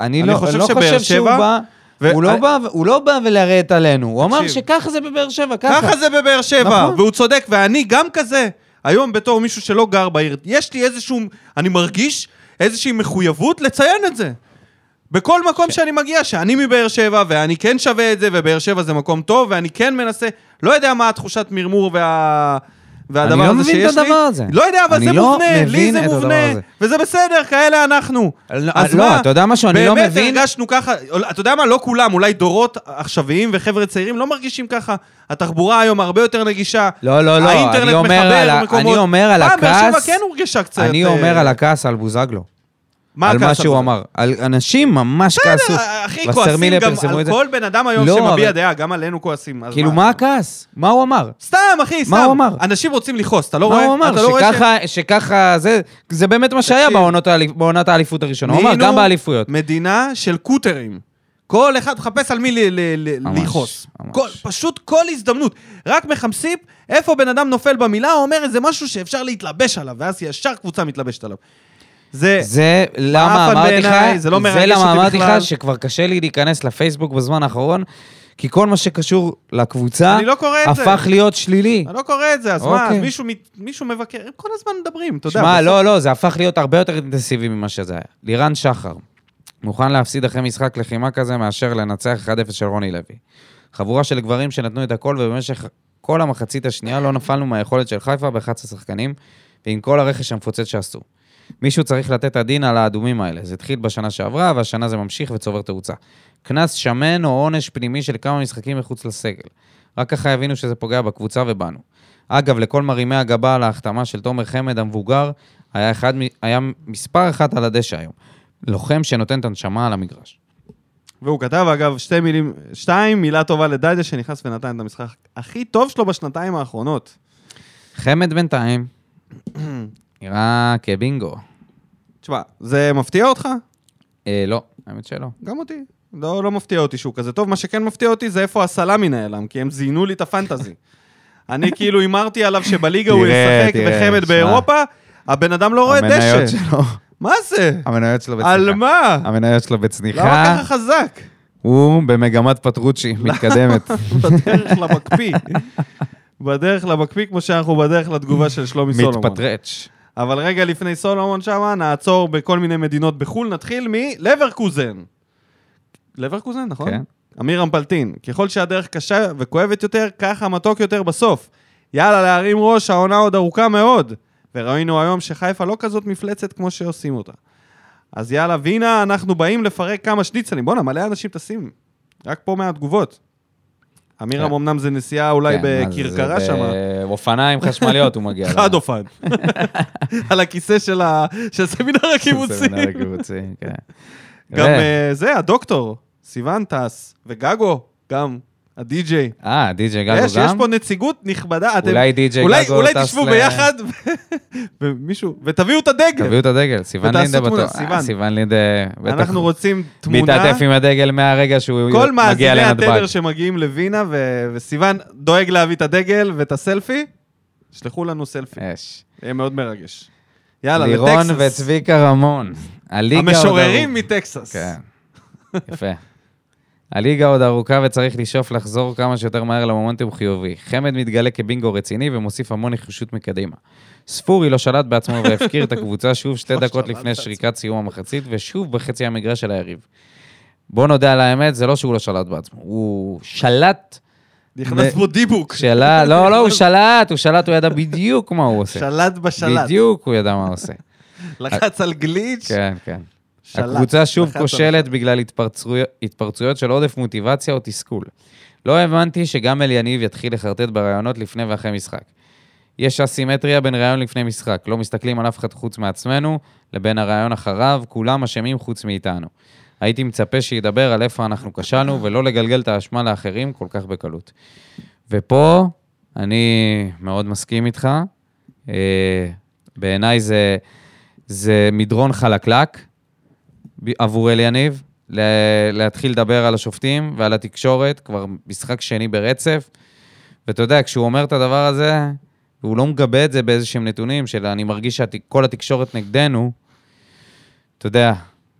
S2: אני,
S1: אני
S2: לא
S1: חושב
S2: חושב, לא
S1: שבאר
S2: חושב שהוא
S1: שבע-
S2: בא,
S1: ו-
S2: הוא, לא
S1: אני-
S2: בא, הוא לא בא ולרדת עלינו, הוא אמר
S1: תקשיב.
S2: שככה זה בבאר שבע, ככה.
S1: ככה זה בבאר שבע,
S2: נכון.
S1: והוא צודק, ואני גם כזה. היום בתור מישהו שלא גר בעיר, יש לי איזשהו, אני מרגיש איזושהי מחויבות לציין את זה. בכל
S2: כן.
S1: מקום שאני מגיע, שאני מבאר שבע, ואני כן שווה את זה, ובאר שבע זה מקום טוב, ואני כן מנסה, לא יודע מה התחושת מרמור וה... והדבר
S2: אני לא
S1: הזה שיש
S2: מבין
S1: לי.
S2: את הדבר הזה.
S1: לא יודע, אבל
S2: אני
S1: זה
S2: לא
S1: מובנה, לי
S2: מבין
S1: זה
S2: את הדבר
S1: מובנה,
S2: הזה.
S1: וזה בסדר, כאלה אנחנו. אז
S2: לא,
S1: מה?
S2: אתה יודע משהו, אני לא מבין.
S1: באמת הרגשנו ככה, אתה יודע מה, לא כולם, אולי דורות עכשוויים וחבר'ה צעירים לא מרגישים ככה. התחבורה היום הרבה יותר נגישה.
S2: לא, לא, לא,
S1: האינטרנט
S2: אני אומר
S1: מחבר
S2: על ה-
S1: מקומות.
S2: אני אומר על
S1: פעם באר שבע
S2: הכעס-
S1: כן הורגשה קצת.
S2: אני
S1: אה,
S2: אומר על הכעס על בוזגלו. על מה
S1: הכעס
S2: שהוא
S1: הזה?
S2: אמר. על אנשים ממש כעסו.
S1: בסדר, אחי,
S2: וסרמילה
S1: כועסים גם
S2: פרסמו
S1: על
S2: את זה.
S1: כל בן אדם היום
S2: לא,
S1: שמביע
S2: אבל-
S1: דעה, גם עלינו כועסים. אז
S2: כאילו, מה הכעס? מה הוא אמר?
S1: סתם, אחי, סתם.
S2: מה הוא אמר?
S1: אנשים רוצים לכעוס, אתה לא
S2: מה
S1: רואה?
S2: הוא אמר?
S1: אתה לא רואה
S2: שככה- שככה, זה- זה באמת מה שהיה
S1: תקשיב.
S2: בעונות האליפ- בעונת האליפות הראשונה. הוא אמר,
S1: נהיינו
S2: גם באליפויות.
S1: מדינה של קוטרים. כל אחד מחפש על מי ל- ל- ל-
S2: ממש,
S1: לכעוס.
S2: ממש.
S1: כל- פשוט כל הזדמנות. רק מחפשים איפה בן אדם נופל במילה, או אומר איזה משהו שאפשר להתלבש עליו, ואז ישר קבוצה מתלבשת עליו. זה...
S2: זה למה
S1: מעפן
S2: אמרתי לך,
S1: בעיניי, זה לא מרגש
S2: זה
S1: אותי
S2: למה אמרתי
S1: בכלל.
S2: לך שכבר קשה לי להיכנס לפייסבוק בזמן האחרון, כי כל מה שקשור לקבוצה,
S1: אני לא קורא את זה.
S2: הפך להיות שלילי.
S1: אני לא קורא את זה, אז מה, אז
S2: אוקיי.
S1: מישהו מת- מישהו מבקר, הם כל הזמן מדברים, אתה יודע.
S2: שמע,
S1: בסוף-
S2: לא, לא, זה הפך להיות הרבה יותר אינטנסיבי ממה שזה היה. לירן שחר, מוכן להפסיד אחרי משחק לחימה כזה מאשר לנצח 1-0 של רוני לוי. חבורה של גברים שנתנו את הכל, ובמשך כל המחצית השנייה לא נפלנו מהיכולת של חיפה ב-11 שחקנים, ועם כל הרכש המפוצץ שעשו. מישהו צריך לתת הדין על האדומים האלה. זה התחיל בשנה שעברה, והשנה זה ממשיך וצובר תאוצה. קנס שמן או עונש פנימי של כמה משחקים מחוץ לסגל. רק ככה יבינו שזה פוגע בקבוצה ובנו. אגב, לכל מרימי הגבה על ההחתמה של תומר חמד המבוגר, היה, אחד, מ- היה מספר אחת על הדשא היום. לוחם שנותן את הנשמה על המגרש.
S1: והוא כתב, אגב, שתי מילים, שתיים, מילה טובה לדדיה שנכנס ונתן את המשחק הכי טוב שלו בשנתיים האחרונות.
S2: חמד בינתיים, נראה כבינגו.
S1: תשמע, זה מפתיע אותך?
S2: אה, לא, האמת שלא.
S1: גם אותי. לא, לא מפתיע אותי שהוא כזה טוב, מה שכן מפתיע אותי זה איפה הסלאמי נעלם, כי הם זיינו לי את הפנטזי. אני כאילו הימרתי עליו שבליגה הוא
S2: תראה,
S1: ישחק
S2: תראה,
S1: וחמד
S2: שמע.
S1: באירופה, הבן אדם לא רואה דשא.
S2: המניות שלו,
S1: מה זה?
S2: המניות שלו
S1: על
S2: בצניחה.
S1: מה?
S2: המניות שלו
S1: למה
S2: בצניחה,
S1: ככה חזק?
S2: הוא במגמת פטרוצ'י, מתקדמת.
S1: בדרך למקפיא. בדרך למקפיא, כמו שאנחנו בדרך לתגובה של שלומי סולומון.
S2: מתפטרץ'.
S1: אבל רגע לפני סולומון שמה, נעצור בכל מיני מדינות בחו"ל, נתחיל מלברקוזן. לברקוזן, נכון?
S2: כן.
S1: אמיר אמפלטין, ככל שהדרך קשה וכואבת יותר, ככה מתוק יותר בסוף. יאללה, להרים ראש, העונה עוד ארוכה מאוד. וראינו היום שחיפה לא כזאת מפלצת כמו שעושים אותה. אז יאללה, והנה אנחנו באים לפרק כמה שניצלים. בואנה, מלא אנשים טסים. רק פה מהתגובות. אמירם
S2: כן.
S1: אמ, אמנם זה נסיעה אולי
S2: כן, אז
S1: בכרכרה
S2: ב-
S1: שם.
S2: אופניים חשמליות הוא מגיע.
S1: חד אופן. על הכיסא של ה- של הסמינר הקיבוצי.
S2: סמינר הקיבוצי, כן.
S1: גם
S2: ו-
S1: אה, זה, הדוקטור, סיוון טס, וגגו, גם, הדי-ג'יי.
S2: אה, די.ג'יי גגו גם?
S1: יש, יש פה נציגות נכבדה. אתם-
S2: אולי די.ג'יי
S1: אולי-
S2: גגו
S1: אולי
S2: טס
S1: תשבו
S2: ל-
S1: ביחד, ו- ומישהו, ותביאו את הדגל.
S2: תביאו את הדגל, סיוון
S1: ותעשו
S2: לינדה
S1: תמונה,
S2: בטוח.
S1: סיוון.
S2: אה, סיוון לינדה בטח
S1: אנחנו רוצים תמונה.
S2: מתעטף עם הדגל מהרגע שהוא
S1: כל מאזיני
S2: מגיע לנתב"ג.
S1: התדר שמגיעים לווינה, ו- וסיוון דואג להביא את הדגל ואת הסלפי, שלחו לנו סלפי.
S2: יש.
S1: יהיה מאוד מרגש. יאללה,
S2: אה. לירון
S1: לטקסס.
S2: וצביקה רמון. הליגה עוד
S1: המשוררים
S2: ארוכה.
S1: מטקסס.
S2: כן, יפה. הליגה עוד ארוכה וצריך לשאוף לחזור כמה שיותר מהר למומנטום חיובי. חמד מתגלה כבינגו רציני ומוסיף המון נחישות מקדימה. ספורי לא שלט בעצמו והפקיר את הקבוצה שוב שתי
S1: לא
S2: דקות
S1: שלט
S2: לפני
S1: בעצמו.
S2: שריקת סיום המחצית, ושוב בחצי המגרש של היריב. בוא נודה על האמת, זה לא שהוא לא שלט בעצמו, הוא שלט
S1: נכנס
S2: ו-
S1: פה דיבוק.
S2: שלט, לא, לא, הוא שלט, הוא שלט, הוא ידע בדיוק מה הוא עושה.
S1: שלט בשלט.
S2: בדיוק הוא ידע מה הוא עושה.
S1: לחץ על גליץ',
S2: כן, כן.
S1: שלט.
S2: הקבוצה שוב
S1: לחץ על-
S2: כושלת בגלל התפרצויו- התפרצויות של עודף מוטיבציה או תסכול. לא האמנתי שגם אליניב יתחיל לחרטט ברעיונות לפני ואחרי משחק. יש אסימטריה בין ראיון לפני משחק. לא מסתכלים על אף אחד חוץ מעצמנו, לבין הראיון אחריו, כולם אשמים חוץ מאיתנו. הייתי מצפה שידבר על איפה אנחנו כשלנו, ולא לגלגל את האשמה לאחרים כל כך בקלות. ופה אני מאוד מסכים איתך. אה, בעיניי זה, זה מדרון חלקלק ב- עבור אלי יניב, ל- להתחיל לדבר על השופטים ועל התקשורת, כבר משחק שני ברצף. ואתה יודע, כשהוא אומר את הדבר הזה, והוא לא מגבה את זה באיזה שהם נתונים, של אני מרגיש שכל התקשורת נגדנו, אתה יודע,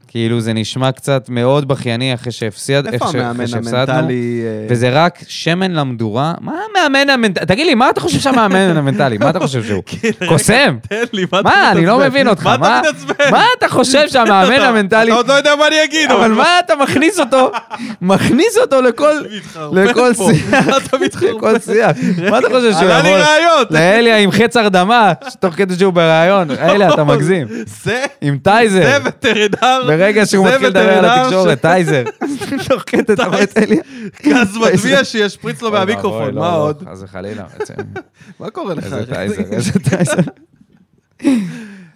S2: כאילו זה נשמע קצת מאוד בכייני אחרי שהפסיד-
S1: איפה
S2: אחרי
S1: המאמן
S2: שהפסדנו.
S1: המנטלי... אה,
S2: וזה רק שמן למדורה. מה המאמן המנטלי? תגיד לי, מה אתה חושב שהמאמן המנטלי? מה אתה חושב שהוא?
S1: כן,
S2: קוסם?
S1: תן לי, מה אתה
S2: מה, אני לא
S1: מתעצבן?
S2: מבין אותך.
S1: מה אתה מתעצבן?
S2: מה אתה חושב שהמאמן
S1: אתה-
S2: המנטלי...
S1: אתה עוד לא יודע מה אני אגיד,
S2: אבל מה אתה מכניס אותו? מכניס אותו לכל... לכל
S1: לכל
S2: שיח.
S1: אתה מתחרפן.
S2: לכל שיח. מה אתה חושב שהוא
S1: עלה לי
S2: יכול?
S1: ראיות.
S2: לאליה עם חץ הרדמה, תוך כדי שהוא בריאיון. אליה, אתה מגזים.
S1: זה, לא.
S2: עם
S1: זה
S2: טייזר.
S1: וטרינר.
S2: ברגע שהוא
S1: זה
S2: מתחיל לדבר על
S1: וטרינר
S2: התקשורת, טייזר. תוך כדי אתה רואה את אליה.
S1: שגז מטביע
S2: טייזר.
S1: שישפריץ לו
S2: אוי,
S1: מהמיקרופון,
S2: אוי, לא,
S1: מה
S2: לא,
S1: עוד?
S2: חס וחלילה. בעצם.
S1: מה קורה לך?
S2: איזה טייזר, איזה טייזר.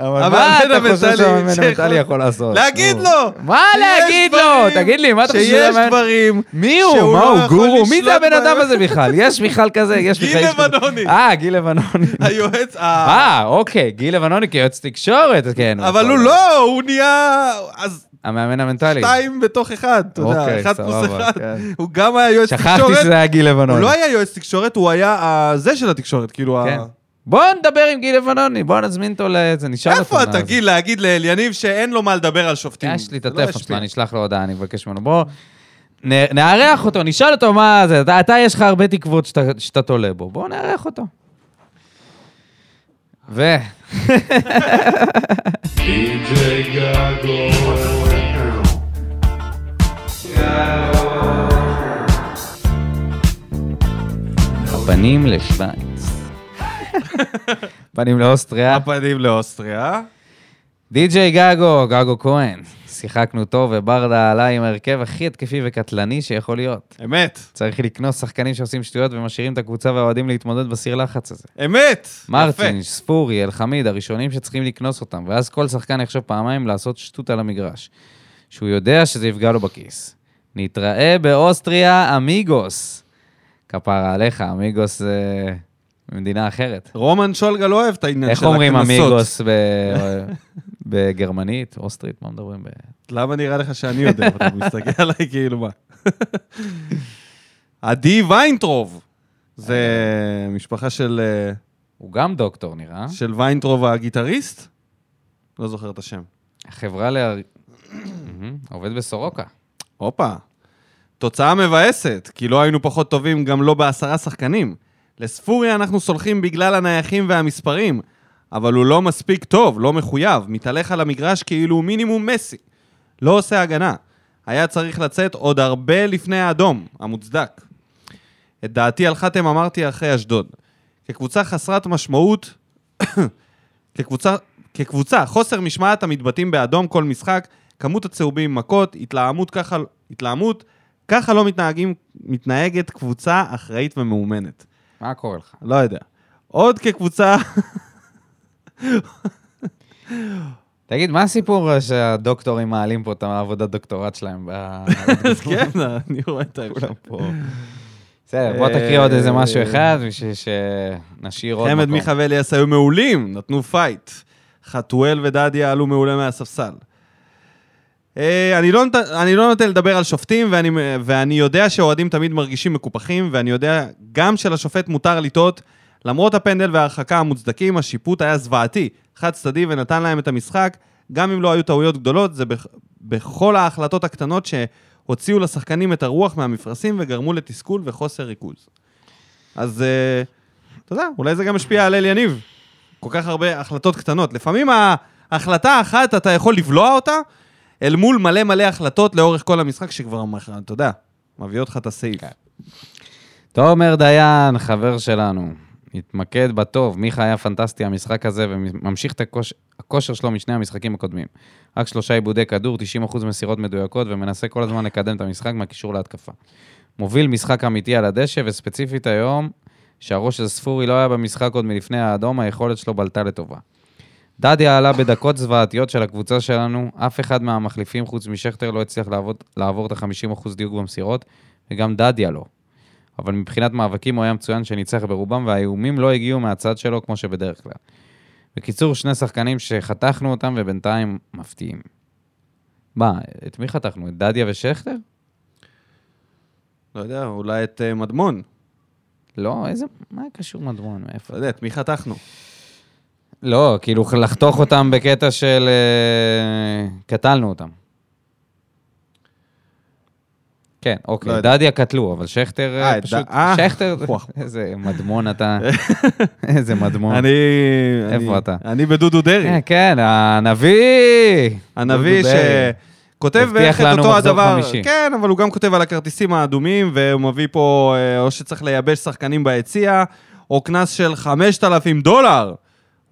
S2: אבל מה
S1: המאמן
S2: אתה חושב
S1: המנטלי
S2: שהמאמן
S1: שיכול-
S2: המנטלי יכול לעשות?
S1: להגיד
S2: נו.
S1: לו!
S2: מה
S1: שיש
S2: להגיד לו?
S1: דברים-
S2: תגיד לי, מה אתה חושב
S1: שיש
S2: שהמאמן-
S1: דברים...
S2: מי הוא?
S1: שהוא
S2: מה
S1: לא
S2: הוא?
S1: יכול
S2: גורו? מי זה
S1: לשלוט
S2: הבן אדם
S1: בהם.
S2: הזה בכלל? יש בכלל כזה, יש בכלל...
S1: גיל
S2: יש כזה.
S1: לבנוני.
S2: אה, גיל לבנוני.
S1: היועץ... ה-
S2: אה, אוקיי, גיל לבנוני כיועץ תקשורת, אז כן.
S1: אבל
S2: יכול
S1: הוא
S2: להיות.
S1: לא, הוא נהיה... אז
S2: המאמן המנטלי.
S1: שתיים בתוך אחד, אתה יודע,
S2: אוקיי,
S1: אחד פלוס
S2: סבבה,
S1: אחד.
S2: כן.
S1: הוא גם היה יועץ
S2: שכחתי
S1: תקשורת.
S2: שזה היה גיל
S1: הוא
S2: לבנוני.
S1: לא היה יועץ תקשורת, הוא היה ה- זה של התקשורת, כאילו... ה-
S2: כן. בוא נדבר עם גיל לבנוני, בוא נזמין אותו לאיזה, נשאל אותו.
S1: איפה
S2: מה
S1: אתה,
S2: זה.
S1: גיל, להגיד לאליניב שאין לו מה לדבר על שופטים?
S2: יש לי את
S1: זה לא
S2: הטלפון שלו,
S1: ישפיע.
S2: אני אשלח לו הודעה, אני אבקש ממנו. בוא, נ- נארח אותו, נשאל אותו מה זה. אתה, אתה יש לך הרבה תקוות שאתה, שאתה תולה בו, בוא נארח אותו. ו... הפנים לשוויץ. פנים לאוסטריה.
S1: הפנים לאוסטריה.
S2: די.ג'יי גגו, גגו כהן. שיחקנו טוב וברדה עלה עם ההרכב הכי התקפי וקטלני שיכול להיות.
S1: אמת,
S2: צריך לקנוס שחקנים שעושים שטויות ומשאירים את הקבוצה והאוהדים להתמודד בסיר לחץ הזה.
S1: אמת.
S2: מרטין,
S1: יפה.
S2: ספורי, אלחמיד, הראשונים שצריכים לקנוס אותם, ואז כל שחקן יחשוב פעמיים לעשות שטות על המגרש. שהוא יודע שזה יפגע לו בכיס. נתראה באוסטריה, אמיגוס. כפרה עליך, אמיגוס זה מדינה אחרת.
S1: רומן שולגה לא אוהב את העניין של
S2: איך
S1: הקנסות.
S2: אומרים אמיגוס ב- בגרמנית, אוסטרית, מה מדברים? ב-
S1: למה נראה לך שאני יודע? אתה מסתכל עליי כאילו מה. עדי ויינטרוב. זה משפחה של אה,
S2: הוא גם דוקטור נראה.
S1: של ויינטרוב הגיטריסט? לא זוכר את השם.
S2: החברה ל... מהמם, עובד בסורוקה.
S1: הופה. תוצאה מבאסת, כי לא היינו פחות טובים גם לא בעשרה שחקנים. לספוריה אנחנו סולחים בגלל הנייחים והמספרים, אבל הוא לא מספיק טוב, לא מחויב, מתהלך על המגרש כאילו הוא מינימום מסי. לא עושה הגנה. היה צריך לצאת עוד הרבה לפני האדום, המוצדק. את דעתי על חתם אמרתי אחרי אשדוד. כקבוצה חסרת משמעות, כקבוצה, כקבוצה, חוסר משמעת המתבטאים באדום כל משחק, כמות הצהובים, מכות, התלהמות ככה, התלהמות, ככה לא מתנהגים, מתנהגת קבוצה אחראית ומאומנת.
S2: מה קורה לך?
S1: לא יודע. עוד כקבוצה,
S2: תגיד, מה הסיפור שהדוקטורים מעלים פה את העבודת דוקטורט שלהם? ב-
S1: כן, אני רואה את ההמשך.
S2: כולם פה. בסדר, בוא תקריא עוד איזה משהו אחד, בשביל שנשאיר עוד
S1: חמד
S2: מקום.
S1: מיכה ואליאס היו מעולים, נתנו פייט. חתואל ודדיה עלו מעולה מהספסל. אה, אני לא, נת- אני לא נוטה לדבר על שופטים, ואני, ואני יודע שאוהדים תמיד מרגישים מקופחים, ואני יודע גם שלשופט מותר לטעות. למרות הפנדל וההרחקה המוצדקים, השיפוט היה זוועתי, חד-צדדי ונתן להם את המשחק. גם אם לא היו טעויות גדולות, זה בכ- בכל ההחלטות הקטנות שהוציאו לשחקנים את הרוח מהמפרשים וגרמו לתסכול וחוסר ריכוז. אז אה, אתה יודע, אולי זה גם משפיע על אל יניב. כל כך הרבה החלטות קטנות. לפעמים ההחלטה האחת, אתה יכול לבלוע אותה, אל מול מלא מלא החלטות לאורך כל המשחק, שכבר, מח- אתה יודע, מביאות לך את
S2: כן.
S1: הסעיף.
S2: תומר דיין, חבר שלנו, התמקד בטוב. מיכה היה פנטסטי המשחק הזה, וממשיך את הכוש... הכושר שלו משני המשחקים הקודמים. רק שלושה עיבודי כדור, 90% מסירות מדויקות, ומנסה כל הזמן לקדם את המשחק מהקישור להתקפה. מוביל משחק אמיתי על הדשא, וספציפית היום, שהראש של ספורי לא היה במשחק עוד מלפני האדום, היכולת שלו בלטה לטובה. דדיה עלה בדקות זוועתיות של הקבוצה שלנו, אף אחד מהמחליפים חוץ משכטר לא הצליח לעבוד, לעבור את ה-50% דיוק במסירות, וגם דדיה לא. אבל מבחינת מאבקים הוא היה מצוין שניצח ברובם, והאיומים לא הגיעו מהצד שלו כמו שבדרך כלל. בקיצור, שני שחקנים שחתכנו אותם ובינתיים מפתיעים. מה, את מי חתכנו? את דדיה ושכטר?
S1: לא יודע, אולי את אה, מדמון.
S2: לא, איזה... מה קשור מדמון? מאיפה?
S1: לא יודע, את מי חתכנו?
S2: לא, כאילו לחתוך אותם בקטע של... אה, קטלנו אותם. כן,
S1: לא
S2: אוקיי,
S1: יודע.
S2: דדיה קטלו, אבל שכטר אה,
S1: אה, את
S2: פשוט...
S1: ד- אה,
S2: שכטר...
S1: וואו.
S2: איזה מדמון אתה. איזה מדמון.
S1: אני...
S2: איפה
S1: אני-
S2: אתה?
S1: אני בדודו דרעי.
S2: כן, כן, הנביא!
S1: הנביא
S2: דודו דרעי.
S1: שכותב
S2: הבטיח
S1: בערך את
S2: לנו
S1: אותו
S2: מחזור
S1: הדבר.
S2: חמישי.
S1: כן, אבל הוא גם כותב על הכרטיסים האדומים, והוא מביא פה, אה, או שצריך לייבש שחקנים ביציע, או קנס של 5,000 דולר.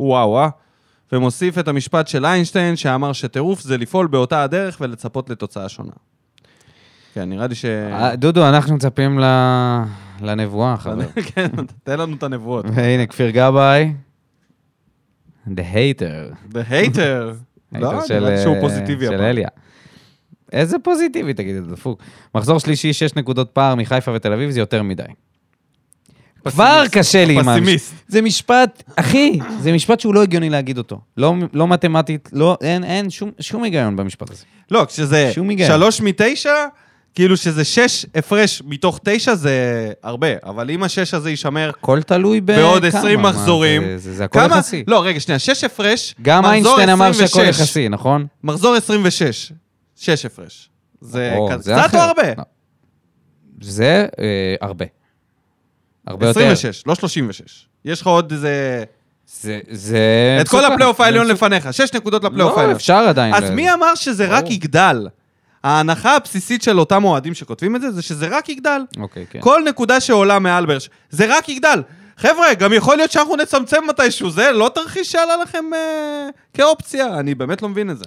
S1: וואו, אה? ומוסיף את המשפט של איינשטיין, שאמר שטירוף זה לפעול באותה הדרך ולצפות לתוצאה שונה. כן, נראה לי ש...
S2: אה, דודו, אנחנו מצפים ל- לנבואה, חבר.
S1: כן, תן לנו את הנבואות.
S2: והנה, כפיר גבאי. The hater.
S1: The hater. לא,
S2: הייטר
S1: נראה לי
S2: של,
S1: שהוא
S2: אה,
S1: פוזיטיבי
S2: של
S1: הפעם.
S2: אליה. איזה פוזיטיבי, תגיד, אתה דפוק. מחזור שלישי, שש נקודות פער מחיפה ותל אביב, זה יותר מדי. כבר קשה לי עם
S1: פסימיסט.
S2: המש- זה משפט, אחי, זה משפט שהוא לא הגיוני להגיד אותו. לא, לא מתמטית, לא, אין, אין שום, שום היגיון במשפט הזה.
S1: לא, כשזה
S2: שום היגיון.
S1: שלוש מתשע, כאילו שזה שש הפרש מתוך תשע זה הרבה, אבל אם השש הזה יישמר
S2: הכל תלוי בכמה.
S1: בעוד עשרים
S2: מה,
S1: מחזורים,
S2: זה, זה, זה הכל
S1: כמה-
S2: יחסי.
S1: לא, רגע, שנייה, שש הפרש,
S2: גם
S1: מחזור
S2: איינשטיין אמר שהכל
S1: 26.
S2: יחסי, נכון?
S1: מחזור 26, שש הפרש. זה
S2: או,
S1: כ-
S2: נכון, זה
S1: אה, קצת
S2: אחר.
S1: או הרבה?
S2: לא. זה אה, הרבה. הרבה יותר.
S1: 26, לא 36. יש לך עוד איזה...
S2: זה... זה
S1: את כל
S2: מסוכן.
S1: הפלייאוף
S2: זה
S1: העליון
S2: מסוכן.
S1: לפניך, שש נקודות לפלייאוף
S2: לא,
S1: העליון.
S2: אפשר עדיין.
S1: אז
S2: ל-
S1: מי אמר שזה רק
S2: ברור.
S1: יגדל? ההנחה הבסיסית של אותם אוהדים שכותבים את זה, זה שזה רק יגדל.
S2: אוקיי, כן.
S1: כל נקודה שעולה מעל באר שבע, זה רק יגדל. חבר'ה, גם יכול להיות שאנחנו נצמצם מתישהו, זה לא תרחיש שעלה לכם אה, כאופציה, אני באמת לא מבין את זה.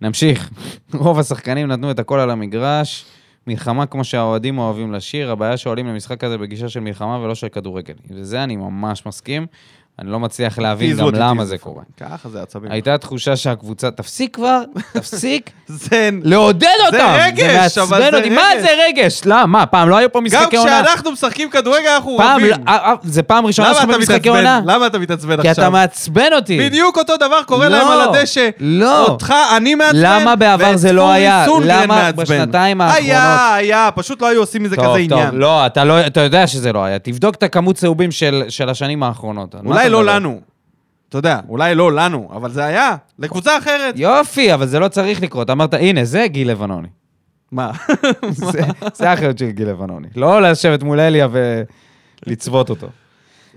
S2: נמשיך. רוב השחקנים נתנו את הכל על המגרש. מלחמה כמו שהאוהדים אוהבים לשיר, הבעיה שעולים למשחק הזה בגישה של מלחמה ולא של כדורגל. וזה אני ממש מסכים. אני לא מצליח להבין
S1: It is
S2: גם
S1: what it
S2: למה
S1: is.
S2: זה קורה.
S1: ככה זה עצבים.
S2: הייתה תחושה שהקבוצה... תפסיק כבר, תפסיק
S1: זה...
S2: לא לעודד אותם!
S1: רגש, אבל
S2: מעצבן
S1: זה
S2: אותי. מה
S1: רגש.
S2: זה רגש? לא, מה, פעם לא היו פה
S1: גם
S2: משחקי עונה?
S1: כשאנחנו משחקים כדורגל אנחנו
S2: פעם,
S1: רבים.
S2: לא- אה, אה, זה פעם ראשונה
S1: למה
S2: שלך
S1: אתה
S2: במשחקי
S1: מתעצבן?
S2: עונה?
S1: למה אתה מתעצבן
S2: כי אתה
S1: עכשיו?
S2: מעצבן אותי.
S1: בדיוק אותו דבר קורה
S2: לא,
S1: להם על הדשא.
S2: לא.
S1: אותך אני מעצבן,
S2: למה בעבר זה לא
S1: ואת ספורי
S2: היה?
S1: סונגרן
S2: למה
S1: מעצבן.
S2: בשנתיים
S1: היה,
S2: האחרונות?
S1: היה, פשוט לא היו עושים מזה
S2: טוב,
S1: כזה
S2: טוב,
S1: עניין.
S2: לא, אתה לא, אתה יודע שזה לא היה. תבדוק את הכמות צהובים של, של השנים האחרונות. על מה
S1: אולי
S2: אתה
S1: לא
S2: מדבר?
S1: לנו. אתה יודע, אולי לא לנו, אבל זה היה לקבוצה אחרת.
S2: יופי, אבל זה לא צריך לקרות. אמרת, הנה, זה גיל לבנוני.
S1: מה?
S2: זה- זה האחריות של גיל לבנוני. לא לשבת מול אליה ולצוות אותו.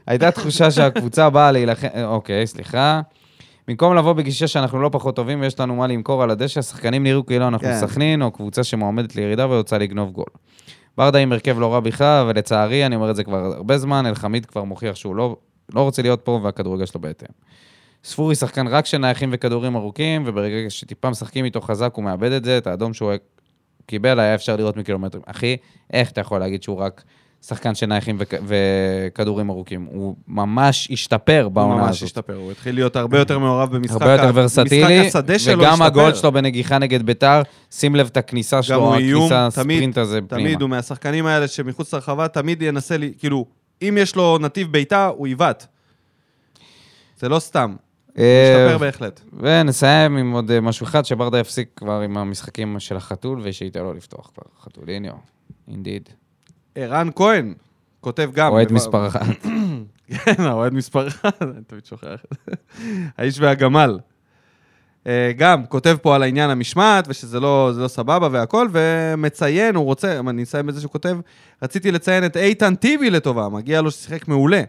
S2: הייתה תחושה שהקבוצה באה להילחם... אוקיי, סליחה. במקום לבוא בגישה שאנחנו לא פחות טובים ויש לנו מה למכור על הדשא, השחקנים נראו כאילו אנחנו
S1: כן.
S2: סכנין או קבוצה שמועמדת לירידה ורוצה לגנוב גול. ברדה עם הרכב לא רע בכלל, ולצערי, אני אומר את זה כבר הרבה זמן, אלחמיד כבר מוכיח שהוא לא, לא רוצה להיות פה והכדורגל שלו בהתאם. ספורי שחקן רק של נייחים וכדורים ארוכים, וברגע שטיפה משחקים איתו חזק הוא מאבד את זה, את האדום שהוא קיבל היה אפשר לראות מקילומטרים. אחי, איך אתה יכול להגיד שהוא רק שחקן של נייחים וכ- וכדורים ארוכים? הוא ממש השתפר
S1: הוא
S2: בעונה
S1: ממש
S2: הזאת.
S1: השתפר, הוא התחיל להיות הרבה יותר מעורב במשחק
S2: הרבה יותר
S1: ה-
S2: ורסטילי,
S1: משחק השדה שלו
S2: וגם הגול
S1: השתפר.
S2: שלו בנגיחה נגד ביתר, שים לב את הכניסה
S1: גם
S2: שלו,
S1: הוא איום,
S2: הכניסה,
S1: תמיד,
S2: הספרינט הזה
S1: תמיד,
S2: פנימה.
S1: הוא מהשחקנים האלה שמחוץ לרחבה, תמיד ינסה, לי- כאילו, אם יש לו נתיב בעיטה, הוא יבעט. זה לא סתם, הוא
S2: אה,
S1: משתפר בהחלט.
S2: ונסיים עם עוד אה, משהו אחד, שברדה יפסיק כבר עם המשחקים של החתול, ושייתן לו לפתוח כבר. חתוליניו, אינדיד.
S1: ערן כהן כותב גם.
S2: אוהד
S1: בב-
S2: מספר אחת.
S1: כן, האוהד מספר אחד, אני תמיד שוכח את זה. האיש והגמל. אה, גם, כותב פה על העניין המשמעת, ושזה לא, זה לא סבבה והכל, ומציין, הוא רוצה, אני אסיים בזה שהוא כותב, רציתי לציין את איתן טיבי לטובה, מגיע לו ששיחק מעולה.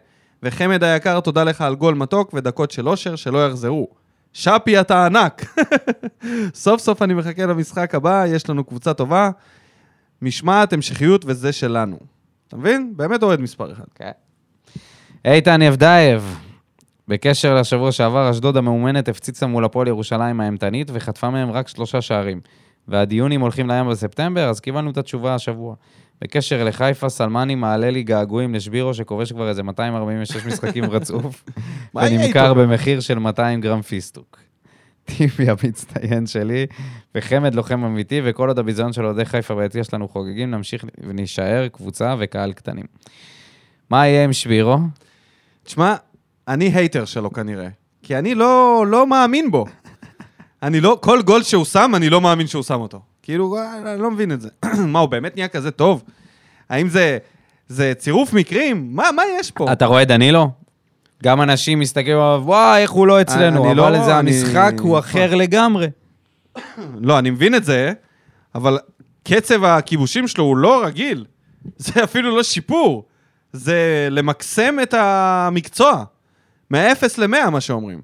S1: וחמד היקר, תודה לך על גול מתוק ודקות של אושר שלא יחזרו. שפי, אתה ענק. סוף סוף אני מחכה למשחק הבא, יש לנו קבוצה טובה. משמעת, המשכיות, וזה שלנו. אתה מבין? באמת אוהד מספר אחד.
S2: כן. איתן יבדייב, בקשר לשבוע שעבר, אשדוד המאומנת הפציצה מול הפועל ירושלים האימתנית וחטפה מהם רק שלושה שערים. והדיונים הולכים לים בספטמבר, אז קיבלנו את התשובה השבוע. בקשר לחיפה, סלמני מעלה לי געגועים לשבירו, שכובש כבר איזה 246 משחקים רצוף,
S1: מה יהיה
S2: ונמכר
S1: איתו?
S2: במחיר של 200 גרם פיסטוק. טיבי המצטיין שלי, וחמד לוחם אמיתי, וכל עוד הביזיון של אוהדי חיפה ביציע שלנו חוגגים, נמשיך ונישאר קבוצה וקהל קטנים. מה יהיה עם שבירו?
S1: תשמע, אני הייטר שלו כנראה, כי אני לא, לא מאמין בו. אני לא, כל גול שהוא שם, אני לא מאמין שהוא שם אותו. כאילו, אה, אני לא מבין את זה. מה, הוא באמת נהיה כזה טוב? האם זה, זה צירוף מקרים? מה, מה יש פה?
S2: אתה רואה דנילו? גם אנשים מסתכלים עליו, וואי, איך הוא לא אצלנו,
S1: אני
S2: אבל
S1: לא-
S2: זה
S1: אני- נכון.
S2: המשחק הוא אחר לגמרי.
S1: לא, אני מבין את זה, אבל קצב הכיבושים שלו הוא לא רגיל. זה אפילו לא שיפור. זה למקסם את המקצוע. מ-0 ל-100, מה שאומרים.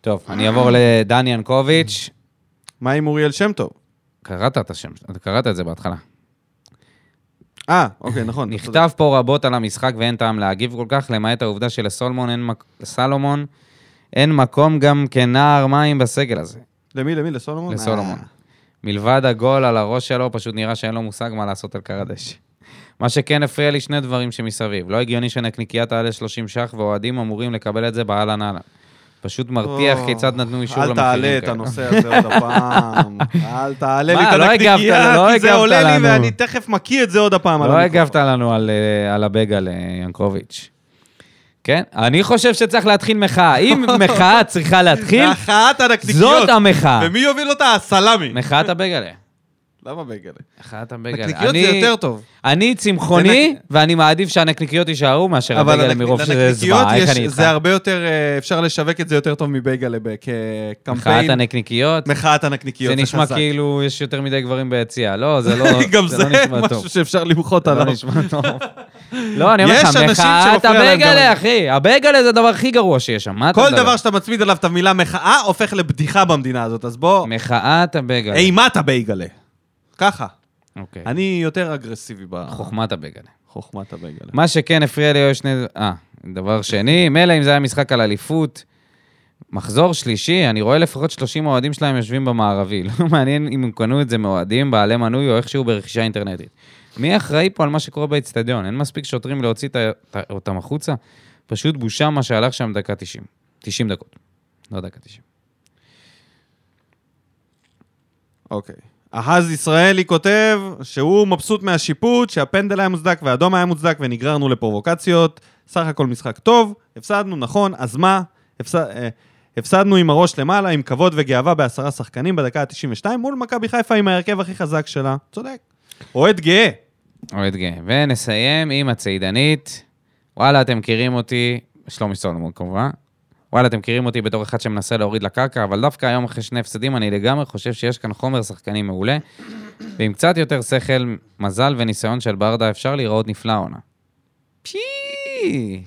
S2: טוב,
S1: אה.
S2: אני אעבור לדני ינקוביץ'.
S1: מה עם אוריאל שם טוב?
S2: קראת את השם, אתה קראת את זה בהתחלה.
S1: אה, אוקיי, נכון. אתה צודק.
S2: נכתב פה רבות על המשחק ואין טעם להגיב כל כך, למעט העובדה שלסולומון אין, מק... לסלומון אין מקום גם כנער מים בסגל הזה,
S1: למי, למי? לסולומון?
S2: לסולומון.
S1: אה.
S2: מלבד הגול על הראש שלו, פשוט נראה שאין לו מושג מה לעשות על קר הדשא. מה שכן הפריע לי שני דברים שמסביב. לא הגיוני שנקניקייה תעלה 30 ש"ח ואוהדים אמורים לקבל את זה באהלן אהלן. פשוט מרתיח
S1: או,
S2: כיצד נתנו אישור למחירים
S1: אל תעלה את
S2: כאלה.
S1: הנושא הזה עוד הפעם. אל תעלה לי
S2: מה,
S1: את
S2: לא הגבת
S1: הנקניקייה,
S2: לנו, לא
S1: כי זה
S2: הגבת
S1: עולה לי
S2: לנו.
S1: ואני תכף מקיא את זה עוד הפעם. על
S2: לא
S1: המיקרופון.
S2: הגבת לנו על, אה, על הבגה לינקוביץ'. כן? אני חושב שצריך להתחיל מחאה. אם מחאה צריכה להתחיל,
S1: מחאת הנקניקיות.
S2: זאת המחאה.
S1: ומי יוביל אותה? הסלאמי.
S2: מחאת הבגלה.
S1: למה בגלה?
S2: מחאת הבגלה.
S1: נקניקיות זה
S2: אני-
S1: יותר טוב.
S2: אני צמחוני,
S1: זה נק-
S2: ואני מעדיף שהנקניקיות יישארו מאשר
S1: אבל
S2: הבגלה
S1: לנק-
S2: מרוב שזה
S1: לנקניקיות
S2: זוועה, איך
S1: יש-
S2: אני איתך?
S1: זה הרבה יותר, אה, אפשר לשווק את זה יותר טוב מבייגלה ב-
S2: מחאת
S1: כקמפיין.
S2: הנקניקיות?
S1: מחאת הנקניקיות,
S2: זה
S1: זה
S2: נשמע
S1: חזק.
S2: כאילו יש יותר מדי גברים ביציע. לא, זה לא
S1: גם
S2: זה
S1: זה
S2: לא נשמע טוב.
S1: משהו שאפשר למחות
S2: זה לא
S1: עליו.
S2: נשמע טוב. לא, אני אומר
S1: יש
S2: לך,
S1: אנשים
S2: מחאת
S1: שמפריע להם גם
S2: הבגלה,
S1: זה.
S2: אחי. הבגלה זה הדבר הכי גרוע שיש שם. מה אתה
S1: כל
S2: מדבר?
S1: דבר שאתה מצמיד עליו את המילה מחאה, הופך לבדיחה במדינה הזאת, אז בוא,
S2: מחאת הבגלה.
S1: אימת הבייגלה. ככה.
S2: אוקיי.
S1: אני יותר אגרסיבי
S2: חוכמת הבגלה.
S1: בחוכמת הבייגלה.
S2: מה שכן הפריע לי היו שני... אה, דבר שני, מילא אם זה היה משחק על אליפות, מחזור שלישי, אני רואה לפחות 30 אוהדים שלהם יושבים במערבי. לא מעניין אם הם קנו את זה מאוהדים, בעלי מנוי או איכשהו ברכישה אינטרנטית. מי אחראי פה על מה שקורה באצטדיון? אין מספיק שוטרים להוציא את ה- את ה- אותם החוצה? פשוט בושה מה שהלך שם דקה 90. 90 דקות. לא דקה 90.
S1: אוקיי. אהז ישראלי כותב שהוא מבסוט מהשיפוט, שהפנדל היה מוצדק והאדום היה מוצדק ונגררנו לפרובוקציות. סך הכל משחק טוב, הפסדנו, נכון, אז מה? הפס... אה, הפסדנו עם הראש למעלה, עם כבוד וגאווה בעשרה שחקנים בדקה ה-92 מול מכבי חיפה עם ההרכב הכי חזק שלה. צודק. אוהד גאה.
S2: אוהד גאה. ונסיים עם הצעידנית. וואלה, אתם מכירים אותי, שלומי סולומון כמובן. וואלה, אתם מכירים אותי בתור אחד שמנסה להוריד לקרקע, אבל דווקא היום אחרי שני הפסדים, אני לגמרי חושב שיש כאן חומר שחקני מעולה, ועם קצת יותר שכל, מזל וניסיון של ברדה, אפשר להיראות נפלא העונה. פשי!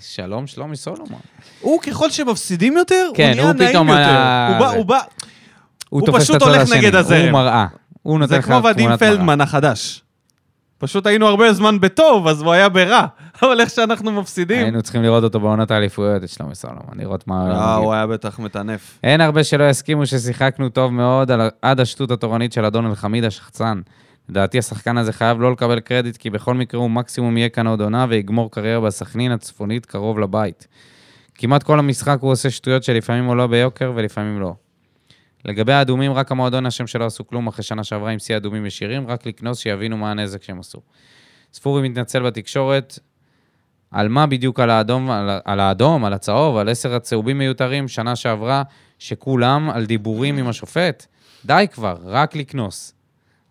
S2: שלום, שלומי סולומון.
S1: הוא ככל שמפסידים יותר,
S2: כן,
S1: הוא נהיה
S2: הוא
S1: נעים
S2: פתאום
S1: יותר.
S2: ה-
S1: הוא בא,
S2: זה.
S1: הוא בא,
S2: הוא
S1: הוא
S2: תופס
S1: פשוט
S2: את הצד
S1: הולך
S2: השני,
S1: נגד
S2: הוא
S1: הזרם.
S2: מראה. הוא נותן
S1: זה
S2: לך
S1: כמו ועדים
S2: תמונת מראה.
S1: פלדמן החדש. פשוט היינו הרבה זמן בטוב, אז הוא היה ברע. אבל איך שאנחנו מפסידים...
S2: היינו צריכים לראות אותו בעונת האליפויות, את שלומי סולומון, לראות מה... הוא
S1: אה,
S2: מגיב.
S1: הוא היה בטח מטנף.
S2: אין הרבה שלא יסכימו ששיחקנו טוב מאוד על, עד השטות התורנית של אדון אלחמיד השחצן. לדעתי השחקן הזה חייב לא לקבל קרדיט, כי בכל מקרה הוא מקסימום יהיה כאן עוד עונה ויגמור קריירה בסכנין הצפונית קרוב לבית. כמעט כל המשחק הוא עושה שטויות שלפעמים עולה ביוקר ולפעמים לא. לגבי האדומים, רק המועדון אשם שלא עשו כלום אחרי שנה שעברה עם שיא אדומים ישירים, רק לקנוס שיבינו מה הנזק שהם עשו. ספורי מתנצל בתקשורת, על מה בדיוק על האדום, על, ה- על האדום, על הצהוב, על עשר הצהובים מיותרים שנה שעברה, שכולם על דיבורים עם השופט? די כבר, רק לקנוס.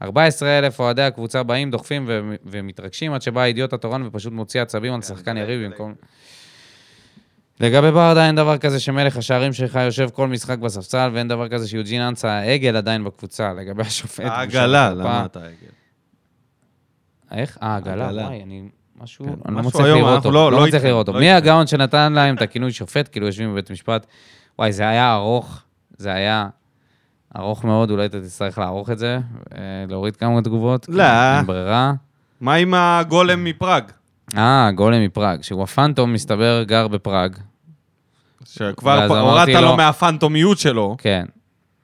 S2: 14,000 אוהדי הקבוצה באים, דוחפים ו- ומתרגשים עד שבא האידיוט התורן ופשוט מוציא עצבים על שחקן יריב במקום... לגבי ברדה אין דבר כזה שמלך השערים שלך יושב כל משחק בספסל, ואין דבר כזה שיוג'ין אנסה העגל עדיין בקבוצה. לגבי השופט... בושה
S1: העגלה,
S2: וחרפה.
S1: למה אתה עגל?
S2: איך? אה, עגלה,
S1: עגלה.
S2: וואי, אני... משהו,
S1: כן,
S2: אני לא
S1: משהו
S2: מצליח
S1: היום,
S2: לראות
S1: אנחנו
S2: אותו.
S1: לא-
S2: לא
S1: לא
S2: מצליח
S1: איתכם,
S2: לראות אותו.
S1: לא
S2: מי
S1: איתכם.
S2: הגאון שנתן להם את הכינוי שופט, כאילו יושבים בבית משפט? וואי, זה היה ארוך, זה היה ארוך מאוד, אולי אתה תצטרך לערוך את זה, אה, להוריד כמה תגובות. כי
S1: לא.
S2: אין ברירה.
S1: מה עם
S2: כן.
S1: הגולם מפראג?
S2: אה, גולם מפראג, שהוא הפנטום, מסתבר, גר בפראג.
S1: שכבר
S2: ואז
S1: פ- הורדת
S2: אמרתי
S1: לו
S2: לו-
S1: מהפנטומיות שלו,
S2: כן.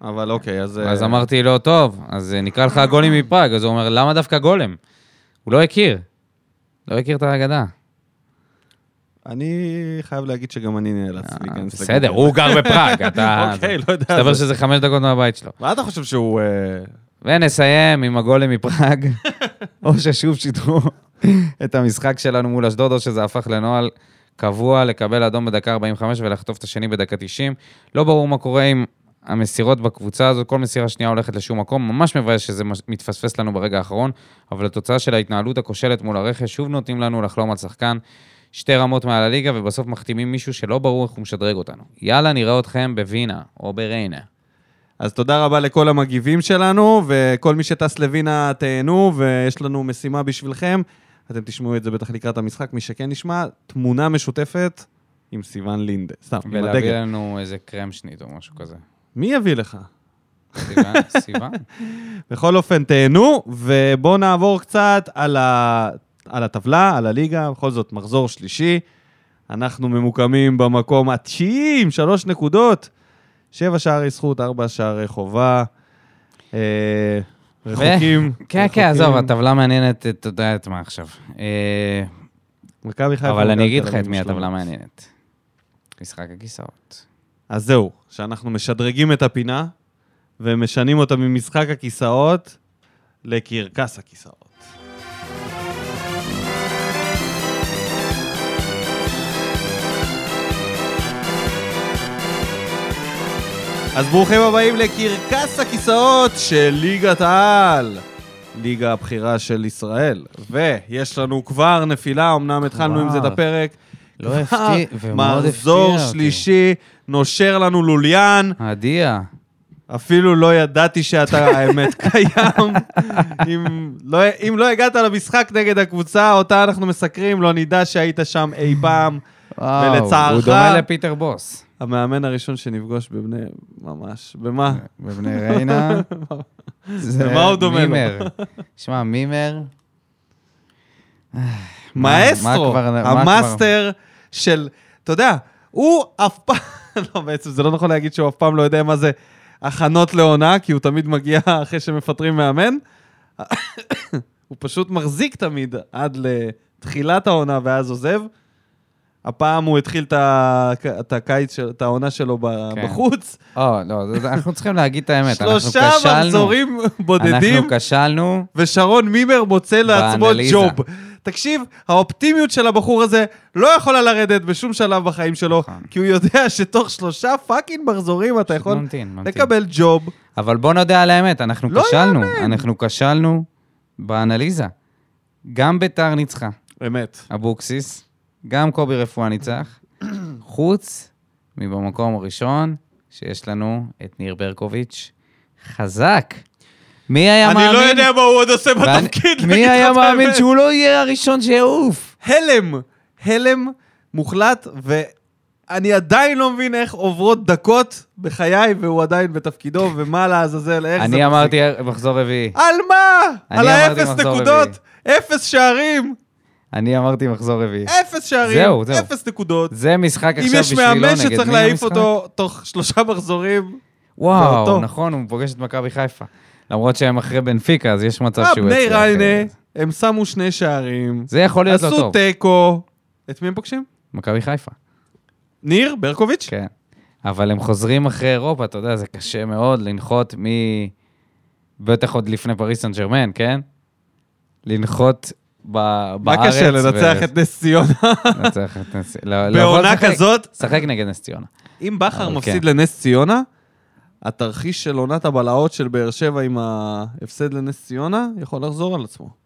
S1: אבל אוקיי, אז...
S2: אז
S1: אה,
S2: אמרתי לו, טוב, אז אה, נקרא לך הגולם מפראג. אז הוא אומר, למה דווקא גולם? הוא לא הכיר. לא הכיר את ההגדה.
S1: אני חייב להגיד שגם אני נאלץ
S2: אה,
S1: להיכנס
S2: בסדר, הוא גר בפראג, אתה...
S1: אוקיי, לא יודע.
S2: מסתבר
S1: זה-
S2: שזה חמש דקות מהבית שלו.
S1: מה אתה חושב שהוא... אה,
S2: ונסיים עם הגולם מפראג, או ששוב שידרו את המשחק שלנו מול אשדוד, או שזה הפך לנוהל קבוע לקבל אדום בדקה 45 ולחטוף את השני בדקה 90. לא ברור מה קורה עם המסירות בקבוצה הזו, כל מסירה שנייה הולכת לשום מקום, ממש מבאס שזה מש- מתפספס לנו ברגע האחרון, אבל התוצאה של ההתנהלות הכושלת מול הרכש, שוב נותנים לנו לחלום על שחקן. שתי רמות מעל הליגה, ובסוף מחתימים מישהו שלא ברור איך הוא משדרג אותנו. יאללה, נראה אתכם בווינה, או בריינה.
S1: אז תודה רבה לכל המגיבים שלנו, וכל מי שטס לווינה תהנו, ויש לנו משימה בשבילכם. אתם תשמעו את זה בטח לקראת המשחק, מי שכן ישמע, תמונה משותפת עם סיון לינדה. סתם, עם
S2: ולהביא
S1: הדגל.
S2: לנו איזה קרמשנית או משהו כזה.
S1: מי יביא לך?
S2: סיוון, סיוון.
S1: בכל אופן, תהנו, ובואו נעבור קצת על, ה... על הטבלה, על הליגה, בכל זאת, מחזור שלישי. אנחנו ממוקמים במקום התשיעי עם שלוש נקודות. שבע שערי זכות, ארבע שערי חובה. אה, רחוקים.
S2: כן, כן,
S1: רחוקים.
S2: עזוב, הטבלה מעניינת, אתה יודע את מה עכשיו. אה,
S1: מכבי חיפה.
S2: אבל אני
S1: מכבי
S2: אגיד לך
S1: תל
S2: את
S1: אביב
S2: מי
S1: ושלומי.
S2: הטבלה מעניינת. משחק הכיסאות.
S1: אז זהו, שאנחנו משדרגים את הפינה, ומשנים אותה ממשחק הכיסאות לקרקס הכיסאות. אז ברוכים הבאים לקרקס הכיסאות של ליגת העל, ליגה הבכירה של ישראל. ויש לנו כבר נפילה, אמנם התחלנו עם זה את
S2: כבר.
S1: הפרק.
S2: לא הפתיע, ומאוד
S1: מחזור
S2: הפתיע אותי.
S1: שלישי, נושר לנו לוליין,
S2: עדיה.
S1: אפילו לא ידעתי שאתה האמת קיים. אם, לא, אם לא הגעת למשחק נגד הקבוצה, אותה אנחנו מסקרים, לא נדע שהיית שם אי פעם.
S2: וואו,
S1: ולצערך-
S2: הוא דומה לפיטר בוס.
S1: המאמן הראשון שנפגוש בבני... ממש. במה?
S2: בבני ריינה. זה
S1: למה הוא דומה לו?
S2: מימר. שמע, מימר, מה
S1: מאסטרו,
S2: כבר- מה
S1: המאסטר של... אתה יודע, הוא אף פעם... לא, בעצם זה לא נכון להגיד שהוא אף פעם לא יודע מה זה הכנות לעונה, כי הוא תמיד מגיע אחרי שמפטרים מאמן. הוא פשוט מחזיק תמיד עד לתחילת העונה ואז עוזב. הפעם הוא התחיל את ה- את הקיץ, של- את העונה שלו ב-
S2: כן.
S1: בחוץ.
S2: או, לא, זה- אנחנו צריכים להגיד את האמת. אנחנו
S1: שלושה
S2: כשלנו.
S1: מחזורים בודדים.
S2: אנחנו כשלנו.
S1: ושרון מימר מוצא לעצמו
S2: באנליזה.
S1: ג'וב. תקשיב, האופטימיות של הבחור הזה לא יכולה לרדת בשום שלב בחיים שלו,
S2: נכון.
S1: כי הוא יודע שתוך שלושה פאקינג מחזורים אתה יכול
S2: ממתין, ממתין.
S1: לקבל ג'וב.
S2: אבל בוא נודה על האמת, אנחנו
S1: לא
S2: כשלנו. אנחנו כשלנו באנליזה. גם ביתר ניצחה,
S1: אמת.
S2: אבוקסיס, גם קובי רפואה ניצח, חוץ מבמקום הראשון, שיש לנו את ניר ברקוביץ'. חזק. מי היה
S1: אני
S2: מאמין?
S1: לא יודע מה הוא עוד עושה
S2: ואני-
S1: בתפקיד. להגיד
S2: מי
S1: לך
S2: היה
S1: את
S2: מאמין
S1: האמת.
S2: שהוא לא יהיה הראשון שיעוף?
S1: הלם, הלם מוחלט, ואני עדיין לא מבין איך עוברות דקות בחיי, והוא עדיין בתפקידו, ומה לעזאזל, איך זה...
S2: אני אמרתי מחזור רביעי.
S1: על מה?
S2: אני
S1: על
S2: אמרתי
S1: האפס
S2: מחזור
S1: נקודות? אפס שערים?
S2: אני אמרתי מחזור רביעי.
S1: אפס שערים,
S2: זהו, זהו.
S1: אפס נקודות.
S2: זה משחק
S1: אה. אם
S2: עכשיו
S1: יש
S2: בשבילו נגד מי
S1: מאמן שצריך להעיף
S2: המשחק?
S1: אותו תוך שלושה מחזורים,
S2: וואו,
S1: ואותו.
S2: נכון, הוא פוגש את מכבי חיפה. למרות שהם אחרי בנפיקה, אז יש מצב
S1: אה,
S2: שהוא
S1: בני
S2: יצליח,
S1: ריינה,
S2: אה,
S1: הם שמו שני שערים,
S2: זה יכול להיות לא
S1: עשו
S2: טוב.
S1: תיקו. את מי הם פוגשים?
S2: מכבי חיפה,
S1: ניר ברקוביץ'?
S2: כן. אבל הם חוזרים אחרי אירופה, אתה יודע, זה קשה מאוד לנחות מ... בטח עוד לפני פריס סן ג'רמן, כן? לנחות ב...
S1: מה
S2: בארץ.
S1: קשה לנצח את נס ציונה
S2: לנצח את נס... לא, לא,
S1: בעונה
S2: לשחק-
S1: כזאת?
S2: לשחק נגד נס ציונה.
S1: אם בכר
S2: אבל
S1: מפסיד
S2: כן.
S1: לנס ציונה, התרחיש של עונת הבלהות של באר שבע עם ההפסד לנס ציונה יכול לחזור על עצמו.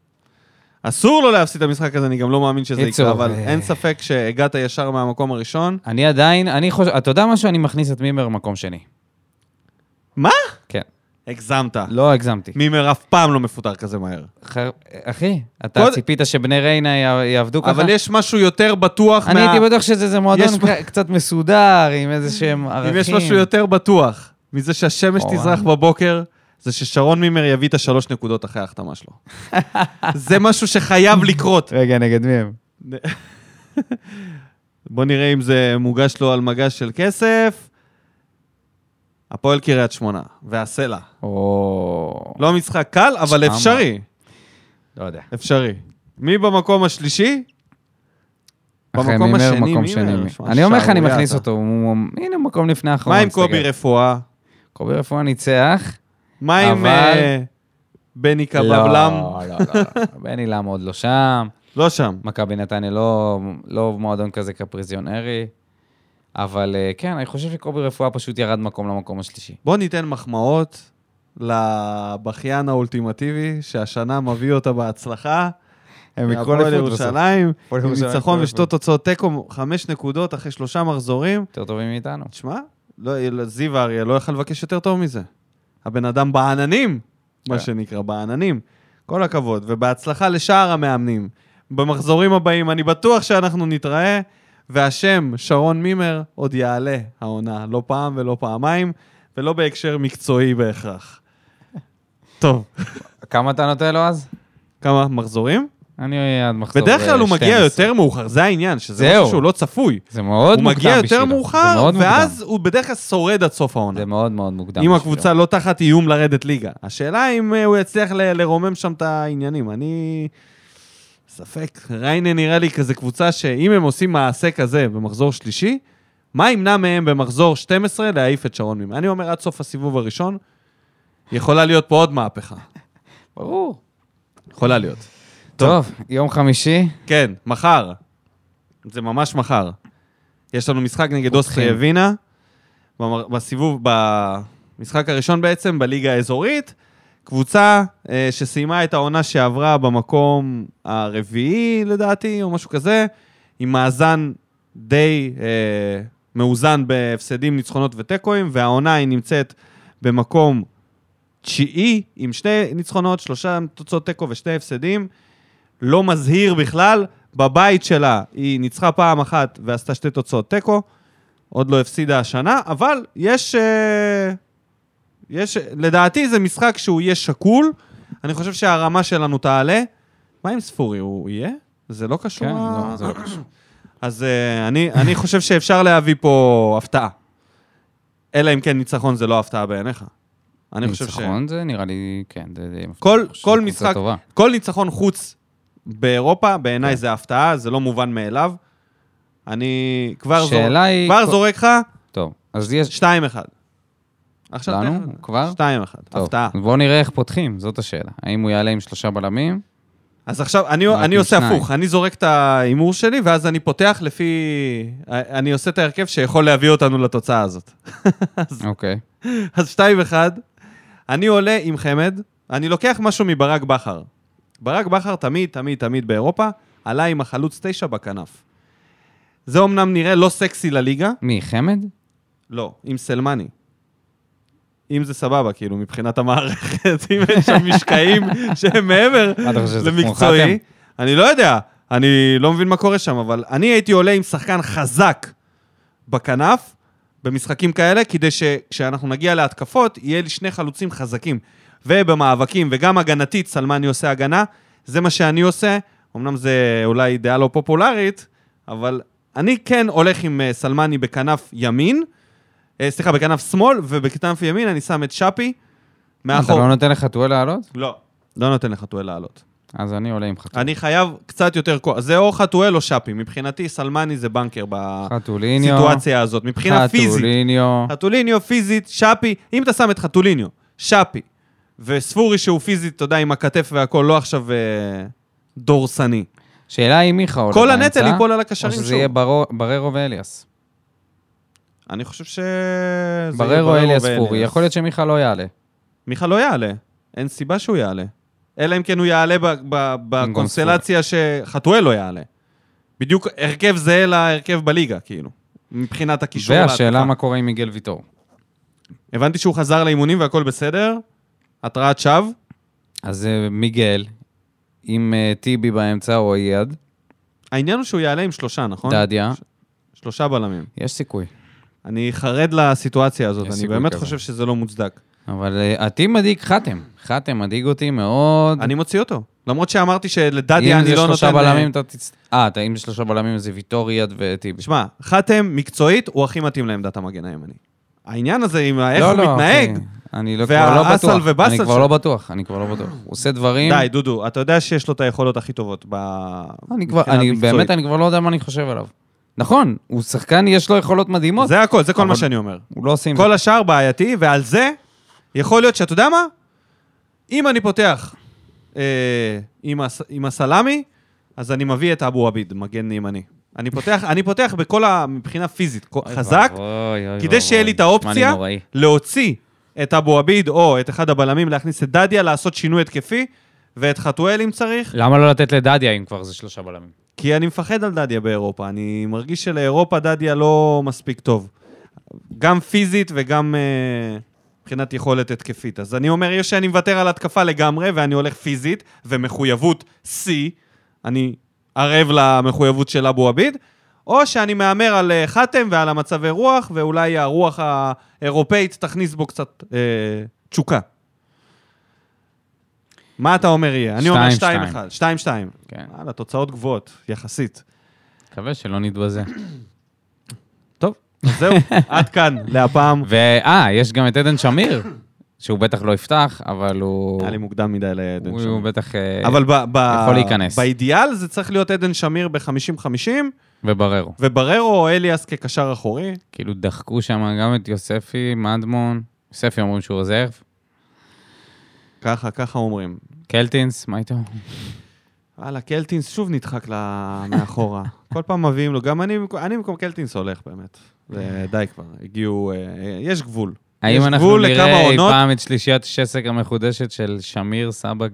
S1: אסור לו להפסיד את המשחק הזה, אני גם לא מאמין שזה
S2: קיצור,
S1: יקרה, אבל
S2: אה.
S1: אין ספק שהגעת ישר מהמקום הראשון.
S2: אני עדיין, אני חושב, אתה יודע משהו? אני מכניס את מימר מקום שני.
S1: מה?
S2: כן.
S1: הגזמת.
S2: לא הגזמתי.
S1: מימר אף פעם לא מפוטר כזה מהר.
S2: ח- אחי, אתה
S1: קוד-
S2: ציפית שבני ריינה יע- יעבדו ככה?
S1: אבל יש משהו יותר בטוח
S2: אני
S1: מה...
S2: הייתי בטוח שזה איזה מועדון
S1: יש-
S2: ק- קצת מסודר, עם איזה שהם ערכים.
S1: אם יש משהו יותר בטוח מזה שהשמש
S2: אורן.
S1: תזרח בבוקר, זה ששרון מימר יביא את השלוש נקודות אחרי ההחתמה שלו. זה משהו שחייב לקרות.
S2: רגע, נגד מי הם?
S1: בוא נראה אם זה מוגש לו על מגש של כסף. הפועל קריית שמונה, והסלע.
S2: או...
S1: לא משחק קל, אבל
S2: שמה.
S1: אפשרי.
S2: לא יודע.
S1: אפשרי. מי במקום השלישי?
S2: אחרי
S1: במקום
S2: מימר,
S1: השני,
S2: מקום
S1: מימר,
S2: שני.
S1: נשמע
S2: אני אומר לך, אני
S1: שערורייה
S2: מכניס
S1: אתה.
S2: אותו, הוא- הוא- הנה הוא מקום לפני האחרון.
S1: מה עם
S2: תסתכל.
S1: קובי רפואה?
S2: קובי רפואה ניצח.
S1: מה עם
S2: אבל-
S1: אה, בני קבבלם?
S2: לא, לא, לא. בני לם עוד לא שם.
S1: לא שם.
S2: מכבי נתניה לא, לא מועדון כזה קפריזיונרי. אבל אה, כן, אני חושב שקובי רפואה פשוט ירד מקום למקום השלישי.
S1: בואו ניתן מחמאות לבכיין האולטימטיבי, שהשנה מביא אותה בהצלחה.
S2: הם
S1: הפועל ירושלים,
S2: הפועל
S1: עם
S2: ירושלים,
S1: ניצחון
S2: הפועל
S1: ושתי תוצאות תיקו, חמש נקודות אחרי שלושה מחזורים.
S2: יותר טובים מאיתנו.
S1: תשמע, לא- זיו אריה לא יכל לבקש יותר טוב מזה. הבן אדם בעננים, מה
S2: כן.
S1: שנקרא, בעננים. כל הכבוד, ובהצלחה לשאר המאמנים. במחזורים הבאים, אני בטוח שאנחנו נתראה, והשם, שרון מימר, עוד יעלה העונה, לא פעם ולא פעמיים, ולא בהקשר מקצועי בהכרח. טוב,
S2: כמה אתה נותן לו אז?
S1: כמה מחזורים?
S2: אני עד מחזור
S1: בדרך כלל הוא מגיע
S2: 12.
S1: יותר מאוחר, זה העניין, שזה
S2: זהו.
S1: משהו שהוא לא צפוי.
S2: זה מאוד
S1: הוא
S2: מוקדם
S1: מגיע
S2: בשבילו.
S1: יותר
S2: זה
S1: מאוחר,
S2: מאוד
S1: ואז
S2: מוקדם.
S1: הוא בדרך כלל שורד עד סוף העונה.
S2: זה מאוד מאוד מוקדם
S1: אם
S2: בשבילו.
S1: הקבוצה לא תחת איום לרדת ליגה. השאלה אם אה, הוא יצליח ל- לרומם שם את העניינים. אני... ספק. ריינה נראה לי כזה קבוצה שאם הם עושים מעשה כזה במחזור שלישי, מה ימנע מהם במחזור 12 להעיף את שרון מימון? אני אומר, עד סוף הסיבוב הראשון, יכולה להיות פה עוד מהפכה.
S2: ברור.
S1: יכולה להיות. טוב.
S2: טוב, יום חמישי,
S1: כן, מחר. זה ממש מחר. יש לנו משחק נגד אוסטריה ווינה, במר- בסיבוב, במשחק הראשון בעצם, בליגה האזורית. קבוצה אה, שסיימה את העונה שעברה במקום הרביעי, לדעתי, או משהו כזה, עם מאזן די אה, מאוזן בהפסדים, ניצחונות ותיקואים, והעונה היא נמצאת במקום תשיעי, עם שני ניצחונות, שלושה תוצאות תיקו ושני הפסדים. לא מזהיר בכלל, בבית שלה היא ניצחה פעם אחת ועשתה שתי תוצאות תיקו, עוד לא הפסידה השנה, אבל יש... אה, יש... לדעתי זה משחק שהוא יהיה שקול, אני חושב שהרמה שלנו תעלה. מה עם ספורי, הוא יהיה? זה לא קשור?
S2: כן,
S1: ה-
S2: לא, זה לא קשור.
S1: אז אה, אני, אני חושב שאפשר להביא פה הפתעה. אלא אם כן ניצחון זה לא הפתעה בעיניך. אני חושב ש...
S2: ניצחון זה נראה לי, כן, זה די מפתיע.
S1: כל,
S2: אני חושב
S1: כל
S2: שקבוצה
S1: משחק,
S2: טובה. כן.
S1: כל ניצחון חוץ באירופה, בעיניי זה הפתעה, זה לא מובן מאליו. אני כבר, זור...
S2: שאלה היא-
S1: כבר
S2: כל-
S1: זורק לך
S2: טוב, אז יש...
S1: 2-1. עכשיו
S2: לנו?
S1: תכף-
S2: כבר?
S1: 2-1,
S2: טוב,
S1: הפתעה.
S2: בואו נראה איך פותחים, זאת השאלה. האם הוא יעלה עם שלושה בלמים?
S1: אז עכשיו, אני,
S2: רק
S1: אני
S2: עם
S1: עושה
S2: שניים.
S1: הפוך, אני זורק את ההימור שלי, ואז אני פותח לפי... אני עושה את ההרכב שיכול להביא אותנו לתוצאה הזאת.
S2: אוקיי.
S1: אז 2-1, אני עולה עם חמד, אני לוקח משהו מברק בכר. ברק בכר תמיד, תמיד, תמיד באירופה, עלה עם החלוץ 9 בכנף. זה אומנם נראה לא סקסי לליגה,
S2: מי, חמד?
S1: לא, עם סלמני. אם זה סבבה, כאילו, מבחינת המערכת, אם יש שם משקעים שהם מעבר
S2: מה אתה חושב, זה כמו
S1: למקצועי, אני לא יודע, אני לא מבין מה קורה שם, אבל אני הייתי עולה עם שחקן חזק בכנף, במשחקים כאלה, כדי שכשאנחנו נגיע להתקפות, יהיה לי שני חלוצים חזקים. ובמאבקים, וגם הגנתית, סלמני עושה הגנה, זה מה שאני עושה. אמנם זה אולי דעה לא פופולרית, אבל אני כן הולך עם אה, סלמני בכנף ימין, אה, סליחה, בכנף שמאל, ובכנף ימין אני שם את שפי
S2: אתה
S1: מאחור.
S2: לא נותן לחתואל לעלות?
S1: לא, לא נותן לחתואל לעלות.
S2: אז אני עולה עם חתואל.
S1: אני חייב קצת יותר כוח. זה או חתואל או שפי. מבחינתי, סלמני זה בנקר
S2: חתוליניו.
S1: בסיטואציה הזאת. אה, מבחינה פיזית.
S2: חתוליניו.
S1: חתוליניו פיזית, שפי, אם אתה שם את חתוליניו, שפי, וספורי שהוא פיזית, אתה יודע, עם הכתף והכל, לא עכשיו אה, דורסני.
S2: שאלה היא מיכה עולה
S1: כל
S2: באמצע,
S1: הנטל ייפול על הקשרים
S2: או שזה
S1: שלו.
S2: יהיה ברו- בררו ואליאס.
S1: אני חושב ש... זה יהיה
S2: בררו, אליאס,
S1: ואליאס.
S2: פורי. יכול להיות שמיכה לא יעלה.
S1: מיכה לא יעלה, אין סיבה שהוא יעלה. אלא אם כן הוא יעלה ב- ב- בקונסטלציה שחתואל לא יעלה. בדיוק הרכב זהה להרכב בליגה, כאילו, מבחינת הקישור.
S2: והשאלה
S1: להתקפה.
S2: מה קורה עם מיגל ויטור.
S1: הבנתי שהוא חזר לאימונים והכל בסדר, התרעת שווא.
S2: אז אה, מיגל, עם אה, טיבי באמצע או אייד,
S1: העניין הוא שהוא יעלה עם שלושה, נכון?
S2: דדיה,
S1: שלושה בלמים.
S2: יש סיכוי.
S1: אני חרד לסיטואציה הזאת,
S2: יש
S1: אני
S2: סיכוי
S1: באמת
S2: כזה.
S1: חושב שזה לא מוצדק.
S2: אבל אה, אותי מדאיג חתם. חתם מדאיג אותי מאוד.
S1: אני מוציא אותו. למרות שאמרתי שלדדיה
S2: אם
S1: אני
S2: זה
S1: לא נותן...
S2: שלושה בלמים, אתה תצ... אה, אתה- אם זה שלושה בלמים זה ויטור, אייד וטיבי.
S1: שמע, חתם מקצועית הוא הכי מתאים לעמדת המגן הימני. העניין הזה עם איך
S2: לא,
S1: הוא
S2: לא,
S1: מתנהג,
S2: אחי, אני לא-
S1: והאסל
S2: כבר לא בטוח.
S1: ובאסל
S2: אני
S1: שלו.
S2: כבר לא בטוח, אני כבר לא בטוח. הוא עושה דברים...
S1: די, דודו, אתה יודע שיש לו את היכולות הכי טובות ב...
S2: אני כבר,
S1: מבחינה
S2: אני
S1: מקצועית.
S2: באמת, אני כבר לא יודע מה אני חושב עליו. נכון, הוא שחקן, יש לו יכולות מדהימות.
S1: זה הכל, זה כל
S2: אבל-
S1: מה שאני אומר.
S2: הוא לא עושה עם זה.
S1: כל השאר בעייתי, ועל זה יכול להיות שאתה יודע מה? אם אני פותח אה, עם, הס, עם הסלאמי, אז אני מביא את אבו עביד, מגן ימני. אני פותח, אני פותח בכל ה... מבחינה פיזית, כל-
S2: אוי
S1: חזק,
S2: ואבוי, אוי
S1: כדי שיהיה
S2: ואבוי.
S1: לי את
S2: נשמע לי
S1: האופציה
S2: נוראי.
S1: להוציא את אבו עביד או את אחד הבלמים, להכניס את דדיה, לעשות שינוי התקפי, ואת חתואל אם צריך,
S2: למה לא לתת לדדיה אם כבר זה שלושה בלמים?
S1: כי אני מפחד על דדיה באירופה. אני מרגיש שלאירופה דדיה לא מספיק טוב. גם פיזית וגם אה, מבחינת יכולת התקפית. אז אני אומר, יש שאני מוותר על התקפה לגמרי, ואני הולך פיזית, ומחויבות שיא, אני ערב למחויבות של אבו עביד, או שאני מהמר על אה, חתם ועל המצבי רוח, ואולי הרוח האירופאית תכניס בו קצת אה, תשוקה. מה אתה אומר יהיה? אני אומר 2-1,
S2: 2-2.
S1: 2-2.
S2: כן.
S1: וואלה, תוצאות גבוהות, יחסית.
S2: מקווה שלא נתבזה.
S1: טוב, אז זהו, עד כאן, להפעם.
S2: ואה, יש גם את עדן שמיר, שהוא בטח לא יפתח, אבל הוא...
S1: היה לי מוקדם מדי לעדן
S2: הוא- הוא
S1: שמיר.
S2: בטח... אה,
S1: אבל ב- ב-
S2: יכול להיכנס.
S1: באידיאל זה צריך להיות עדן שמיר ב-50-50,
S2: ובררו.
S1: ובררו או אליאס כקשר אחורי.
S2: כאילו דחקו שם גם את יוספי, מדמון, יוספי אומרים שהוא עוזב,
S1: ככה, ככה אומרים.
S2: קלטינס, מה איתו?
S1: וואלה, קלטינס שוב נדחק ל- מאחורה. כל פעם מביאים לו, גם אני, במקום- אני במקום קלטינס הולך באמת. זה- די כבר, הגיעו, אה, אה, יש גבול.
S2: האם אנחנו
S1: גבול לכמה
S2: נראה אי
S1: עונות?
S2: פעם את שלישיית שסק המחודשת של שמיר סבג,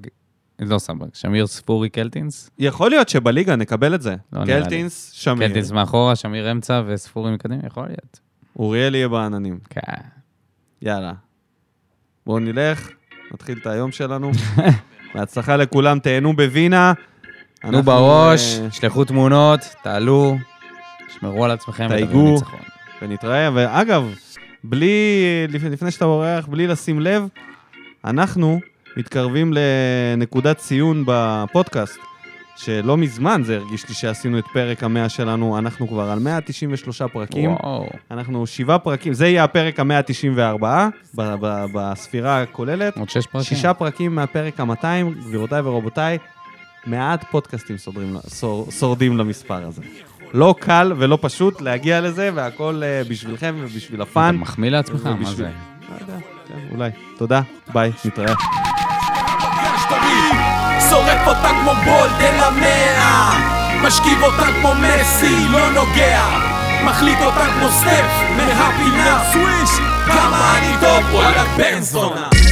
S2: לא סבג, שמיר ספורי קלטינס?
S1: יכול להיות שבליגה נקבל את זה.
S2: לא נראה לי.
S1: קלטינס, שמיר,
S2: קלטינס מאחורה, שמיר אמצע וספורי מקדימה, יכול להיות.
S1: אוריאל יהיה בעננים.
S2: כן.
S1: יאללה. בואו נלך, נתחיל את היום שלנו. בהצלחה לכולם, תהנו בווינה.
S2: תנו
S1: אנחנו,
S2: בראש,
S1: אה,
S2: שלחו תמונות, תעלו, תשמרו על עצמכם ותביאו
S1: תייגו.
S2: ניצחון.
S1: ונתראה, ואגב, בלי, לפ- לפני שאתה אורח, בלי לשים לב, אנחנו מתקרבים לנקודת ציון בפודקאסט, שלא מזמן זה הרגיש לי שעשינו את פרק המאה שלנו, אנחנו כבר על 193 פרקים.
S2: וואו.
S1: אנחנו שבעה פרקים, זה יהיה הפרק ה-194 ב- ב- בספירה הכוללת.
S2: עוד שש פרקים.
S1: שישה פרקים מהפרק ה-200, גבירותיי ורבותיי, מעט פודקאסטים סודרים, סור, שורדים למספר הזה. לא קל ולא פשוט להגיע לזה, והכל uh, בשבילכם ובשביל
S2: אתה אה.
S1: הפאן.
S2: מחמיא לעצמך, מה
S1: ובשביל-
S2: זה?
S1: לא יודע, כן, אולי. תודה, ביי, נתראה.
S3: פגשת בי שורף אותה כמו בולט אל המאה משכיב אותה כמו מסי, לא נוגע מחליט אותה כמו סטף מהפינה סוויש כמה אני טוב, וואלה בן זונה